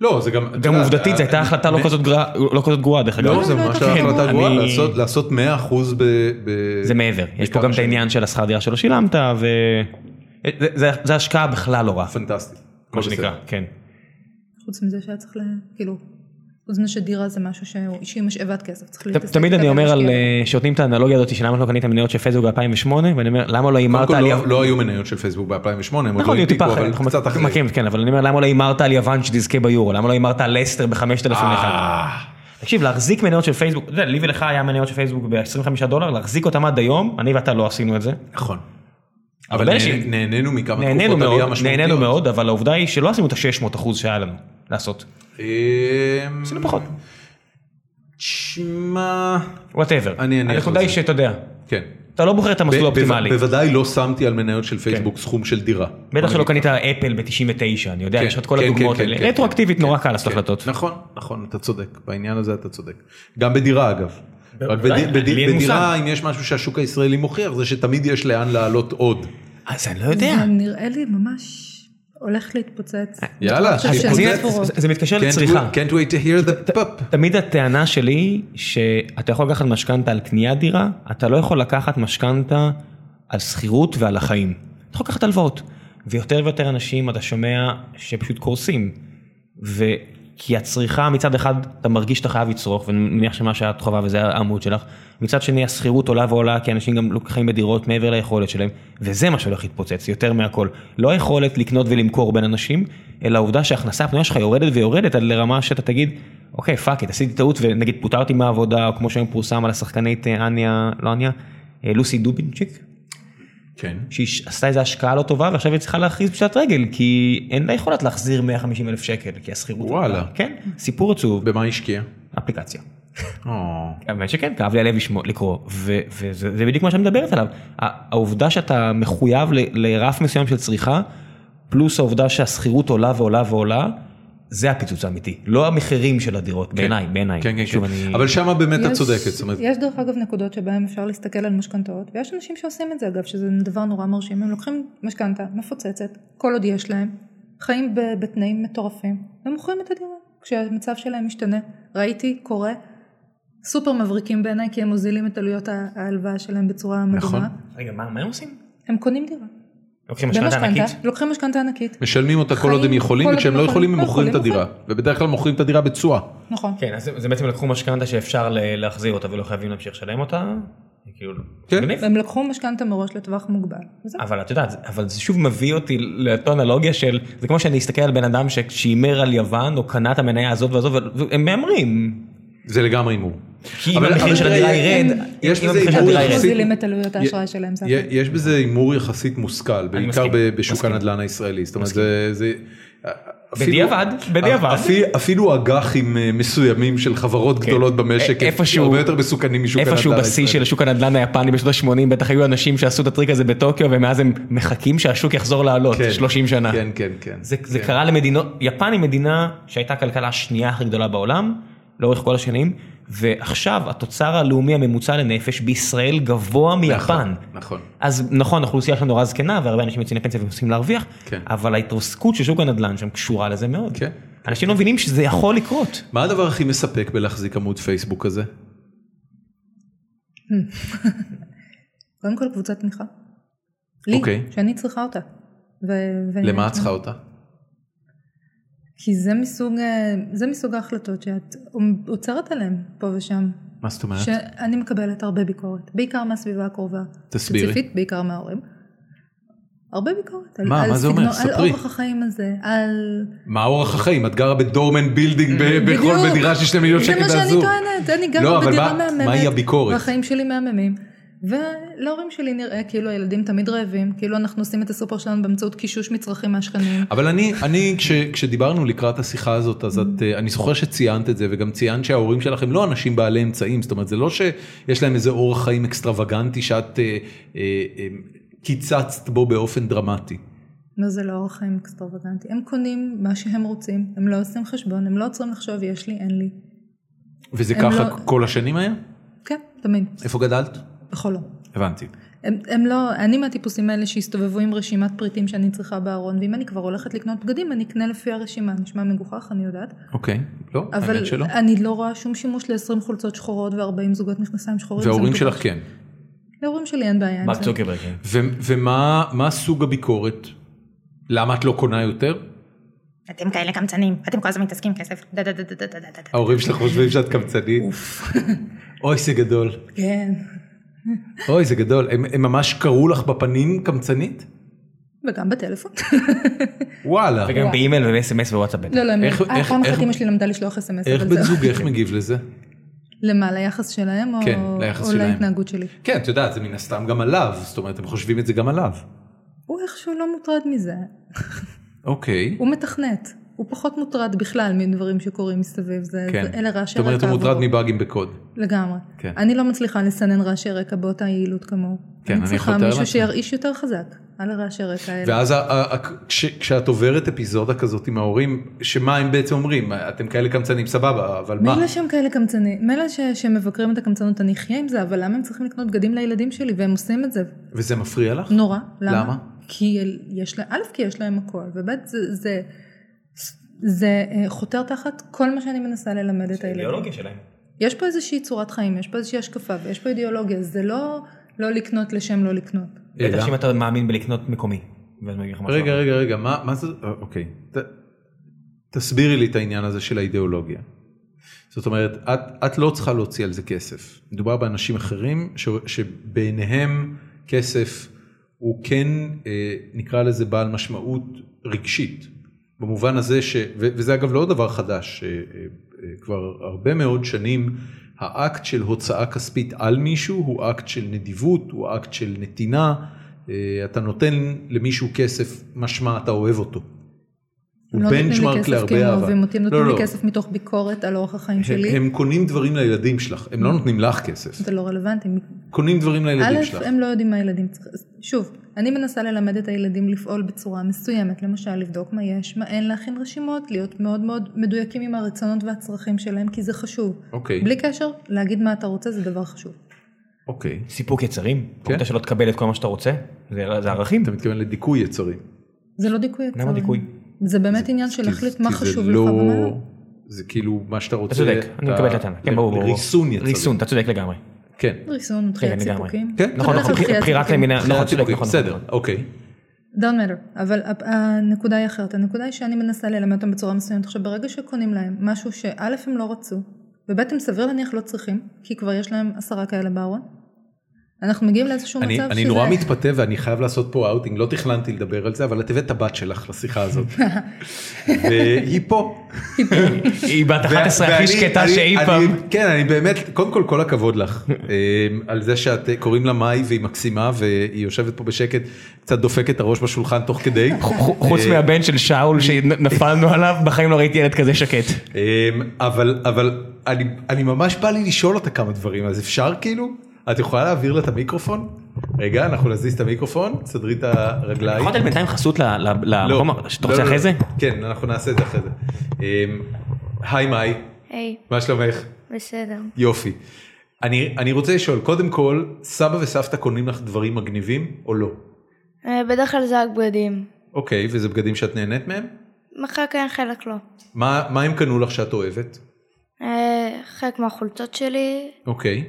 לא, זה גם... אתה
גם
יודע,
עובדתית זו הייתה
אה,
החלטה לא כזאת גרועה- לא כזאת גרועה דרך אגב.
לא, זה
לא
ממש
הייתה
לא
כזאת
החלטה
גרועה.
גרועה,
אני-
לעשות- לעשות 100% ב... ב-
זה מעבר, יש פה
בכמה
גם את
שנים.
העניין של השכר דירה שלא שילמת, ו... זה- זה- זה השקעה בכלל לא רעה,
פנטסטי.
כמו שנקרא, כן.
חוץ מזה שהיה צריך ל... כאילו, חוץ מזה שדירה זה משהו שהוא- שהיא משאבת כסף, צריך
ת-
להתעסק.
תמיד
איתה
אני אומר על,
ולהשקיע.
אה, שנותנים את האנלוגיה הזאת שלמה לא קנית מניות של פייסבוק ב-2008, ואני אומר למה לא הימרת
קודם
על...
כל
יו-
לא- לא היו מניות של פייסבוק ב-2008, הם עוד
נכון,
לא
היו
הנפיקו,
טיפה אחרת,
אבל
אנחנו
קצת אחרי.
מכירים, כן, אבל אני אומר למה לא הימרת על יוון שתזכה ביורו, למה לא הימרת על לסטר ב-5001.
אה,
תקשיב, להחזיק מניות של פייסבוק, אתה יודע, לי ולך היה מניות של פייסבוק ב-25 דולר, להחזיק אותם עד היום, אני ואתה לא עשינו את זה.
נכון.
הרבה
אבל
אנשים-
נהנה- נהנינו מכמה
נהנינו
תקופות עלייה
מאוד,
משמעותיות.
נהנינו מאוד, אבל העובדה היא שלא עשינו את ה-600 אחוז שהיה לנו לעשות,
אמ,
עשינו פחות,
תשמע...
וואטאבר.
אני אניח
הנקודה היא
לזה.
שאתה יודע,
כן.
אתה לא בוחר את המסלול
ב-
האופטימלי.
ב- בוודאי לא שמתי על מניות של
כן.
פייסבוק סכום של דירה.
בטח שלא קנית אפל ב-99, אני יודע,
כן,
יש לך את כל
כן,
הדוגמאות
כן, כן,
האלה.
כן,
רטרואקטיבית נורא קל לעשות
כן.
החלטות.
נכון, נכון, אתה צודק, בעניין הזה אתה צודק. גם בדירה אגב. רק בד-
בוודאי,
בד-
לי אין
בדירה, אם יש משהו שהשוק הישראלי מוכיח, זה שתמיד יש לאן לעלות עוד.
אז אני לא יודע.
זה נראה לי ממש הולך להתפוצץ.
אה,
יאללה,
עכשיו
אז
של
אז הנה,
התפוצץ.
זה- זה מתקשר
Can't
לצריכה.
wait- Can't wait to hear the pop.
תמיד הטענה שלי שאתה יכול לקחת משכנתה על קניית דירה, אתה לא יכול לקחת משכנתה על שכירות ועל החיים. אתה יכול לקחת הלוואות. ויותר ויותר אנשים אתה שומע שפשוט קורסים. וכי הצריכה מצד אחד אתה מרגיש שאתה חייב לצרוך ואני מניח שמה שאת חווה וזה העמוד שלך. מצד שני השכירות עולה ועולה כי אנשים גם לוקחים בדירות מעבר ליכולת שלהם וזה מה שהולך להתפוצץ יותר מהכל. לא היכולת לקנות ולמכור בין אנשים אלא העובדה שההכנסה הפנויה שלך יורדת ויורדת עד לרמה שאתה תגיד אוקיי פאק איט עשיתי טעות ונגיד פוטרתי מהעבודה או כמו שהיום פורסם על השחקנית אה, אניה לא אניה אה, לוסי דובינצ'יק
כן.
שהיא ש- עשתה איזו השקעה לא טובה ועכשיו היא צריכה להכריז פשט רגל כי אין לה יכולת להחזיר 150 אלף שקל כי השכירות.
וואלה.
כן, סיפור עצוב,
במה השקיע?
אפליקציה.
או.
האמת שכן, כאב לי הלב לשמוע- לקרוא ו- וזה זה בדיוק מה שאני מדברת עליו. ה- העובדה שאתה מחויב ל- לרף מסוים של צריכה פלוס העובדה שהשכירות עולה ועולה ועולה. זה הפיצוץ האמיתי, לא המחירים של הדירות, בעיניי, בעיניי.
כן, כן,
שוב,
כן.
אני-
אבל שמה באמת את
יש-
צודקת, זאת אומרת,
יש דרך אגב נקודות שבהן אפשר להסתכל על משכנתאות, ויש אנשים שעושים את זה אגב, שזה דבר נורא מרשים, הם לוקחים משכנתה מפוצצת, כל עוד יש להם, חיים ב- בתנאים מטורפים, ומוכרים את הדירה, כשהמצב שלהם משתנה. ראיתי, קורה, סופר מבריקים בעיניי, כי הם מוזילים את עלויות ה- ההלוואה שלהם בצורה
נכון.
מדהימה,
רגע, מה מה הם עושים?
הם קונים דירה.
לוקחים משכנתה ענקית?
לוקחים משכנתה ענקית,
משלמים אותה כל
חיים,
עוד הם יכולים,
כל עוד
וכשהם
הם
לא
יכולים,
יכולים הם
לא
מוכרים את
יכולים,
הדירה, ובדרך כלל מוכרים את הדירה בתשואה.
נכון.
כן, אז זה בעצם לקחו משכנתה שאפשר ל- להחזיר אותה ולא חייבים להמשיך לשלם אותה. כאילו,
כן.
מגניב.
והם לקחו משכנתה מראש לטווח מוגבל, וזהו.
אבל את יודעת, אבל זה שוב מביא אותי לאותו אנלוגיה של, זה כמו שאני אסתכל על בן אדם ש- שהימר על יוון, או קנה את המניה הזאת והזאת, והם מהמרים.
זה לגמרי הימור.
כי אם
אבל-
המחיר
אבל
של
תראה,
הדירה
יש-
ירד,
יש
אם
בזה
המחיר של
הימור
הדירה
אנחנו
ירד.
יחסי.
מוזילים את עלויות האשראי שלהם, זה
י-
הכל.
יש בזה הימור יחסית מושכל, בעיקר
מסכים,
ב- בשוק
מסכים.
הנדלן הישראלי. זאת אומרת, זה... זה- אפילו-
בדיעבד, בדיעבד.
אפי- אפילו אג"חים אה, מסוימים של חברות גדולות במשק,
א-
הם
איפשהו-
הרבה יותר מסוכנים משוק הנדלן
איפשהו בשיא של השוק הנדל"ן היפני בשנות ה-80 בטח היו אנשים שעשו את הטריק הזה בטוקיו ומאז הם מחכים שהשוק יחזור לעלות
כן,
30 שנה.
כן, כן, כן.
זה, זה קרה למדינות, יפן היא מדינה שהייתה הכלכלה השנייה הכי גדולה בעולם לאורך כל השנים ועכשיו התוצר הלאומי הממוצע לנפש בישראל גבוה מיפן.
נכון, נכון.
אז נכון האוכלוסייה שלנו נורא זקנה והרבה אנשים יוצאים לפנסיה ומנסים להרוויח
כן.
אבל ההתרסקות של שוק הנדל"ן שם קשורה לזה מאוד.
כן.
אנשים לא מבינים שזה יכול לקרות.
כן.
מה הדבר הכי מספק בלהחזיק עמוד פייסבוק כזה?
קודם כל קבוצת תמיכה. לי,
אוקיי.
שאני צריכה אותה. ו- ו-
למה את צריכה אותה?
כי זה מסוג, אה, זה מסוג ההחלטות שאת עוצרת עליהן פה ושם.
מה זאת אומרת?
שאני מקבלת הרבה ביקורת, בעיקר מהסביבה הקרובה.
תסבירי.
ספציפית, בעיקר מההורים. הרבה ביקורת. על-
מה?
על
מה זה אומר?
סגנון-
ספרי.
על אורח החיים הזה, על...
מה אורח החיים? את גרה בדורמן בילדינג ב-
בדיוק.
בכל בדירה של שני מיליון שקל
זה מה שאני
והזוג.
טוענת, אני
לא,
גרה
אבל
בדירה
מה-
מהממת.
מהי הביקורת?
והחיים שלי מהממים. ולהורים שלי נראה כאילו הילדים תמיד רעבים, כאילו אנחנו עושים את הסופר שלנו באמצעות קישוש מצרכים מהשכנים.
אבל אני, אני כש, כשדיברנו לקראת השיחה הזאת, אז את, אה, אני זוכר שציינת את זה, וגם ציינת שההורים שלך הם לא אנשים בעלי אמצעים, זאת אומרת, זה לא שיש להם איזה אורח חיים אקסטרווגנטי שאת אה, אה, אה, קיצצת בו באופן דרמטי.
לא, זה לא אורח חיים אקסטרווגנטי. הם קונים מה שהם רוצים, הם לא עושים חשבון, הם לא עוצרים לחשוב יש לי, אין לי.
וזה
הם
ככה
לא-
כל השנים היה?
כן, תמיד,
איפה גדלת?
בכל אור.
הבנתי.
הם, הם לא, אני מהטיפוסים האלה שהסתובבו עם רשימת פריטים שאני צריכה בארון, ואם אני כבר הולכת לקנות בגדים, אני אקנה לפי הרשימה. נשמע מגוחך, אני יודעת.
אוקיי, לא,
אבל
האמת שלא.
אני לא רואה שום שימוש ל-20 חולצות שחורות ו-40 זוגות מכנסיים שחורים. זה
וההורים
מטופש.
שלך כן.
להורים שלי אין בעיה עם
מרק
זה.
צוקרברג. כן.
ו, ומה מה סוג הביקורת? למה את לא קונה יותר?
אתם כאלה קמצנים, אתם כל הזמן מתעסקים עם כסף. דה דה דה דה דה דה דה דה.
ההורים שלך חושבים שאת קמצנית? אוי, זה גדול.
כן.
אוי, זה גדול. הם, הם ממש קראו לך בפנים קמצנית?
וגם בטלפון.
וואלה.
וגם באימייל ובסמס ווואטסאפ. בטח.
לא, לא, הם-
איך-
אה,
איך-
פעם
איך-
אחת אמא שלי למדה לשלוח אס.אם.אס,
איך
אבל
בן
זהו.
זוגך מגיב לזה?
למה, ליחס שלהם? או-
כן, ליחס
או
שלהם.
להתנהגות שלי.
כן, את יודעת, זה מן הסתם גם עליו, זאת אומרת, הם חושבים את זה גם עליו.
הוא איכשהו לא מוטרד מזה.
אוקיי.
הוא מתכנת. הוא פחות מוטרד בכלל מדברים שקורים מסביב. זה,
כן.
זה אלה רעשי
זאת אומרת, הוא
רקע
מוטרד
עבורו.
מבאגים בקוד.
לגמרי.
כן.
אני לא מצליחה לסנן רעשי רקע באותה יעילות כמוהו.
כן, אני
אני צריכה
יכול לתאר
מישהו
לעצמי.
שירעיש יותר חזק על הרעשי רקע האלה.
ואז ה- ה- ה- כש- כשאת עוברת אפיזודה כזאת עם ההורים, שמה הם בעצם אומרים? אתם כאלה קמצנים, סבבה, אבל מה?
מילא שהם כאלה קמצנים, מילא ש- שמבקרים את הקמצנות, אני אחיה עם זה, אבל למה הם צריכים לקנות בגדים לילדים שלי והם עושים את זה?
וזה מפריע לך?
נורא. למה?
למה?
כי אל- יש להם, א', כי יש להם הכל, וב', זה, זה, זה אה, חותר תחת כל מה שאני מנסה ללמד את הילדים.
האידיאולוגיה שלהם.
אה,
יש פה איזושהי צורת חיים, יש פה איזושהי השקפה ויש פה אידיאולוגיה, זה לא לא לקנות לשם לא לקנות.
אלא?
בטח שאם אתה מאמין בלקנות מקומי. ואז אני אגיד לך משהו
רגע,
אחר.
רגע, רגע, מה מה זה? אה, אוקיי. ת- תסבירי לי את העניין הזה של האידיאולוגיה. זאת אומרת, את, את לא צריכה להוציא על זה כסף. מדובר באנשים אחרים ש, שבעיניהם כסף הוא כן, אה, נקרא לזה, בעל משמעות רגשית. במובן הזה ש... ו, וזה אגב לא דבר חדש, אה, אה, אה, כבר הרבה מאוד שנים האקט של הוצאה כספית על מישהו הוא אקט של נדיבות, הוא אקט של נתינה. אה, אתה נותן למישהו כסף, משמע אתה אוהב אותו.
הם
הוא
לא נותנים לי
בנצ'מארק
כסף
להרבה
כי הם
אהבה.
אוהבים אותי, הם נותנים
לא,
לי
לא.
כסף מתוך ביקורת על אורח החיים
הם,
שלי.
הם קונים דברים לילדים שלך, הם לא נותנים לך כסף.
זה לא רלוונטי.
קונים דברים
א',
לילדים שלך.
הם לא יודעים מה הילדים צריכים. שוב, אני מנסה ללמד את הילדים לפעול בצורה מסוימת, למשל לבדוק מה יש, מה אין, להכין רשימות, להיות מאוד מאוד מדויקים עם הרצונות והצרכים שלהם, כי זה חשוב.
אוקיי,
בלי קשר, להגיד מה אתה רוצה זה דבר חשוב.
אוקיי.
סיפוק יצרים?
כן.
כן. אתה שלא תקבל את כל מה שאתה רוצה? זה, זה ערכים?
אתה מתכוון לדיכוי יצרים.
זה לא דיכוי יצרים.
דיכוי?
זה באמת עניין של
כי-
להחליט
כי
מה
זה
חשוב לך
לא-
ומה לא.
זה כאילו מה שאתה רוצה.
אתה צודק, אני מקבל את הטענה. כן, ברור, ברור.
ריסון יצרים.
ריסון, אתה צודק לגמרי.
כן.
ריסון,
כן,
דחיית
לגמרי.
סיפוקים.
כן,
נכון,
זה
נכון,
בדרך כלל
בחירה- בחירת
סיפוקים.
למינה, נכון,
בחירת
צודק,
סיפוקים,
נכון.
בסדר,
נכון.
אוקיי.
don't matter, אבל הפ- הנקודה היא אחרת, הנקודה היא שאני מנסה ללמד אותם בצורה מסוימת. עכשיו ברגע שקונים להם משהו שא' הם לא רצו, וב' הם סביר להניח לא צריכים, כי כבר יש להם עשרה כאלה בארון, אנחנו מגיעים לאיזשהו
אני,
מצב
אני
שזה...
נורא מתפתה ואני חייב לעשות פה אאוטינג, לא תכננתי לדבר על זה, אבל את הבאת את הבת שלך לשיחה הזאת. והיא פה.
היא בת 11 הכי
ואני-
שקטה
אני-
שאי
אני-
פעם.
כן, אני באמת, קודם כל כל הכבוד לך, אה, על זה שאת, אה, קוראים לה מאי והיא מקסימה והיא יושבת פה בשקט, קצת דופקת את הראש בשולחן תוך כדי. אה,
חו- חוץ מהבן של שאול שנפלנו עליו, בחיים לא ראיתי ילד כזה שקט.
אמ, אבל אבל אני, אני ממש בא לי לשאול אותה כמה דברים אז אפשר כאילו את יכולה להעביר לה את המיקרופון רגע אנחנו נזיז את המיקרופון סדרי את הרגליים.
יכול לתת בינתיים חסות ל- ל-
לא,
למקום, שאתה רוצה
לא,
אחרי
לא.
זה?
כן אנחנו נעשה את זה אחרי זה. אמ, היי מאי
היי,
מה שלומך
בסדר.
יופי. אני אני רוצה לשאול קודם כל סבא וסבתא קונים לך דברים מגניבים או לא
אה, בדרך כלל זה רק בגדים.
אוקיי וזה בגדים שאת נהנית מהם
מחר כן חלק לא.
מה מה הם קנו לך שאת אוהבת
אה, חלק מהחולצות שלי,
אוקיי.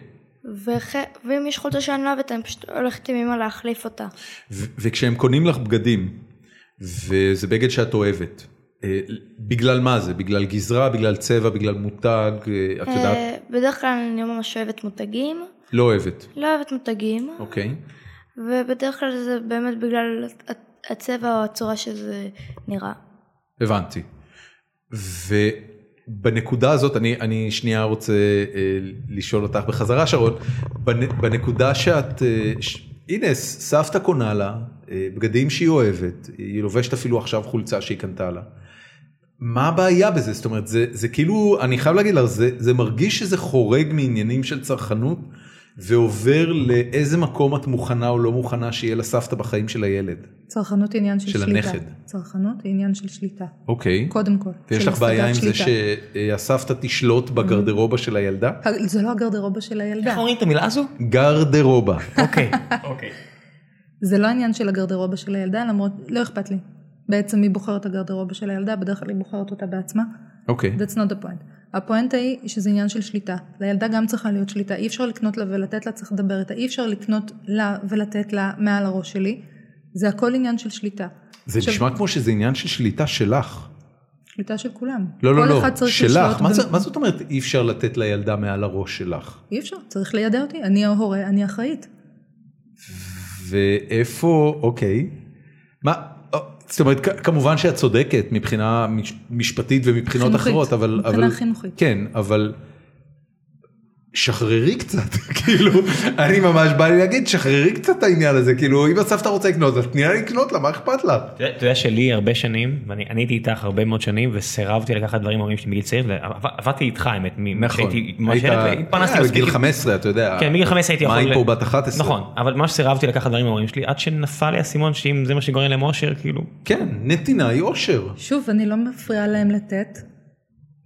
וח- ואם יש חולצה שאני לא אוהבת, אני פשוט הולכת עם אמא להחליף אותה.
ו- וכשהם קונים לך בגדים, וזה בגד שאת אוהבת, אה, בגלל מה זה? בגלל גזרה, בגלל צבע, בגלל מותג, אה, את יודעת?
אה, בדרך כלל אני לא ממש אוהבת מותגים,
לא אוהבת,
לא אוהבת מותגים,
אוקיי.
ובדרך כלל זה באמת בגלל ה- הצבע או הצורה שזה נראה.
הבנתי. ובנקודה הזאת, אני, אני שנייה רוצה אה, לשאול אותך בחזרה, שרון, בנ, בנקודה שאת, אה, ש, הנה, ס- סבתא קונה לה אה, בגדים שהיא אוהבת, היא לובשת אפילו עכשיו חולצה שהיא קנתה לה. מה הבעיה בזה? זאת אומרת, זה, זה כאילו, אני חייב להגיד לך, זה, זה מרגיש שזה חורג מעניינים של צרכנות ועובר לאיזה מקום את מוכנה או לא מוכנה שיהיה לסבתא בחיים של הילד.
צרכנות היא עניין של,
של
שליטה.
הנכד.
צרכנות היא עניין של שליטה,
אוקיי.
קודם כל.
ויש
של
לך בעיה עם
השגת
זה
שליטה.
שהסבתא תשלוט בגרדרובה של הילדה?
ה- זה לא הגרדרובה של הילדה.
איך אומרים את המילה הזו?
גרדרובה.
אוקיי.
אוקיי.
זה לא עניין של הגרדרובה של הילדה, למרות, לא אכפת לי. בעצם היא בוחרת את הגרדרובה של הילדה, בדרך כלל היא בוחרת אותה בעצמה.
אוקיי.
That's not the point. הפואנטה היא שזה עניין של שליטה. לילדה גם צריכה להיות שליטה, אי אפשר לקנות לה ולתת לה, צריך לדבר איתה, אי אפשר לקנות לה ולתת לה מעל הראש שלי. זה הכל עניין של שליטה.
זה
עכשיו-
נשמע כמו שזה עניין של שליטה שלך.
שליטה של כולם.
לא, לא,
כל
לא,
אחד צריך
שלך.
לשלוט
מה
ב-
זה- מה זאת אומרת אי אפשר לתת לילדה מעל הראש שלך?
אי אפשר, צריך לידע אותי, אני ההורה, אני אחראית.
ואיפה, אוקיי. מה, אה, זאת אומרת, כ- כמובן שאת צודקת מבחינה מש- משפטית ומבחינות
חינוכית,
אחרות, אבל...
מבחינה
אבל-
חינוכית.
כן, אבל... שחררי קצת, כאילו, אני ממש בא לי להגיד, שחררי קצת את העניין הזה, כאילו, אם הסבתא רוצה לקנות, אז תני לה לקנות לה, מה אכפת לך?
אתה יודע- אתה יודע שלי הרבה שנים, ואני אני הייתי איתך הרבה מאוד שנים, וסירבתי לקחת דברים מהורים שלי מגיל צעיר, ועבדתי איתך האמת, מ- כשהייתי ממש
נכון. היית-
ילד, והתפרנסתי
אה,
מספיק.
בגיל 15, אתה יודע.
כאילו- כן, מגיל 15 הייתי יכול...
מה היא
ל-
פה בת 11?
נכון, אבל ממש סירבתי לקחת דברים מההורים שלי, עד שנפל לי האסימון שאם זה מה שגורם להם אושר, כאילו...
כן, נתינה היא אושר,
שוב, אני לא מפריעה להם לתת.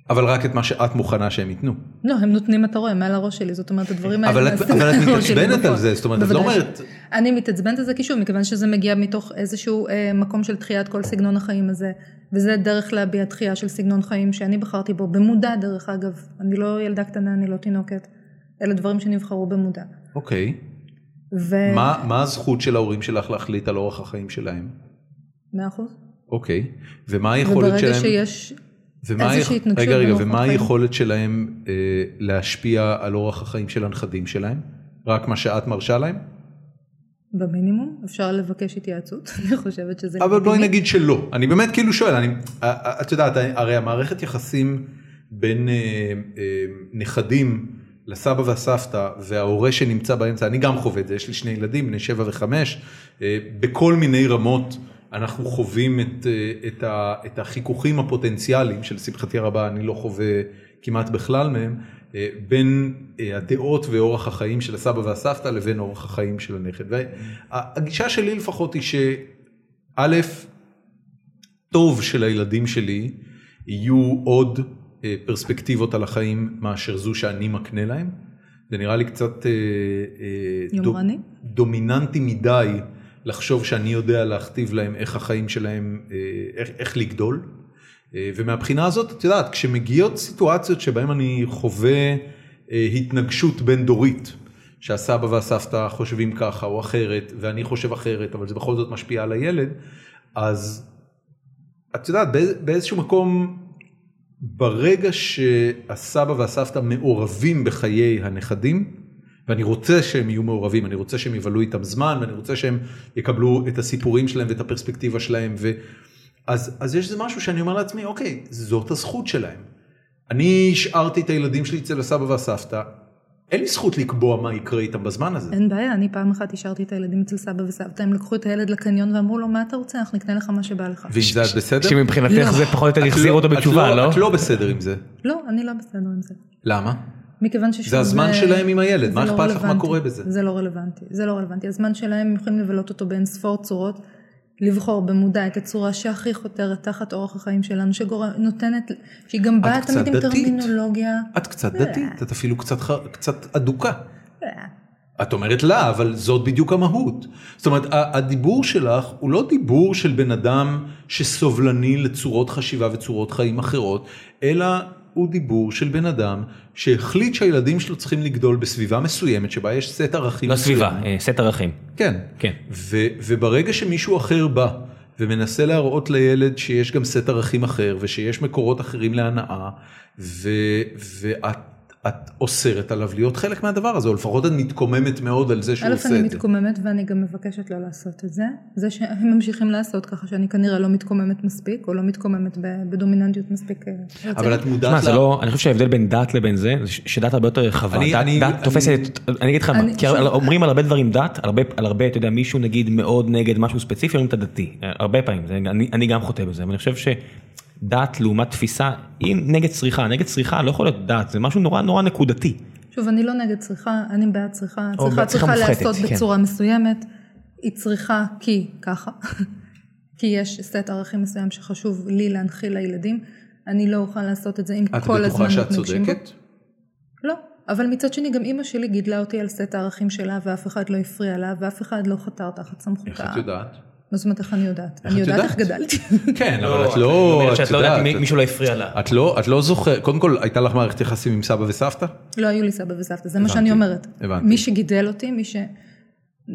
אבל רק את מה שאת מוכנה שהם ייתנו.
לא, הם נותנים, אתה רואה, מעל הראש שלי, זאת אומרת, הדברים האלה...
אבל את-
נעשים
אבל את
מעל הראש שלי
מתעצבנת על
בפועל.
זה, זאת אומרת, את לא
בוודאי
אומרת-
ש- אני מתעצבנת על זה כי שוב, מכיוון שזה מגיע מתוך איזשהו אה, מקום של דחיית כל סגנון החיים הזה, וזה דרך להביע דחייה של סגנון חיים שאני בחרתי בו, במודע דרך אגב, אני לא ילדה קטנה, אני לא תינוקת, אלה דברים שנבחרו במודע.
אוקיי.
ו...
מה מה הזכות של ההורים שלך להחליט על אורח החיים שלהם?
מאה אחוז.
אוקיי. ומה היכולת
וברגע
שלהם...
שיש...
ומה
איזושהי
היכ-
התנגשות
רגע, רגע,
במוח
ומה
החיים.
היכולת שלהם אה, להשפיע על אורח החיים של הנכדים שלהם? רק מה שאת מרשה להם?
במינימום אפשר לבקש התייעצות, אני חושבת שזה...
אבל בואי
לגיטימי.
נגיד שלא אני באמת כאילו שואל אני אה, את יודעת הרי המערכת יחסים בין אה, אה, נכדים לסבא והסבתא וההורה שנמצא באמצע אני גם חווה את זה יש לי שני ילדים בני שבע וחמש אה, בכל מיני רמות אנחנו חווים את, אה, את, ה, את החיכוכים הפוטנציאליים שלשמחתי הרבה אני לא חווה כמעט בכלל מהם אה, בין אה, הדעות ואורח החיים של הסבא והסבתא לבין אורח החיים של הנכד והגישה שלי לפחות היא ש... א', טוב שלילדים שלי יהיו עוד אה, פרספקטיבות על החיים מאשר זו שאני מקנה להם. זה נראה לי קצת אה, אה, דו-
יומרני?
דומיננטי מדי לחשוב שאני יודע להכתיב להם איך החיים שלהם, אה, איך, איך לגדול. אה, ומהבחינה הזאת, את יודעת, כשמגיעות סיטואציות שבהן אני חווה אה, התנגשות בין דורית, שהסבא והסבתא חושבים ככה או אחרת, ואני חושב אחרת, אבל זה בכל זאת משפיע על הילד, אז את יודעת, באיז, באיזשהו מקום, ברגע שהסבא והסבתא מעורבים בחיי הנכדים, ואני רוצה שהם יהיו מעורבים, אני רוצה שהם יבלו איתם זמן, ואני רוצה שהם יקבלו את הסיפורים שלהם ואת הפרספקטיבה שלהם. ו... אז, אז יש איזה משהו שאני אומר לעצמי, אוקיי, זאת הזכות שלהם. אני השארתי את הילדים שלי אצל הסבא והסבתא, אין לי זכות לקבוע מה יקרה איתם בזמן הזה.
אין בעיה, אני פעם אחת השארתי את הילדים אצל סבא וסבתא, הם לקחו את הילד לקניון ואמרו לו, מה אתה רוצה? אנחנו נקנה לך מה שבא לך.
ואם זה את בסדר?
שמבחינתך
לא.
זה פחות או יותר
את
החזיר
לא-
אותו
את
בתשובה, לא?
את לא בסדר עם זה.
לא, אני לא בסדר עם זה.
למה?
מכיוון ששוב...
זה הזמן שלהם עם הילד,
זה
מה
לא
אכפת לך מה
רלוונטי.
קורה בזה?
זה לא רלוונטי, זה לא רלוונטי. הזמן שלהם, הם יכולים לבלות אותו באין ספור צורות, לבחור במודע את הצורה שהכי חותרת תחת אורח החיים שלנו, שנותנת, שהיא גם באה
קצת
תמיד עם
דתית.
טרמינולוגיה.
את קצת דתית, את אפילו קצת, ח- קצת אדוקה.
אה,
את אומרת לה, אבל זאת בדיוק המהות. זאת אומרת, ה- הדיבור שלך הוא לא דיבור של בן אדם שסובלני לצורות חשיבה וצורות חיים אחרות, אלא הוא דיבור של בן אדם שהחליט שהילדים שלו צריכים לגדול בסביבה מסוימת שבה יש סט ערכים.
לא
מסוים.
סביבה, אה, סט ערכים.
כן.
כן.
ו, וברגע שמישהו אחר בא ומנסה להראות לילד שיש גם סט ערכים אחר ושיש מקורות אחרים להנאה, ו, ואת את אוסרת עליו להיות חלק מהדבר הזה, או לפחות את מתקוממת מאוד על זה שהוא
אלף,
עושה
אני
את זה.
מתקוממת ואני גם מבקשת לא לעשות את זה. זה שהם ממשיכים לעשות ככה שאני כנראה לא מתקוממת מספיק, או לא מתקוממת ב- בדומיננטיות מספיק. אה,
אבל
רצינית.
את מודעת
שמע, זה לא, אני חושב שההבדל בין דת לבין זה, זה ש- שדת הרבה יותר רחבה.
אני-
דת-
אני-
דת תופסת, אני אגיד לך מה,
אני-
כי הר- אומרים על הרבה דברים דת, הרבה- על הרבה, אתה יודע, מישהו נגיד מאוד נגד משהו ספציפי, אומרים את הדתי, אה, הרבה פעמים, זה- אני אני גם חוטא בזה, אבל אני חושב שדת לעומת תפיסה, היא נגד צריכה, נגד צריכה לא יכול להיות דת, זה משהו נורא נורא נקודתי.
שוב, אני לא נגד צריכה, אני בעד צריכה.
או
צריכה
בעד צריכה
צריכה
מופחתת,
להיעשות
כן.
בצורה מסוימת. היא צריכה כי ככה. כי יש סט ערכים מסוים שחשוב לי להנחיל לילדים. אני לא אוכל לעשות את זה אם
את
כל הזמן
בטוחה שאת
מתנגשים בו.
צודקת?
לא. אבל מצד שני, גם אימא שלי גידלה אותי על סט הערכים שלה, ואף אחד לא הפריע לה, ואף אחד לא חתר תחת סמכותה.
איך את יודעת?
מה לא זאת אומרת איך אני יודעת?
איך
אני
את יודעת?
יודעת איך גדלתי.
כן, אבל את לא,
אומרת
את
שאת לא יודעת
יודעת.
אם מישהו לא הפריע לה.
את לא, את לא זוכרת, קודם כל הייתה לך מערכת יחסים עם סבא וסבתא?
לא היו לי סבא וסבתא, זה מה
הבנתי,
שאני אומרת.
הבנתי.
מי שגידל אותי, מי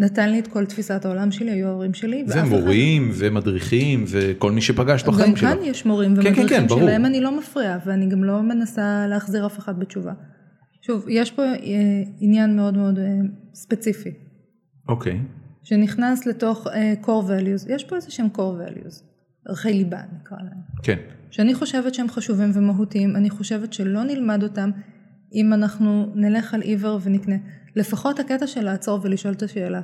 שנתן לי את כל תפיסת העולם שלי, היו ההורים שלי. ואף אחד-
ומורים ומדריכים וכל מי שפגשת
גם
בחיים שלך.
כאן יש מורים
כן,
ומדריכים
כן, ברור.
שלהם אני לא מפריעה, ואני גם לא מנסה להחזיר אף אחד בתשובה. שוב, יש פה אה, עניין מאוד מאוד אה, ספציפי,
אוקיי.
שנכנס לתוך אה, core values, יש פה איזה שהם core values, ערכי ליבה נקרא להם.
כן.
שאני חושבת שהם חשובים ומהותיים, אני חושבת שלא נלמד אותם אם אנחנו נלך על עיוור ונקנה. לפחות הקטע של לעצור ולשאול את השאלה.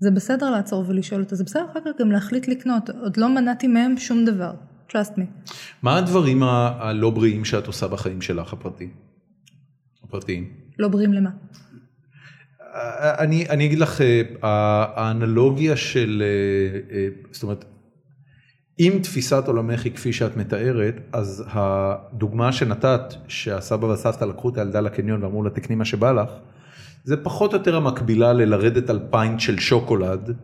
זה בסדר לעצור ולשאול אותה, זה בסדר אחר כך גם להחליט לקנות, עוד לא מנעתי מהם שום דבר, trust me.
מה הדברים ה- הלא בריאים שאת עושה בחיים שלך הפרטי? הפרטיים.
לא בריאים למה.
אה, אני, אני אגיד לך, אה, ה- האנלוגיה של, אה, אה, זאת אומרת, אם תפיסת עולמך היא כפי שאת מתארת, אז הדוגמה שנתת, שהסבא והסבתא לקחו את הילדה לקניון ואמרו לה תקני מה שבא לך, זה פחות או יותר המקבילה ללרדת על פיינט של שוקולד,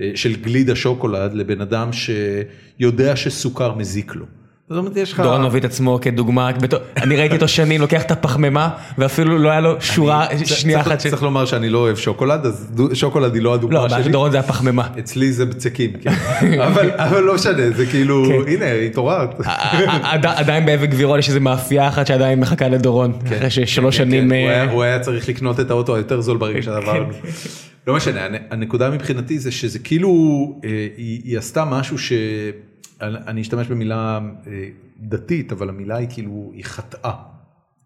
אה, של גלידה שוקולד, לבן אדם שיודע שסוכר מזיק לו. זאת אומרת, יש לך...
דורון מביא את עצמו כדוגמה, בתור- אני ראיתי אותו שנים לוקח את הפחמימה, ואפילו לא היה לו שורה, שנייה
צריך-
אחת, ש-
צריך לומר שאני לא אוהב שוקולד, אז דו- שוקולד היא לא הדוגמה
לא,
שלי.
הבעיה של דורון זה הפחמימה.
אצלי זה בצקים, כן. אבל, אבל לא משנה, זה כאילו,
כן. אה,
הנה, התעוררת.
עד- עדיין באבק גבירול יש איזה מאפייה אחת שעדיין מחכה לדורון, אחרי ששלוש שנים...
כן, הוא,
אה,
היה, הוא היה צריך לקנות את האוטו היותר זול
כן,
ברגע שעברנו. לא משנה, הנ- הנקודה מבחינתי זה שזה כאילו, אה, היא, היא עשתה משהו ש... אני אני אשתמש במילה אה, דתית, אבל המילה היא כאילו, היא חטאה.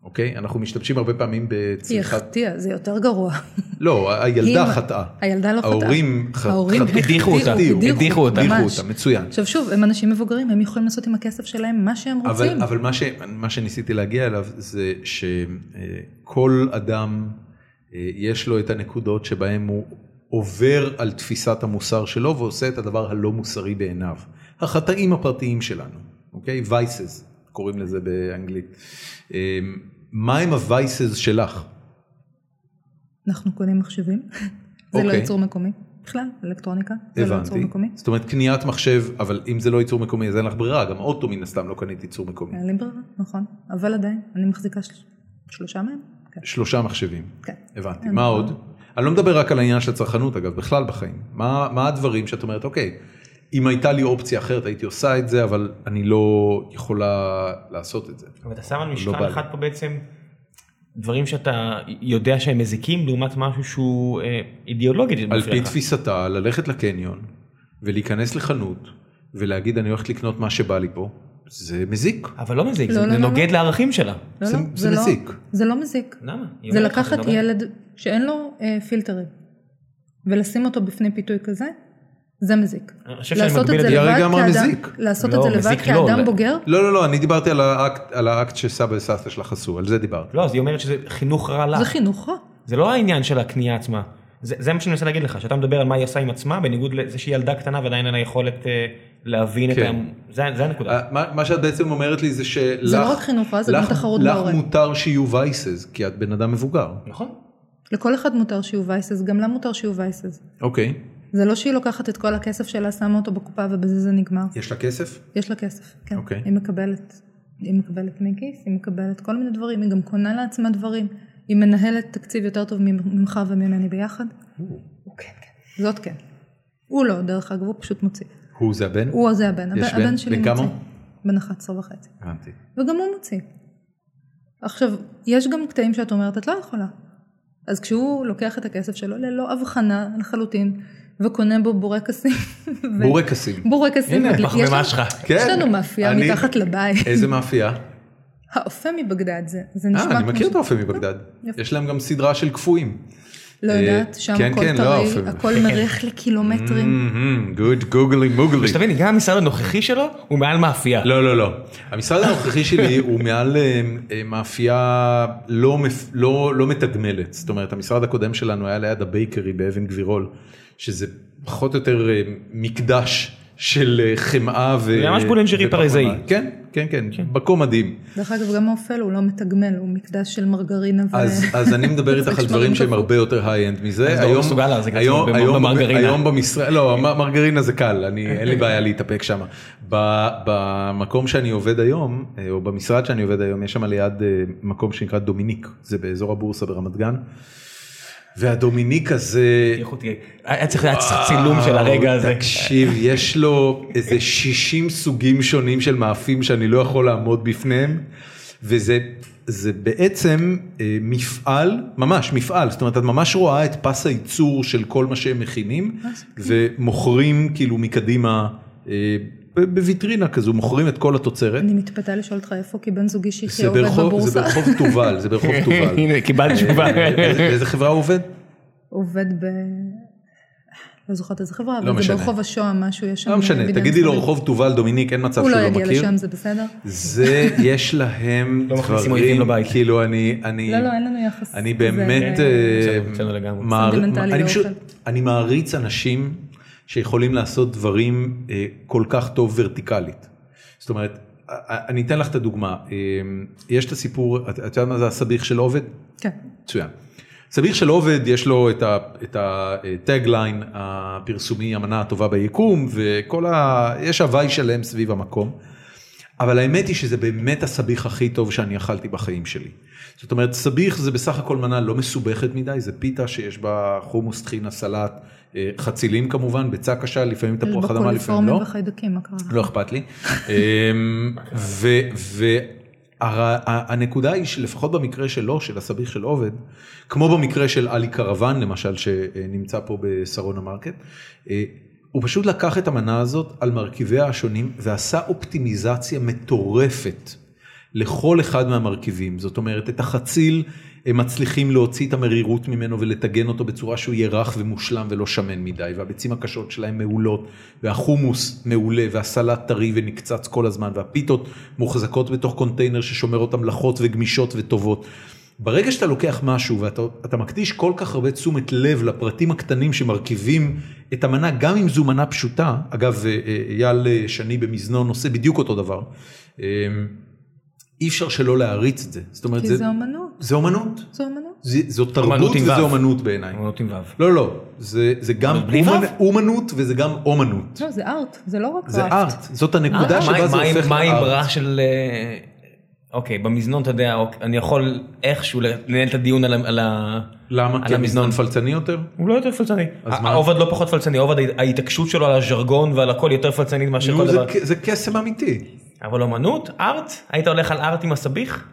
אוקיי? אנחנו משתמשים הרבה פעמים
היא
בצריכת...
החטיאה, זה יותר גרוע.
לא, ה- הילדה
היא-
חטאה.
הילדה לא חטאה.
ההורים ח-
ההורים
חטאו.
הדיחו אותה, הדיחו אותה.
הדיחו
ממש.
אותה, מצוין.
עכשיו שוב, הם אנשים מבוגרים, הם יכולים לעשות עם הכסף שלהם מה שהם רוצים.
אבל, אבל מה, ש, מה שניסיתי להגיע אליו זה שכל אדם אה, יש לו את הנקודות שבהם הוא עובר על תפיסת המוסר שלו ועושה את הדבר הלא מוסרי בעיניו. החטאים הפרטיים שלנו, אוקיי? Vices קוראים לזה באנגלית. אה, מה הם ה-Vices שלך?
אנחנו קונים מחשבים, זה לא
אוקיי.
ייצור מקומי. בכלל, אלקטרוניקה, זה לא ייצור
הבנתי.
מקומי.
זאת אומרת קניית מחשב, אבל אם זה לא ייצור מקומי אז אין לך ברירה, גם אוטו מן הסתם לא קנית ייצור מקומי.
אין לי ברירה, נכון. אבל עדיין, אני מחזיקה של... שלושה מהם? כן.
שלושה מחשבים.
כן.
הבנתי.
אין
מה
בעיה.
עוד? אני לא מדבר רק על העניין של הצרכנות, אגב, בכלל בחיים. מה, מה הדברים שאת אומרת, אוקיי, אם הייתה לי אופציה אחרת הייתי עושה את זה, אבל אני לא יכולה לעשות את זה.
ואתה שם
לא
על
בא
משקל
לי.
אחד פה בעצם דברים שאתה יודע שהם מזיקים לעומת משהו שהוא אה, אידיאולוגית.
על
מפריע
פי
לך.
תפיסתה, ללכת לקניון ולהיכנס לחנות ולהגיד אני הולכת לקנות מה שבא לי פה, זה מזיק.
אבל לא מזיק,
לא,
זה
לא,
זה
לא, לא.
נוגד לערכים שלה.
לא,
זה-
לא,
זה
לא-
מזיק.
זה לא מזיק.
למה? היא
זה
אומרת לך,
לקחת
נוגד.
ילד שאין לו אה, פילטרים ולשים אותו בפני פיתוי כזה, זה מזיק.
אני חושב שאני מגביל את
זה- היא הרגע אמרה
כאדם-
מזיק.
לעשות
לא,
את זה לבד
מזיק לא,
כאדם
לא.
בוגר,
לא, לא, לא, אני דיברתי על האקט, על האקט שסבא וסבתא שלך עשו, על זה דיברתי.
לא, אז היא אומרת שזה חינוך רע לה.
זה חינוך רע.
זה לא העניין של הקנייה עצמה. זה, זה מה שאני מנסה להגיד לך, שאתה מדבר על מה היא עושה עם עצמה, בניגוד לזה שהיא ילדה קטנה ועדיין אין לה יכולת אה, להבין
כן.
את ה... זה, זה הנקודה.
אה, מה מה שאת בעצם אומרת לי זה שלך,
זה לא רק חינוך רע, זה גם
לך-
תחרות בהורה.
לך מותר שיהיו וייסס, כי את בן אדם מבוגר.
נכון.
לכל אחד מותר שיהיו וייסס, גם לה מותר שיהיו וייסס.
אוקיי.
זה לא שהיא לוקחת את כל הכסף שלה, שמה אותו בקופה ובזה זה נגמר.
יש לה כסף?
יש לה כסף, כן.
אוקיי.
היא מקבלת, היא מקבלת מכיס, היא מקבלת כל מיני דברים, היא גם קונה לעצמה דברים, היא מנהלת תקציב יותר טוב ממך וממני ביחד.
אוקיי.
כן, כן. זאת כן. הוא לא, דרך אגב, הוא פשוט מוציא.
הוא זה הבן?
הוא זה הבן,
יש
הבן,
בן?
הבן שלי
בן כמה
מוציא.
הוא?
בן 11 וחצי.
הבנתי.
וגם הוא מוציא. עכשיו, יש גם קטעים שאת אומרת, את לא יכולה. אז כשהוא לוקח את הכסף שלו ללא הבחנה לחלוטין, וקונה בו בורקסים. ו-
בורקסים.
בורקסים.
הנה,
מדליק- יש
פחמימה
לנו-
שלך.
כן.
יש לנו מאפייה
אני-
מתחת לבית.
איזה מאפייה?
האופה מבגדד זה, זה נשמע
אה, אני
כמו
מכיר
ש-
את האופי מבגדד.
יפה.
יש להם גם סדרה של קפואים.
לא
אה,
יודעת, שם
כן,
הכל
כן, לא
טרי,
האופה.
הכל מריח לקילומטרים.
גוד גוגלי מוגלי.
שתביני, גם המשרד הנוכחי שלו הוא מעל מאפייה.
לא, לא, לא. המשרד הנוכחי שלי הוא מעל אה, אה, מאפייה לא, מפ- לא, לא מתגמלת. זאת אומרת, המשרד הקודם שלנו היה ליד הבייקרי באבן גבירול, שזה פחות או יותר אה, מקדש של אה, חמאה ו...
זה ממש בולנג'רי
ופחמימה.
פריזאי.
כן, כן, כן, מקום מדהים.
דרך אגב, גם האופל הוא לא מתגמל, הוא מקדש של מרגרינה ו...
אז, אז אני מדבר איתך על
שמרים
דברים שהם
קפוא.
הרבה יותר היי-אנד מזה.
אז לא מסוגל להחזיק
היום-
עצמו במ-
היום-
במרגרינה.
היום במשרד, לא, המ- מרגרינה זה קל, אני, אין לי בעיה להתאפק שם. ב- במקום שאני עובד היום, אה, או במשרד שאני עובד היום, יש שם ליד אה, מקום שנקרא דומיניק, זה באזור הבורסה ברמת גן. והדומיניק הזה,
איכותי. היה צריך היה צילום של הרגע הזה.
אה, תקשיב, יש לו איזה 60 סוגים שונים של מאפים שאני לא יכול לעמוד בפניהם, וזה זה בעצם אה, מפעל, ממש מפעל, זאת אומרת, את ממש רואה את פס הייצור של כל מה שהם מכינים,
אה, כן.
ומוכרים כאילו מקדימה, אה, ב- בוויטרינה כזו, מוכרים את כל התוצרת.
אני מתפתה לשאול אותך איפה, כי בן זוגי שיחיה
זה
עובד
ברחוב זה
בבורסה.
ברחוב תובל, זה ברחוב אה, תובל.
הנה, קיבלת תשובה.
באיזה- באיזה חברה הוא עובד?
עובד ב... לא זוכרת איזה חברה,
לא
אבל זה
משנה.
ברחוב השואה משהו, יש שם...
לא משנה,
בניין
תגידי לו
משרדים.
רחוב תובל דומיניק, אין מצב
הוא
שהוא
לא
לא
יגיע
מכיר.
לשם, זה בסדר?
זה יש להם
לא מכניסים
דברים,
אויבים לבית.
כאילו אני, אני,
לא, לא, אין לנו יחס.
אני
זה-
באמת,
זה-
אה,
בסדר, בסדר כן, לגמרי.
מער-
סנטימנטלי
אני פשוט,
לאוכל.
אני מעריץ אנשים שיכולים לעשות דברים אה, כל כך טוב ורטיקלית. זאת אומרת, א- א- אני אתן לך את הדוגמה, אה, יש את הסיפור, את את יודעת מה זה הסביך של עובד?
כן.
מצוין. סביך של עובד יש לו את ה- את הטאג ליין הפרסומי המנה הטובה ביקום וכל ה... יש הוואי שלם סביב המקום. אבל האמת היא שזה באמת הסביך הכי טוב שאני אכלתי בחיים שלי. זאת אומרת סביך זה בסך הכל מנה לא מסובכת מדי, זה פיתה שיש בה חומוס, טחינה, סלט, אה, חצילים כמובן, ביצה קשה, לפעמים
אה,
תפוח אדמה, לפעמים
בקוליפורמים
לא.
וחיידקים, מה קרה?
לא אכפת לי. אמ, ו- והנקודה היא שלפחות במקרה שלו, של הסביך של עובד, כמו במקרה של עלי קרוון למשל, שנמצא פה בשרון המרקט, אה, הוא פשוט לקח את המנה הזאת על מרכיביה השונים ועשה אופטימיזציה מטורפת לכל אחד מהמרכיבים. זאת אומרת, את החציל הם מצליחים להוציא את המרירות ממנו ולטגן אותו בצורה שהוא יהיה רך ומושלם ולא שמן מדי, והביצים הקשות שלהם מעולות, והחומוס מעולה, והסלט טרי ונקצץ כל הזמן, והפיתות מוחזקות בתוך קונטיינר ששומר אותם לחות וגמישות וטובות. ברגע שאתה לוקח משהו ואתה אתה מקדיש כל כך הרבה תשומת לב לפרטים הקטנים שמרכיבים את המנה, גם אם זו מנה פשוטה, אגב, אה, אה, אייל אה, שני במזנון עושה בדיוק אותו דבר. אה, אי אפשר שלא להעריץ את זה. זאת אומרת,
כי
זה,
זה אומנות,
זה אומנות.
זה אומנות.
זה, זו תרבות
אומנות עם
וזה
וו.
אומנות בעיניי.
אמנות עם וו.
לא, לא, זה, זה גם
בלי
אומנ-
וו?
אומנות וזה גם אומנות.
לא, זה ארט, זה לא רק
זה
קראפט.
ארט, זאת הנקודה
אה, מה-
שבה זה
מה-
הופך
מה האמרה
לארט.
של... אה, אוקיי, במזנון אתה יודע, אוקיי, אני יכול איכשהו לנהל את הדיון על ה- על ה...
למה?
על
כי המזנון
המזנון.
פלצני יותר?
הוא לא יותר פלצני.
אז מה?
העובד לא פחות פלצני, העובד ההתעקשות שלו על הז'רגון ועל הכל יותר פלצנית מאשר כל
נו, זה
דבר.
כ- זה קסם אמיתי.
אבל אומנות, ארט, היית הולך על ארט עם הסביך?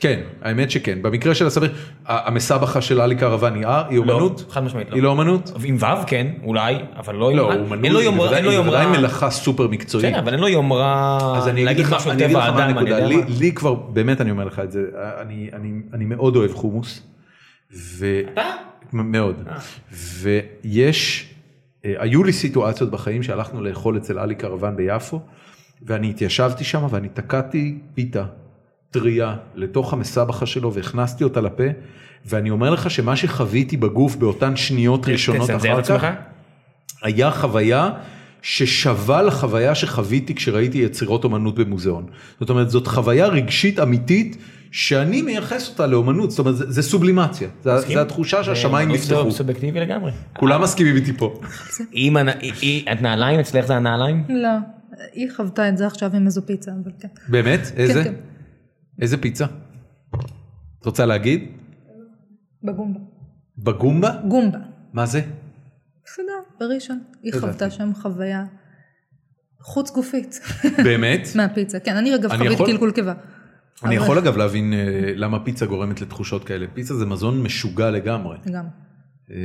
כן, האמת שכן. במקרה של הסביר, ה- המסבכה של עלי קרוון היא אה? היא אומנות?
חד משמעית לא.
היא לא אומנות?
עם ו' כן, אולי, אבל לא עם...
לא,
אין
אומנות
לו
היא
יומרה-
בוודאי-
אין לו
היא
יומרה...
בוודאי מלאכה סופר מקצועית.
בסדר, אבל אין לו יומרה
אז אני אגיד
להגיד
לך,
משהו על
אני אגיד
טבע
לך מה
האדם, אני
הנקודה,
יודע
לי,
מה.
לי כבר, באמת אני אומר לך את זה, אני, אני, אני מאוד אוהב חומוס. ו...
אתה? אה.
מ- מאוד. ויש, אה, היו לי סיטואציות בחיים שהלכנו לאכול אצל עלי קרוון ביפו, ואני התיישבתי שם ואני תקעתי פיתה טריה לתוך המסבכה שלו והכנסתי אותה לפה, ואני אומר לך שמה שחוויתי בגוף באותן שניות ראשונות
תצנזר
אחר
את עצמך?
כך, היה חוויה ששווה לחוויה שחוויתי כשראיתי יצירות אומנות במוזיאון. זאת אומרת, זאת חוויה רגשית אמיתית שאני מייחס אותה לאומנות, זאת אומרת, זה, זה סובלימציה, זה, זה התחושה שהשמיים
אה, לא, זה
נפתחו.
סובייקטיבי לגמרי.
כולם מסכימים איתי פה.
אם הנ- היא- היא- הנעליים, אצלך זה הנעליים?
לא, היא חוותה את זה עכשיו עם איזו פיצה, אבל כן.
באמת? איזה?
כן.
איזה פיצה? את רוצה להגיד?
בגומבה.
בגומבה?
גומבה.
מה זה?
בסדר, בראשון. היא
הבנתי.
חוותה שם חוויה חוץ גופית
באמת?
מהפיצה. כן, אני אגב
אני
חווית
יכול-
קלקול קיבה.
אני
אבל-
יכול אגב להבין אה, למה פיצה גורמת לתחושות כאלה. פיצה זה מזון משוגע לגמרי.
לגמרי.
אה,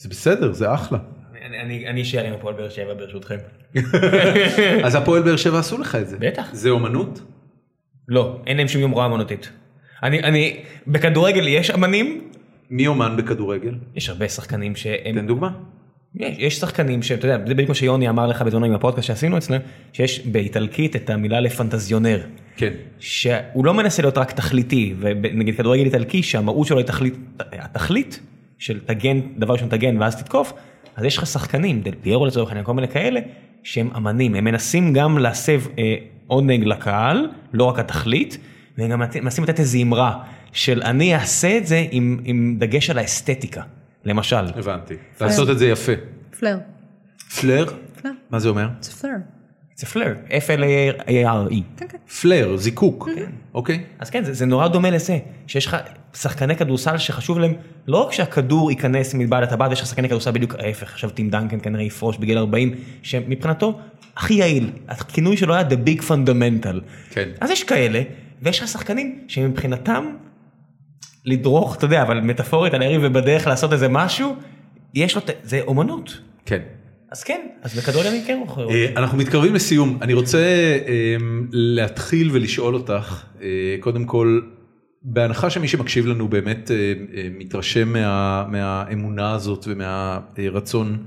זה בסדר, זה אחלה.
אני- אני אני אשאר עם הפועל באר שבע ברשותכם.
אז הפועל באר שבע עשו לך את זה.
בטח.
זה אומנות?
לא, אין להם שום יומרה אמנותית. אני, אני, בכדורגל יש אמנים,
מי אומן בכדורגל?
יש הרבה שחקנים שהם
תן דוגמה.
יש, יש שחקנים שאתה יודע, זה בדיוק מה שיוני אמר לך בזמנו עם הפודקאסט שעשינו אצלם, שיש באיטלקית את המילה לפנטזיונר.
כן.
שהוא לא מנסה להיות רק תכליתי, ונגיד כדורגל איטלקי שהמהות שלו היא תכלית, התכלית של תגן, דבר ראשון תגן ואז תתקוף, אז יש לך שחקנים, דל פיירו לצורך העניין, כל מיני כאלה, שהם אמנים, הם מנסים גם להסב אה, עונג לקהל, לא רק התכלית, והם גם מנסים לתת איזו אמרה של אני אעשה את זה עם, עם דגש על האסתטיקה, למשל.
הבנתי. לעשות את זה יפה.
פלר.
פלר?
פלר.
מה זה אומר?
זה פלר.
זה פלר, F-L-A-R-E.
פלר, זיקוק. אוקיי.
אז כן, זה, זה נורא דומה לזה, שיש לך שחקני כדורסל שחשוב להם, לא רק שהכדור ייכנס מבעל הטבעת, יש לך שחקני כדורסל בדיוק ההפך, עכשיו טים דנקן כנראה יפרוש בגיל 40, שמבחינתו הכי יעיל, הכינוי שלו היה The Big Fundamental.
כן.
אז יש כאלה, ויש לך שחקנים שמבחינתם, לדרוך, אתה יודע, אבל מטאפורית על היריב ובדרך לעשות איזה משהו, יש לו, ת- זה אומנות.
כן.
אז כן, אז בכדורגל אני כן מוכר.
אה, אנחנו מתקרבים לסיום. אני רוצה אה, להתחיל ולשאול אותך, אה, קודם כל, בהנחה שמי שמקשיב לנו באמת אה, אה, מתרשם מה, מהאמונה הזאת ומהרצון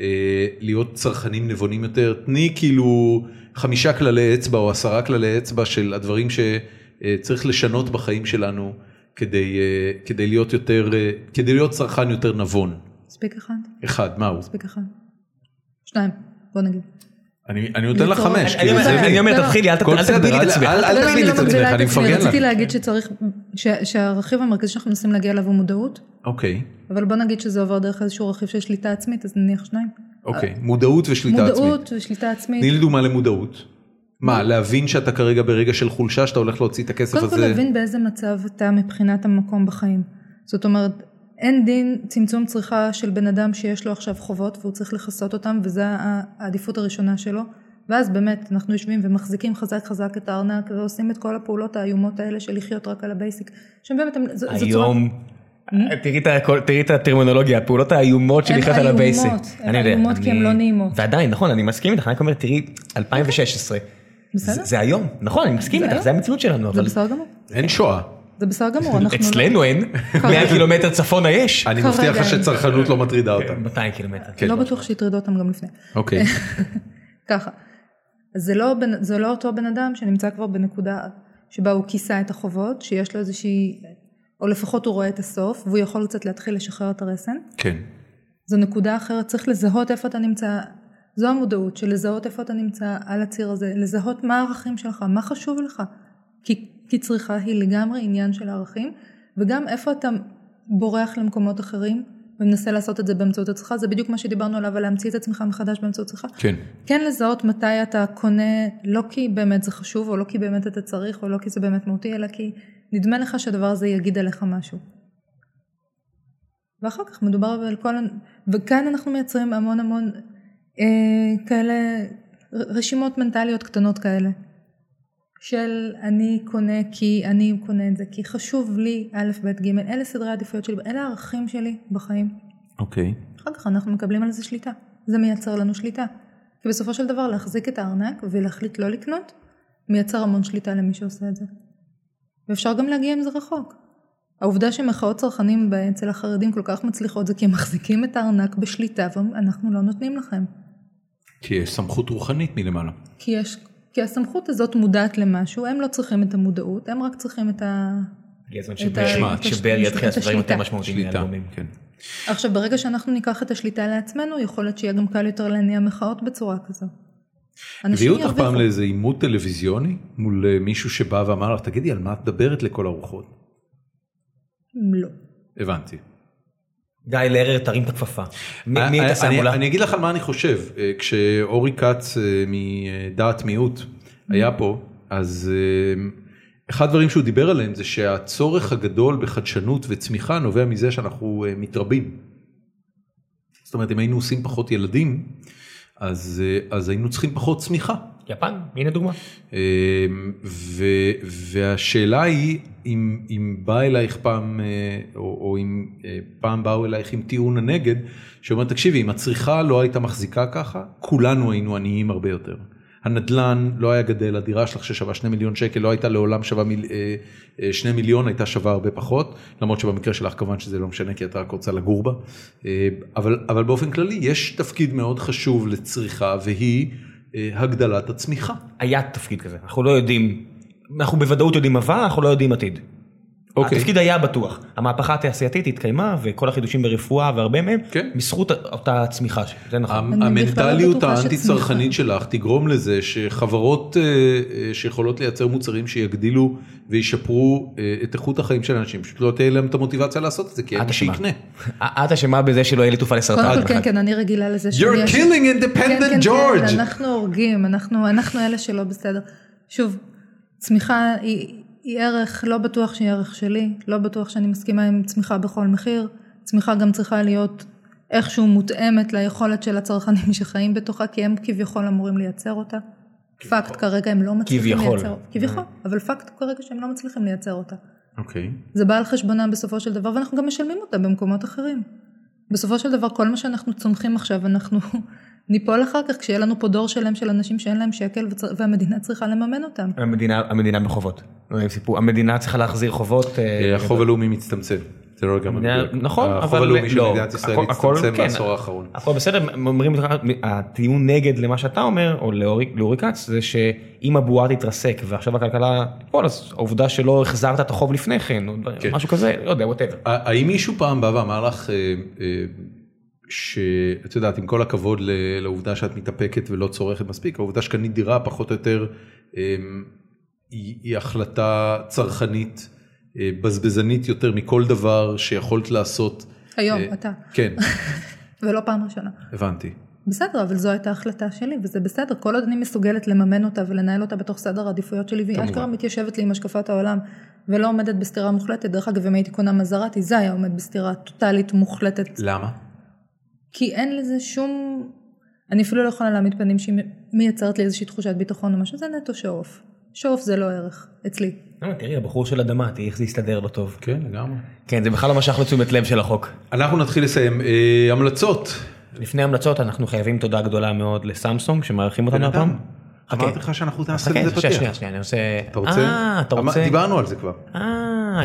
אה, להיות צרכנים נבונים יותר, תני כאילו חמישה כללי אצבע או עשרה כללי אצבע של הדברים שצריך לשנות בחיים שלנו כדי, אה, כדי להיות יותר, אה, כדי להיות צרכן יותר נבון.
מספיק אחד.
אחד, מהו?
מספיק אחד. שניים. בוא נגיד.
אני, אני נותן לך
ליצור-
חמש.
אני
אני
כאילו,
אומר-
זה-
בסדר.
אני אומר,
לא, לא.
תתחילי, אל ת-
הכל
אל
בסדר,
תגבילי את
אל-
עצמך.
אל- אל
אבל
תגבילי
אני
את
לא
עצמך,
מגבילה
אני
את עצמי.
מפרגן לך.
רציתי להגיד שצריך, ש- שהרכיב המרכזי שאנחנו מנסים להגיע אליו הוא מודעות,
אוקיי,
אבל בוא נגיד שזה עובר דרך איזשהו רכיב של שליטה עצמית, אז נניח שניים.
אוקיי. מודעות ושליטה עצמית.
מודעות ושליטה עצמית.
תני לי דוגמה למודעות. מה, להבין שאתה כרגע ברגע של חולשה, שאתה הולך להוציא את הכסף
קודם כל
הזה?
להבין באיזה מצב אתה מבחינת המקום בחיים. זאת אומרת, אין דין צמצום צריכה של בן אדם שיש לו עכשיו חובות והוא צריך לכסות אותם וזה ה- העדיפות הראשונה שלו. ואז באמת אנחנו יושבים ומחזיקים חזק חזק את הארנק ועושים את כל הפעולות האיומות האלה של לחיות רק על הבייסיק. שבאמת, הם- זו- זו צורה-
היום. אה, תראי את הכל- תראי את הטרמינולוגיה, הפעולות האיומות
הן
שנכנסת על
אה, איומות,
הבייסיק.
הן
אני יודע,
איומות כי
אני-
הן לא נעימות.
ועדיין, נכון, אני מסכים איתך, אני רק אומר, תראי, 2016.
בסדר.
זה זה היום, נכון, אני מסכים
זה
איתך,
היום.
זה המציאות שלנו,
זה
אבל
בסדר גמור.
אין שואה.
זה בסדר גמור, אנחנו לא-
אצלנו אין, 100 קילומטר צפונה יש.
אני
כרגע
מבטיח לך
אין.
שצרכנות לא מטרידה אותם.
200 קילומטר.
כן.
לא בטוח שהטרידו אותם גם לפני.
אוקיי.
ככה. אז זה לא, בן- זה לא אותו בן אדם שנמצא כבר בנקודה שבה הוא כיסה את החובות, שיש לו איזושהי, או לפחות הוא רואה את הסוף, והוא יכול קצת להתחיל לשחרר את הרסן.
כן.
זו נקודה אחרת, צריך לזהות איפה אתה נמצא. זו המודעות של לזהות איפה אתה נמצא על הציר הזה, לזהות מה הערכים שלך, מה חשוב לך. כי, כי צריכה היא לגמרי עניין של הערכים, וגם איפה אתה בורח למקומות אחרים ומנסה לעשות את זה באמצעות הצריכה, זה בדיוק מה שדיברנו עליו, על להמציא את עצמך מחדש באמצעות צריכה.
כן.
כן לזהות מתי אתה קונה, לא כי באמת זה חשוב, או לא כי באמת אתה צריך, או לא כי זה באמת מהותי, אלא כי נדמה לך שהדבר הזה יגיד עליך משהו. ואחר כך מדובר על כל... הנ- וכאן אנחנו מייצרים המון המון אה, כאלה, ר- רשימות מנטליות קטנות כאלה. של אני קונה כי אני קונה את זה, כי חשוב לי א', ב', ג', אלה סדרי העדיפויות שלי, אלה הערכים שלי בחיים.
אוקיי.
אחר כך אנחנו מקבלים על זה שליטה. זה מייצר לנו שליטה. כי בסופו של דבר להחזיק את הארנק ולהחליט לא לקנות, מייצר המון שליטה למי שעושה את זה. ואפשר גם להגיע עם זה רחוק. העובדה שמחאות צרכנים אצל החרדים כל כך מצליחות זה כי הם מחזיקים את הארנק בשליטה ואנחנו לא נותנים לכם.
כי יש סמכות רוחנית מלמעלה.
כי, יש, כי הסמכות הזאת מודעת למשהו, הם לא צריכים את המודעות, הם רק צריכים את ה...
הגיע הזמן
ה-
שבאר-
את
שבאר
הש-
יתחיל
את
לעשות דברים יותר
השליטה.
משמעותיים
שליטה.
מהלבומים.
כן.
עכשיו, ברגע שאנחנו ניקח את השליטה לעצמנו, יכול להיות שיהיה גם קל יותר להניע מחאות בצורה כזו. אנשים
הביאו אותך פעם
ירוויחו.
לאיזה עימות טלוויזיוני מול אה, מישהו שבא ואמר לך, תגידי, על מה את מדברת לכל הרוחות?
לא.
הבנתי.
גיא לרר, תרים את הכפפה. מי מי
אני-
היית שם
אה, אני-
מולה?
אני אגיד לך על מה אני חושב. אה, כשאורי כץ אה, מדעת מיעוט היה פה, אז אה, אחד הדברים שהוא דיבר עליהם זה שהצורך הגדול בחדשנות וצמיחה נובע מזה שאנחנו אה, מתרבים. זאת אומרת, אם היינו עושים פחות ילדים, אז אה, אז היינו צריכים פחות צמיחה.
יפן, הנה דוגמה.
אה, ו, והשאלה היא אם, אם בא אלייך פעם אה, או, או אם אה, פעם באו אלייך עם טיעון הנגד שאומר תקשיבי אם הצריכה לא הייתה מחזיקה ככה כולנו היינו עניים הרבה יותר. הנדלן לא היה גדל, הדירה שלך ששווה שני מיליון שקל לא הייתה לעולם שווה מיל, אה, אה, שני מיליון, הייתה שווה הרבה פחות, למרות שבמקרה שלך כמובן שזה לא משנה כי את רק רוצה לגור בה, אה, אבל, אבל באופן כללי יש תפקיד מאוד חשוב לצריכה והיא אה, הגדלת הצמיחה.
היה תפקיד כזה, אנחנו לא יודעים, אנחנו בוודאות יודעים עבר, אנחנו לא יודעים עתיד.
אוקיי.
התפקיד היה בטוח, המהפכה התעשייתית התקיימה וכל החידושים ברפואה והרבה מהם,
כן.
בזכות אותה צמיחה, ש- זה נכון.
המ-
אני בכלל לא
המנטליות
בטוחה
האנטי-צרכנית שלך תגרום לזה שחברות אה, אה, שיכולות לייצר מוצרים שיגדילו וישפרו אה, את איכות החיים של אנשים, פשוט לא תהיה להם את המוטיבציה לעשות את זה, כי אין
את
מי
אשמה.
שיקנה. אמ,
את אשמה בזה שלא יהיה לי תרופה לסרטן.
קודם כל
בכלל.
כן, כן, אני רגילה לזה
You're
יש-
killing
כן, כן,
independent
כן,
George!
אנחנו הורגים, אנחנו, אנחנו אלה שלא בסדר. שוב, צמיחה היא, היא ערך, לא בטוח שהיא ערך שלי, לא בטוח שאני מסכימה עם צמיחה בכל מחיר. צמיחה גם צריכה להיות איכשהו מותאמת ליכולת של הצרכנים שחיים בתוכה, כי הם כביכול אמורים לייצר אותה. פאקט כרגע הם לא מצליחים
כביכול.
לייצר אותה.
אה.
כביכול, אבל פאקט כרגע שהם לא מצליחים לייצר אותה.
אוקיי.
זה בא על חשבונם בסופו של דבר, ואנחנו גם משלמים אותה במקומות אחרים. בסופו של דבר, כל מה שאנחנו צומחים עכשיו, אנחנו ניפול אחר כך, כשיהיה לנו פה דור שלם של אנשים שאין להם שקל, וצר- והמדינה צריכה לממן אותם.
המדינה, המדינה בחובות. לא עם סיפור. המדינה צריכה להחזיר חובות. אה,
אה, החוב הלאומי מצטמצם. זה לא גם
המדינה-
המדויק.
נכון, אבל...
החוב הלאומי של
לא,
מדינת ישראל
הכל- הכל-
מצטמצם
כן,
בעשור האחרון.
הכל בסדר, אומרים לך, הטיעון נגד למה שאתה אומר, או לאורי לאורי כץ, זה שאם הבועה תתרסק ועכשיו הכלכלה תיפול, אז העובדה שלא החזרת את החוב לפני כן, או דברים-
כן.
משהו כזה, לא יודע, ווטאבר.
ה- האם מישהו פעם בא ואמר לך אה, אה, שאת יודעת עם כל הכבוד ל- לעובדה שאת מתאפקת ולא צורכת מספיק העובדה שקנית דירה פחות או יותר אה, היא, היא החלטה צרכנית אה, בזבזנית יותר מכל דבר שיכולת לעשות.
היום,
אה,
אתה.
כן
ולא פעם ראשונה.
הבנתי.
בסדר, אבל זו הייתה החלטה שלי, וזה בסדר. כל עוד אני מסוגלת לממן אותה ולנהל אותה בתוך סדר העדיפויות שלי, והיא
כמובן.
אשכרה מתיישבת לי עם השקפת העולם, ולא עומדת בסתירה מוחלטת. דרך אגב, אם הייתי קונה מזרטי, זה היה עומד בסתירה טוטאלית מוחלטת
למה?
כי אין לזה שום, אני אפילו לא יכולה להעמיד פנים שהיא מייצרת לי איזושהי תחושת ביטחון או משהו, זה נטו שואוף. שואוף זה לא ערך, אצלי.
אה, תראי, הבחור של אדמה, תראי איך זה הסתדר לא טוב.
כן לגמרי.
כן, זה בכלל לא משך לתשומת לב של החוק.
אנחנו נתחיל לסיים אה, המלצות.
לפני המלצות, אנחנו חייבים תודה גדולה מאוד לסמסונג, שמארחים
בן
אותנו
אדם,
הפעם. חכה.
אמרתי לך שאנחנו נעשה
חכה,
את זה
שנייה,
פתיח.
שנייה, שנייה, אני רוצה...
אתה רוצה?
אה, אתה
אמר-
רוצה?
דיברנו על זה כבר.
אה,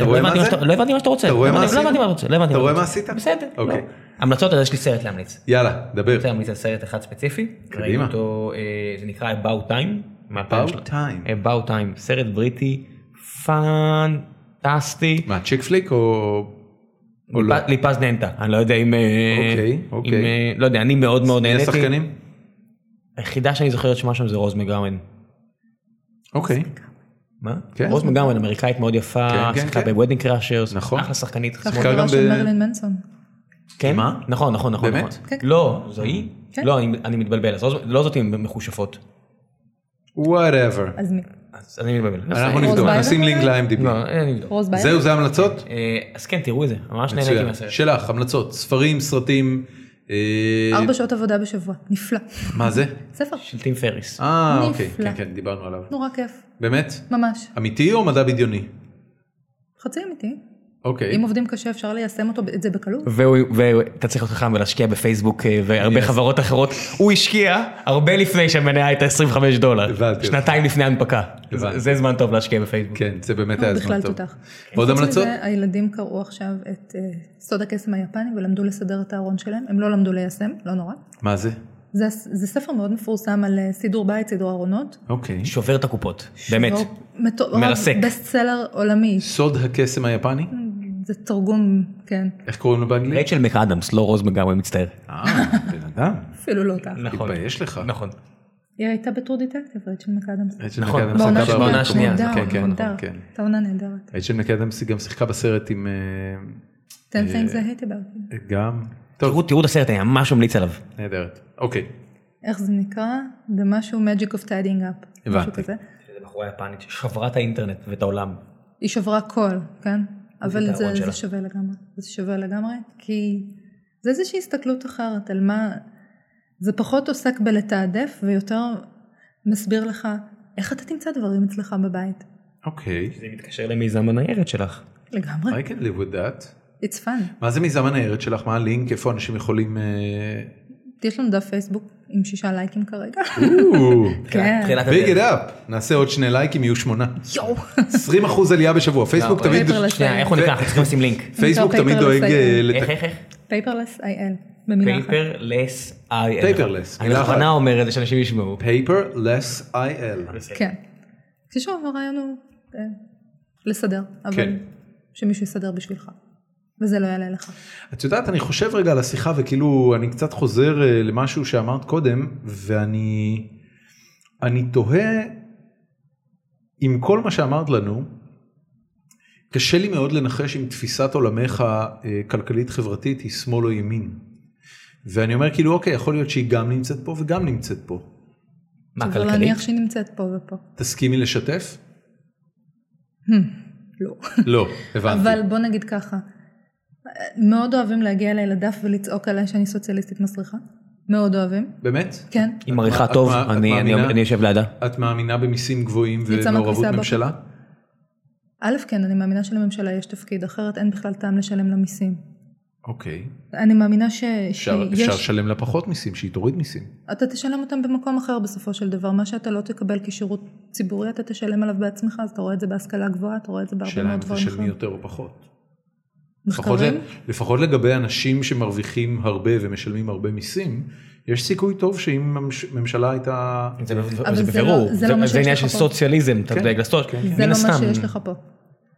רואה
לא הבנתי
מה
מה
זה?
שאתה- לא הבנתי מה שאתה רוצה.
אתה רואה
לא
מה
הבנתי-
עשית?
לא הבנתי מה אתה רוצה. לא הבנתי
אתה רואה
רוצה.
מה עשית?
בסדר. לא.
אוקיי.
המלצות, אז יש לי סרט להמליץ.
יאללה דבר.
אני רוצה להמליץ על סרט אחד ספציפי.
קדימה.
ראינו אותו, אה, זה נקרא About Time.
About Time.
About Time, סרט בריטי פאנטסטי.
מה צ'יק פליק או או לא?
ליפ- ליפז נהנתה, אני לא יודע אם... אה,
אוקיי, אוקיי.
אם, אה, לא יודע, אני מאוד מאוד
מי
נהניתי.
השחקנים?
היחידה שאני זוכרת שמה שם זה רוז מגרמן.
אוקיי.
מה?
כן.
רוז מגרמן, אמריקאית מאוד יפה,
כן, כן,
שיחקה
כן.
בוודינג קראשרס,
נכון.
אחלה שחקנית.
ככה
גם
דירה
ב-
של מרלין מנסון.
כן?
מה?
נכון, נכון, נכון.
באמת?
נכון.
כן.
לא, זו היא?
כן.
לא, אני אני מתבלבל, אז רוז- לא זאת עם מכושפות.
וואטאבר.
אז מי?
אז אני מתבלבל.
אנחנו
אז-
רוז
נבדוק,
ביידן?
נשים לינק ל-IMDb.
לא, אני אבדוק.
רוז ביידן?
זהו, זה ההמלצות?
אה, אז כן, תראו את זה, ממש נהניתי
מצוין.
מהסרט.
שלך, המלצות, ספרים, סרטים, אה,
ארבע שעות עבודה בשבוע, נפלא.
מה זה?
ספר,
של טים פריס.
אה,
נפלא.
אוקיי, כן, כן, דיברנו עליו.
נורא כיף,
באמת?
ממש.
אמיתי או מדע בדיוני?
חצי אמיתי.
אוקיי.
אם עובדים קשה אפשר ליישם אותו, את זה בקלות.
ואתה צריך להיות חכם ולהשקיע בפייסבוק אה, והרבה חברות אחרות. הוא השקיע הרבה לפני שהמניה הייתה 25 דולר.
הבנתי.
שנתיים לפני ההנפקה.
הבנתי.
זה- זה זמן טוב להשקיע בפייסבוק.
כן, זה באמת
הוא
היה זמן
לא, בכלל
טוב.
תותח.
ועוד
חוץ
המלצות?
מזה, הילדים קראו עכשיו את אה, סוד הקסם היפני ולמדו לסדר את הארון שלהם, הם לא למדו ליישם, לא נורא.
מה זה?
זה, זה ספר מאוד מפורסם על אה, סידור בית, סידור ארונות.
אוקיי.
שובר את הקופות. באמת.
שהוא מטורף,
מרסק.
בסט סלר לא, עולמי.
סוד הקסם היפני?
Mm. זה תרגום, כן,
איך קוראים לו באנגלית?
רייצ'ל מקאדמס, לא רוז מגמרי, מצטער.
אה, בן אדם.
אפילו לא אותה.
תתבייש לך. אה,
נכון.
היא הייתה בתור דיטקטיב, רייצ'ל מקאדמס.
רייצ'ל
נכון,
מקאדמס
בעונה נכון,
שיחקה
בעונה
בעונה
השנייה,
השנייה.
נהדר,
כן, כן,
נהדר.
כן.
הייתה עונה נהדרת.
רייצ'ל מקאדמס היא גם שיחקה בסרט עם... אה,
10 things I hate about you.
גם... טוב,
תראו תראו את הסרט, אני ממש ממליץ עליו.
נהדרת. אוקיי.
איך זה נקרא? זה משהו magic of tidying up. משהו
הבנתי.
כזה.
זה בחורה יפנית ששברה את האינטרנט ואת העולם.
היא שברה קול, כן? אבל
את
זה,
הארון
זה
שלה.
שווה לגמרי. זה שווה לגמרי, כי זה איזושהי הסתכלות אחרת על מה... זה פחות עוסק בלתעדף ויותר מסביר לך איך אתה תמצא דברים אצלך בבית.
אוקיי.
זה מתקשר למיזם הניירת
כן.
שלך.
לגמרי.
I can live with that.
It's fun.
מה זה מיזם הניירת שלך? מה הלינק? איפה אנשים יכולים... אה,
יש לנו דף פייסבוק עם שישה לייקים כרגע.
או,
כן.
תחילת
ביג
הדרך.
את אפ. נעשה עוד שני לייקים, יהיו שמונה.
יואו.
20 אחוז עלייה בשבוע. פייסבוק
לא,
תמיד...
פייפרלס.
שנייה, איך הוא נקרא? אנחנו צריכים לשים לינק.
פייסבוק
נקרא
תמיד
paperless
דואג אה,
היום.
לתק-
איך איך איך?
פייפרלס IL, במילה אחת.
פייפרלס איי.
Paperless,
אני
מילה אחת.
בכוונה אומר את זה שאנשים ישמעו.
paperless IL.
כן. כששוב הרעיון הוא אה, לסדר, אבל
כן.
שמישהו יסדר בשבילך. וזה לא יעלה לך.
את יודעת, אני חושב רגע על השיחה וכאילו אני קצת חוזר אה, למשהו שאמרת קודם, ואני אני תוהה עם כל מה שאמרת לנו, קשה לי מאוד לנחש אם תפיסת עולמך אה, כלכלית-חברתית היא שמאל או ימין. ואני אומר כאילו, אוקיי, יכול להיות שהיא גם נמצאת פה וגם נמצאת פה.
מה,
אבל
כלכלית?
נניח שהיא נמצאת פה ופה.
תסכימי לשתף?
לא.
לא, הבנתי.
אבל בוא נגיד ככה, מאוד אוהבים להגיע אליי לדף ולצעוק עליי שאני סוציאליסטית מסריחה. מאוד אוהבים,
באמת?
כן.
היא
את
מעריכה
מה-
טוב,
את
אני- אני-
מאמינה?
אני יושב לידה.
את מאמינה במיסים גבוהים
אני צמה
ומעורבות
כביסה הבוקר.
ממשלה?
א', כן, אני מאמינה שלממשלה יש תפקיד, אחרת אין בכלל טעם לשלם לה מיסים.
אוקיי.
אני מאמינה ש...
אפשר,
שיש...
אפשר לשלם לה פחות מיסים, שהיא תוריד מיסים.
אתה תשלם אותם במקום אחר בסופו של דבר. מה שאתה לא תקבל כשירות ציבורי, אתה תשלם עליו בעצמך, אז אתה רואה את זה בהשכלה גבוהה, אתה רואה את זה בהרבה
השאלה אם
מאוד דברים
תשלמי
אחרים.
יותר או פחות. לפחות,
מחקרים?
ל- לפחות לגבי אנשים שמרוויחים הרבה ומשלמים הרבה מיסים, יש סיכוי טוב שאם המש- הממשלה הייתה...
זה
אבל
זה
זה
בבירור,
לא- זה לא מה
זה
שיש
עניין
לך
של
פה.
סוציאליזם,
כן.
אתה דואג לסטוט,
זה לא מה שיש לך פה.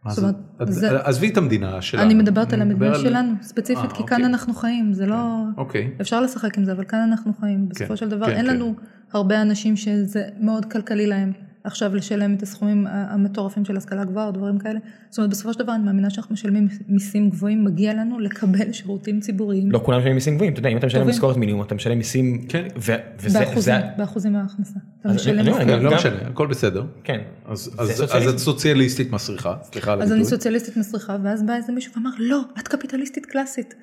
מה
זאת
זה-
אומרת,
אז-
זה-
עזבי את המדינה שלנו.
אני מדברת על המדינה
מדבר
שלנו, ספציפית,
אה,
כי כאן
אוקיי.
אנחנו חיים, זה לא...
אוקיי.
אפשר לשחק עם זה, אבל כאן אנחנו חיים. בסופו של דבר,
כן,
אין
כן.
לנו הרבה אנשים שזה מאוד כלכלי להם עכשיו לשלם את הסכומים ה- המטורפים של השכלה גבוהה או דברים כאלה. זאת אומרת, בסופו של דבר, אני מאמינה שאנחנו משלמים מיסים גבוהים, מגיע לנו לקבל שירותים ציבוריים.
לא כולם משלמים מיסים גבוהים, אתה יודע, אם אתה משלם
טובים.
משכורת מינימום, אתה משלם מיסים,
כן.
ו- וזה,
באחוזים,
זה-
באחוזים מההכנסה. אתה
אז
משלם
אני אומר,
מיסים.
גם-
לא
גם-
משנה, הכל בסדר.
כן,
אז
זה
אז- אז
סוציאליזם.
את סוציאליסטית מסריחה, סליחה על
אז אני
הביטוי.
סוציאליסטית מסריחה, ואז בא איזה מישהו ואמר, לא, את קפיטליסטית קלאסית.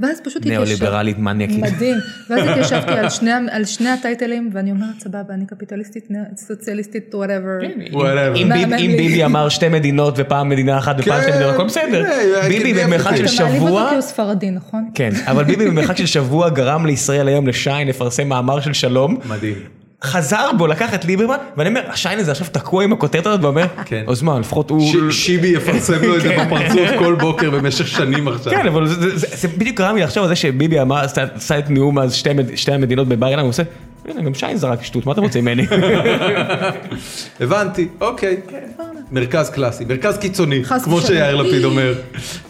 ואז פשוט התיישב.
ניאו-ליברלית מניאקית,
מדהים. ואז התיישבתי על שני, על שני הטייטלים, ואני אומרת, סבבה, אני קפיטליסטית, נה- סוציאליסטית, וואטאבר.
כן,
Whatever.
אם ביב-
מהמם
אם
לי.
ביבי אמר שתי מדינות ופעם מדינה אחת ופעם שתי
כן,
מדינות, הכל בסדר,
כן,
ביבי
כן,
במרחק של
אתה
אתה מעליב אותו
שבוע,
כי הוא ספרדי, נכון?
כן, אבל ביבי במרחק של שבוע גרם לישראל היום לשיין לפרסם מאמר של שלום,
מדהים.
חזר בו לקח את ליברמן, ואני אומר, השיין הזה עכשיו תקוע עם הכותרת הזאת, ואומר,
כן.
אז מה, לפחות הוא...
ש- שיבי יפרסם לו את זה בפרצוף כל בוקר במשך שנים עכשיו.
כן, אבל זה- זה- זה זה בדיוק גרם לי לחשוב על זה שביבי אמר, עשה- עשה את נאום אז שתי מד- שתי המדינות בבר אילן, הוא עושה, הנה גם שיין זרק שטות, מה אתם רוצים ממני?
הבנתי, אוקיי.
כן,
מרכז קלאסי, מרכז קיצוני,
חס
כמו
ושלום.
שיאיר לפיד אומר.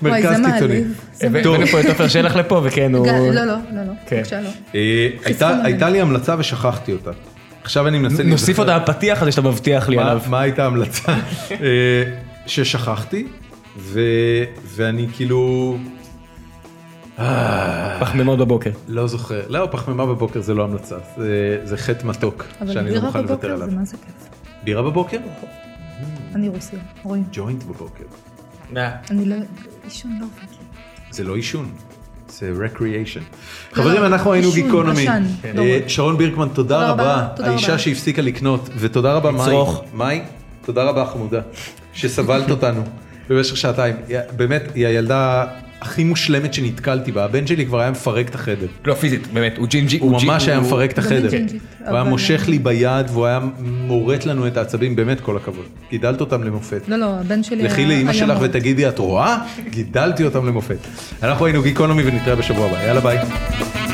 וואי,
מרכז
זה
קיצוני.
מעליב. זה
טוב,
הבאנו פה את עופר שלח לפה, וכן, הוא...
ג- לא, לא, לא, לא,
כן.
בבקשה לא.
אה, הייתה-
חיסון
הייתה לי המלצה ושכחתי אותה. עכשיו אני
לא.
מנסה להיזכר.
נוסיף עוד הפתיח הזה שאתה מבטיח לי
מה-
עליו.
מה הייתה ההמלצה? אה, ששכחתי, ו- ואני כאילו
פחמימות בבוקר.
לא זוכר. לא, פחמימה בבוקר זה לא המלצה, זה- זה חטא מתוק,
אבל
שאני לא
בירה
מוכן לוותר
בבוקר זה
עליו.
מה זה כיף.
בירה בבוקר?
אני רוסיה, רואים.
ג'וינט בבוקר.
אני לא... עישון לא עובד לי.
זה לא עישון. זה recreation. חברים, אנחנו היינו
לא, עישון,
גיקונומי.
עשן,
אה,
נורא.
שרון בירקמן, תודה
תודה
רבה.
רבה, תודה
האישה
רבה.
שהפסיקה לקנות, ותודה רבה, מאי.
לצרוך.
מאי, תודה רבה, חמודה, שסבלת אותנו במשך שעתיים. היא- באמת, היא הילדה הכי מושלמת שנתקלתי בה. הבן שלי כבר היה מפרק את החדר.
לא, פיזית, באמת, הוא ג'ינג'י.
הוא ממש היה מפרק את
גם
החדר.
ג'ינג'ית,
הוא היה
אבל-
מושך לי ביד והוא היה מורט לנו את העצבים, באמת כל הכבוד. גידלת אותם למופת.
לא, לא, הבן שלי...
לכי
היה-
לאימא
היה
שלך
מאוד.
ותגידי, את רואה? גידלתי אותם למופת. אנחנו היינו גיקונומי ונתראה בשבוע הבא. יאללה ביי.